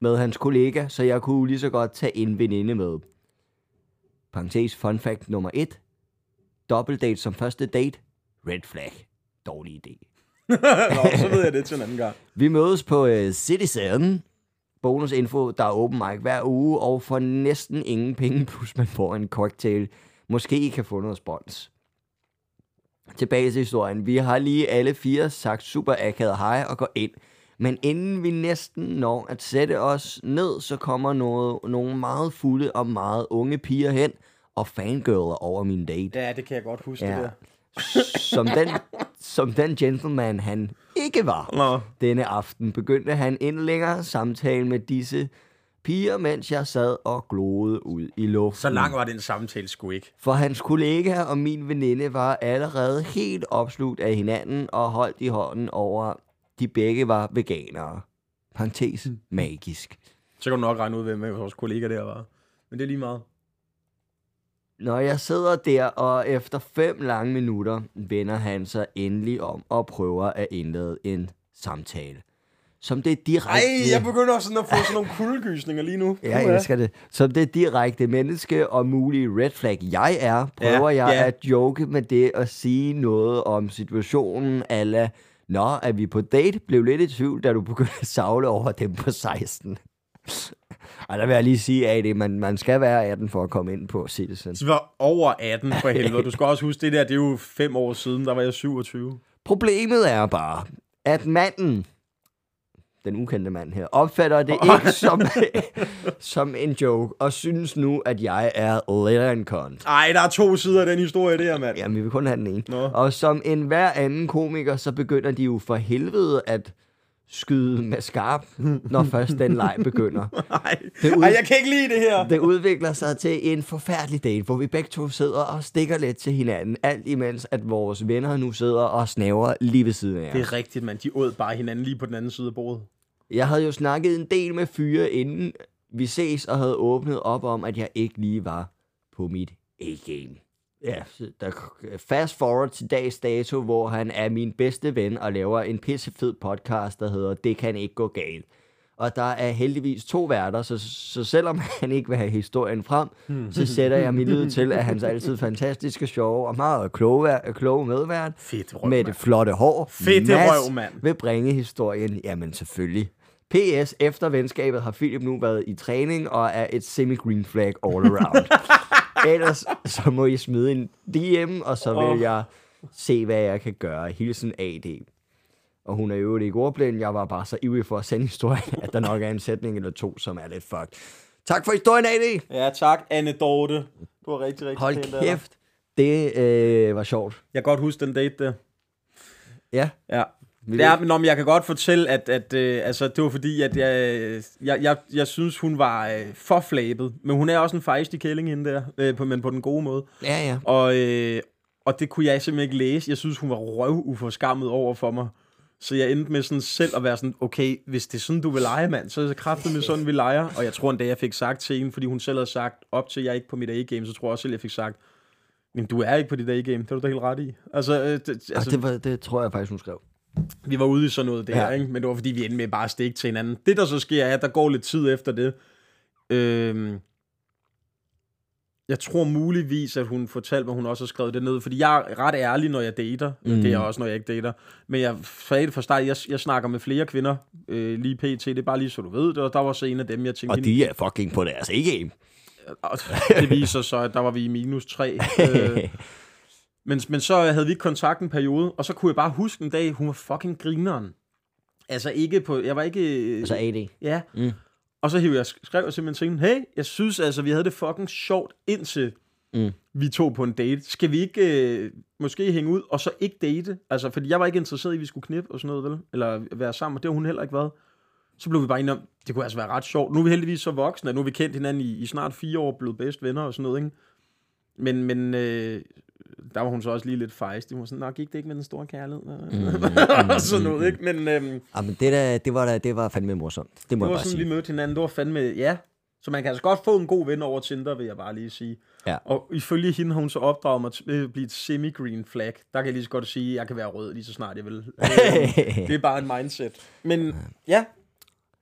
Speaker 2: med hans kollega, så jeg kunne lige så godt tage en veninde med. Parenthes fun fact nummer 1. Double date som første date. Red flag. Dårlig idé.
Speaker 3: Nå, så ved jeg det til en anden gang.
Speaker 2: Vi mødes på øh, Citizen. Bonusinfo, der er open mic hver uge, og for næsten ingen penge, plus man får en cocktail. Måske I kan få noget spons. Tilbage til historien. Vi har lige alle fire sagt super akavet hej og går ind. Men inden vi næsten når at sætte os ned, så kommer noget, nogle meget fulde og meget unge piger hen og fangirler over min date
Speaker 3: Ja, det kan jeg godt huske, ja. det der.
Speaker 2: som den, som den gentleman, han ikke var
Speaker 3: Nå.
Speaker 2: denne aften, begyndte han en længere samtale med disse piger, mens jeg sad og gloede ud i luften.
Speaker 3: Så lang var den samtale sgu ikke.
Speaker 2: For hans kollega og min veninde var allerede helt opslugt af hinanden og holdt i hånden over, de begge var veganere. Parenthes
Speaker 3: Mm.
Speaker 2: magisk.
Speaker 3: Så kan du nok regne ud, hvem vores kollega der var. Men det er lige meget.
Speaker 2: Når jeg sidder der, og efter fem lange minutter, vender han sig endelig om og prøver at indlede en samtale. Som det
Speaker 3: Ej,
Speaker 2: direkte...
Speaker 3: jeg begynder sådan at få sådan nogle kuldegysninger lige nu.
Speaker 2: Ja, jeg elsker det. Som det direkte menneske og mulige red flag, jeg er, prøver ja,
Speaker 3: Ja,
Speaker 2: jeg
Speaker 3: ja.
Speaker 2: ja. at joke med det og sige noget om situationen, ala, Nå, er vi på date? Blev lidt i tvivl, da du begyndte at savle over dem på 16. Ej, der vil jeg lige sige, at man, man skal være 18 for at komme ind på Citizen.
Speaker 3: Så var over 18 for helvede. Du skal også huske, det der, det er jo fem år siden, der var jeg 27.
Speaker 2: Problemet er bare, at manden, den ukendte mand her, opfatter det ikke som, som en joke, og synes nu, at jeg er lidt af en cunt.
Speaker 3: Ej, der er to sider af den historie der, mand.
Speaker 2: Jamen, vi vil kun have den ene.
Speaker 3: Nå.
Speaker 2: Og som en hver anden komiker, så begynder de jo for helvede at skyde med skarp, når først den leg begynder.
Speaker 3: Ej.
Speaker 2: Det er ude-
Speaker 3: Ej, jeg kan ikke lide det her.
Speaker 2: Det udvikler sig til en forfærdelig date, hvor vi begge to sidder og stikker lidt til hinanden, alt imens at vores venner nu sidder og snaver lige ved siden af
Speaker 3: Det
Speaker 2: os.
Speaker 3: er rigtigt, mand. De åd bare hinanden lige på den anden side af bordet.
Speaker 2: Jeg havde jo snakket en del med fyre, inden vi ses, og havde åbnet op om, at jeg ikke lige var på mit A-game. Ja, så der, fast forward til dags dato, hvor han er min bedste ven og laver en pissefed podcast, der hedder Det kan ikke gå galt. Og der er heldigvis to værter, så, så selvom han ikke vil have historien frem,
Speaker 3: Hmm.
Speaker 2: så sætter jeg min lid til, at hans altid fantastiske, sjove og meget kloge, vær- kloge medvært
Speaker 3: Fedt røv,
Speaker 2: med det flotte hår.
Speaker 3: Fedt
Speaker 2: Mads
Speaker 3: røv, mand.
Speaker 2: vil bringe historien, jamen selvfølgelig. P.S. Efter venskabet har Philip nu været i træning og er et semi-green flag all around. Ellers så må I smide en DM, og så vil
Speaker 3: Åh.
Speaker 2: jeg se, hvad jeg kan gøre. Hilsen A.D. Og hun er i øvrigt ikke ordblind. Jeg var bare så ivrig for at sende historien, at der nok er en sætning eller to, som er lidt fucked. Tak for historien, A.D.
Speaker 3: Ja, tak, Anne Dorte. Du var rigtig, rigtig pæn
Speaker 2: Hold
Speaker 3: der.
Speaker 2: kæft. Det øh, var sjovt.
Speaker 3: Jeg kan godt huske den date der.
Speaker 2: Ja.
Speaker 3: Ja. Det er, men om jeg kan godt fortælle, at, at øh, altså, det var fordi, at jeg, øh, jeg, jeg, jeg synes, hun var øh, for flabet. Men hun er også en fejstig kælling hende der, øh, på, men på den gode måde.
Speaker 2: Ja, ja.
Speaker 3: Og, øh, og det kunne jeg simpelthen ikke læse. Jeg synes, hun var røv uforskammet over for mig. Så jeg endte med sådan selv at være sådan, okay, hvis det er sådan, du vil lege, mand, så er det kraftigt med sådan, vi leger. Og jeg tror endda, jeg fik sagt til hende, fordi hun selv havde sagt, op til jeg er ikke på mit A-game, så tror jeg også selv, jeg fik sagt, men du er ikke på dit A-game, det er du da helt ret i. Altså, øh, det, altså
Speaker 2: Altså, det, var, det tror jeg faktisk, hun skrev.
Speaker 3: vi var ude i sådan noget der,
Speaker 2: Ja.
Speaker 3: ja. ikke? men det var fordi, vi endte med bare at stikke til hinanden. Det, der så sker, er, at der går lidt tid efter det. Øhm, jeg tror muligvis, at hun fortalte mig, at hun også har skrevet det ned, fordi jeg er ret ærlig, når jeg dater. Mm. Det er jeg også, når jeg ikke dater. Men jeg sagde det fra start, jeg, jeg snakker med flere kvinder øh, lige pt. Det er bare lige så du ved det, og der var så en af dem, jeg tænkte...
Speaker 2: Og de er fucking på deres A-game.
Speaker 3: Og det viser så, at der var vi i minus 3. Øh, men, men så havde vi ikke kontakt en periode, og så kunne jeg bare huske en dag, hun var fucking grineren. Altså ikke på, jeg var ikke... øh,
Speaker 2: Altså AD.
Speaker 3: Ja. Mm. Og så hiv jeg skrev jeg simpelthen til hende, hey, jeg synes altså, vi havde det fucking sjovt indtil
Speaker 2: Mm.
Speaker 3: mm. vi tog på en date. Skal vi ikke øh, måske hænge ud og så ikke date? Altså, fordi jeg var ikke interesseret i, at vi skulle knippe og sådan noget, vel? Eller være sammen, og det har hun heller ikke været. Så blev vi bare enige om, det kunne altså være ret sjovt. Nu er vi heldigvis så voksne, og nu har vi kendt hinanden i, i snart fire år, blevet bedst venner og sådan noget, ikke? Men, men øh, der var hun så også lige lidt fejst. Hun var sådan, nok gik det ikke med den store kærlighed. Mm, og sådan noget, ikke? Men, øhm,
Speaker 2: Jamen, det, der, det, var da, det var fandme morsomt. Det må
Speaker 3: det
Speaker 2: jeg
Speaker 3: var
Speaker 2: bare
Speaker 3: sådan,
Speaker 2: sige.
Speaker 3: vi mødte hinanden. Det var fandme, ja. Så man kan altså godt få en god ven over Tinder, vil jeg bare lige sige.
Speaker 2: Ja.
Speaker 3: Og ifølge hende har hun så opdraget mig til at blive et semi-green flag. Der kan jeg lige så godt sige, at jeg kan være rød lige så snart jeg vil. Øh, det er bare en mindset. Men ja,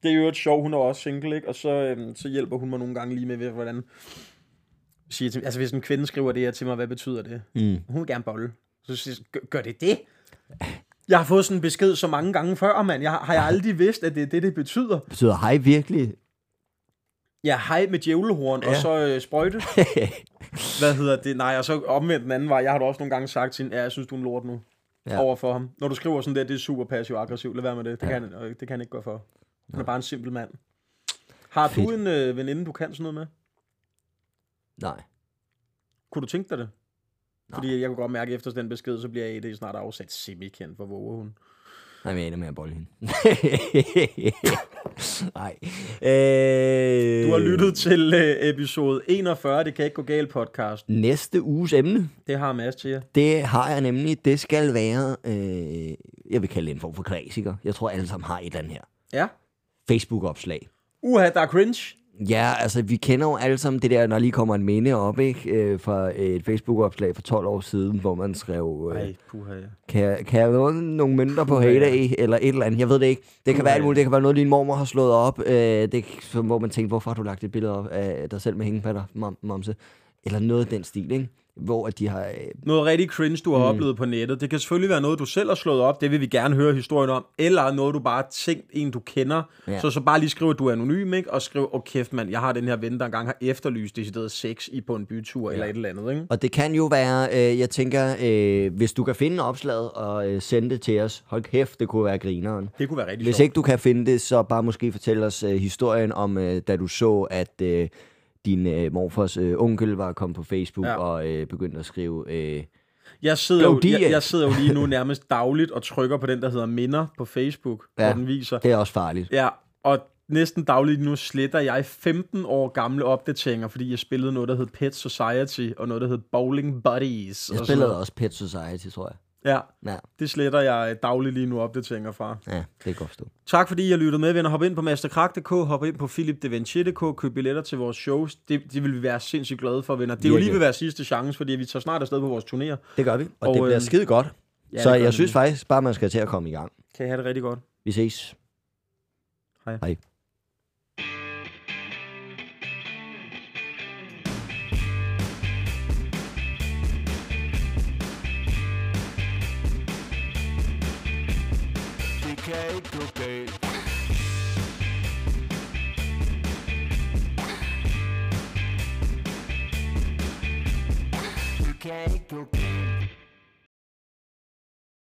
Speaker 3: det er jo et sjovt. Hun er også single, ikke? Og så, øhm, så hjælper hun mig nogle gange lige med, ved, hvordan... Siger til, altså hvis en kvinde skriver det her til mig, hvad betyder det? Mm. Hun vil gerne bolle. Så siger jeg, "Gør- gør det det? Jeg har fået sådan en besked så mange gange før, mand. Jeg har, har jeg aldrig vidst, at det er det, det betyder.
Speaker 2: Betyder hej virkelig?
Speaker 3: Ja, hej med djævlehorn, ja. og
Speaker 2: Ja.
Speaker 3: så øh, sprøjte. Hvad hedder det? Nej, og så omvendt den anden vej. Jeg har da også nogle gange sagt til hende, ja, jeg synes, du er en lort nu.
Speaker 2: Ja.
Speaker 3: Ja. Over for ham. Når du skriver sådan der, det er super passiv aggressiv. Lad være med det. Det, ja. kan, han, øh, det kan han ikke gå for. Han er bare en simpel mand. Har Fedt. du
Speaker 2: Fedt.
Speaker 3: en øh, veninde, du kan sådan noget med?
Speaker 2: Nej.
Speaker 3: Kunne du tænke dig det? Fordi jeg kunne godt mærke, at efter den besked, så bliver AD snart afsat semi-kendt for våger hun.
Speaker 2: Nej, men jeg ender med at bolle hende. Nej. Øh,
Speaker 3: Du har lyttet til øh, episode 41, det kan ikke gå galt podcast.
Speaker 2: Næste uges emne,
Speaker 3: Det har Mads til jer.
Speaker 2: det har jeg nemlig, det skal være, øh, jeg vil kalde det en form for klassiker. Jeg tror, alle sammen har et eller andet her.
Speaker 3: Ja.
Speaker 2: Facebook-opslag.
Speaker 3: Uha, der er cringe.
Speaker 2: Ja, altså vi kender jo alle sammen det der, når lige kommer en minde op, ikke? Øh, fra et Facebook-opslag for 12 år siden, hvor man skrev... Øh,
Speaker 3: Ej, puha, ja.
Speaker 2: Kan jeg, kan jeg låne nogle mønter på Hayday eller et eller andet? Jeg ved det ikke. Det kan være alt muligt. Det kan være noget, din mormor har slået op. Øh, det, som- hvor man tænker, hvorfor har du lagt et billede op af dig selv med hængepatter, mam- mamse? Eller noget af den stil, ikke? hvor at de har... Øh,
Speaker 3: Noget rigtig cringe, du har mm. oplevet på nettet. Det kan selvfølgelig være noget, du selv har slået op. Det vil vi gerne høre historien om. Eller noget, du bare har tænkt en, du kender.
Speaker 2: Ja.
Speaker 3: Ja. Så så bare lige skriv, at du er anonym, ikke? Og skriv, åh oh, kæft mand, jeg har den her ven, der engang har efterlyst decideret sex i på en bytur ja. eller et eller andet, ikke?
Speaker 2: og det kan jo være, øh, jeg tænker, øh, hvis du kan finde opslaget og øh, sende det til os, hold kæft, det kunne være grineren.
Speaker 3: Det kunne være rigtig
Speaker 2: Hvis
Speaker 3: sjovt.
Speaker 2: ikke du kan finde det, så bare måske fortæl os øh, historien om, øh, da du så, at øh, din øh, morfars øh, onkel var kommet på Facebook ja.
Speaker 3: Ja.
Speaker 2: og øh, begyndte at skrive... Øh,
Speaker 3: Jeg sidder,
Speaker 2: Go
Speaker 3: jo, jeg,
Speaker 2: DF.
Speaker 3: jeg sidder jo lige nu nærmest dagligt og trykker på den, der hedder Minder på Facebook,
Speaker 2: Ja.
Speaker 3: ja. hvor den viser.
Speaker 2: det er også farligt.
Speaker 3: Ja, og næsten dagligt nu sletter jeg 15 år gamle opdateringer, fordi jeg spillede noget, der hed Pet Society, og noget, der hed Bowling Buddies.
Speaker 2: Jeg
Speaker 3: og sådan
Speaker 2: spillede
Speaker 3: noget.
Speaker 2: også Pet Society, tror jeg.
Speaker 3: Ja,
Speaker 2: Ja,
Speaker 3: det sletter jeg dagligt lige nu opdateringer fra.
Speaker 2: ja det kan godt stå.
Speaker 3: Tak fordi I lyttede med, venner. Hop ind på masterkrak.dk, hop ind på philipdevanchi.dk, køb billetter til vores shows. Det, det vil vi være sindssygt glade for, venner. Det er jo
Speaker 2: Virkelig.
Speaker 3: lige ved at være sidste chance, fordi vi tager snart afsted på vores turnéer.
Speaker 2: Det gør vi, og, og
Speaker 3: Og,
Speaker 2: det bliver
Speaker 3: øhm,
Speaker 2: skide godt. Ja, så
Speaker 3: det gør
Speaker 2: jeg
Speaker 3: det
Speaker 2: synes
Speaker 3: nemlig.
Speaker 2: faktisk bare, man skal til at komme i gang.
Speaker 3: Kan I have det rigtig godt.
Speaker 2: Vi ses.
Speaker 3: Hej.
Speaker 2: Hej.
Speaker 1: Det kan ikke gå galt.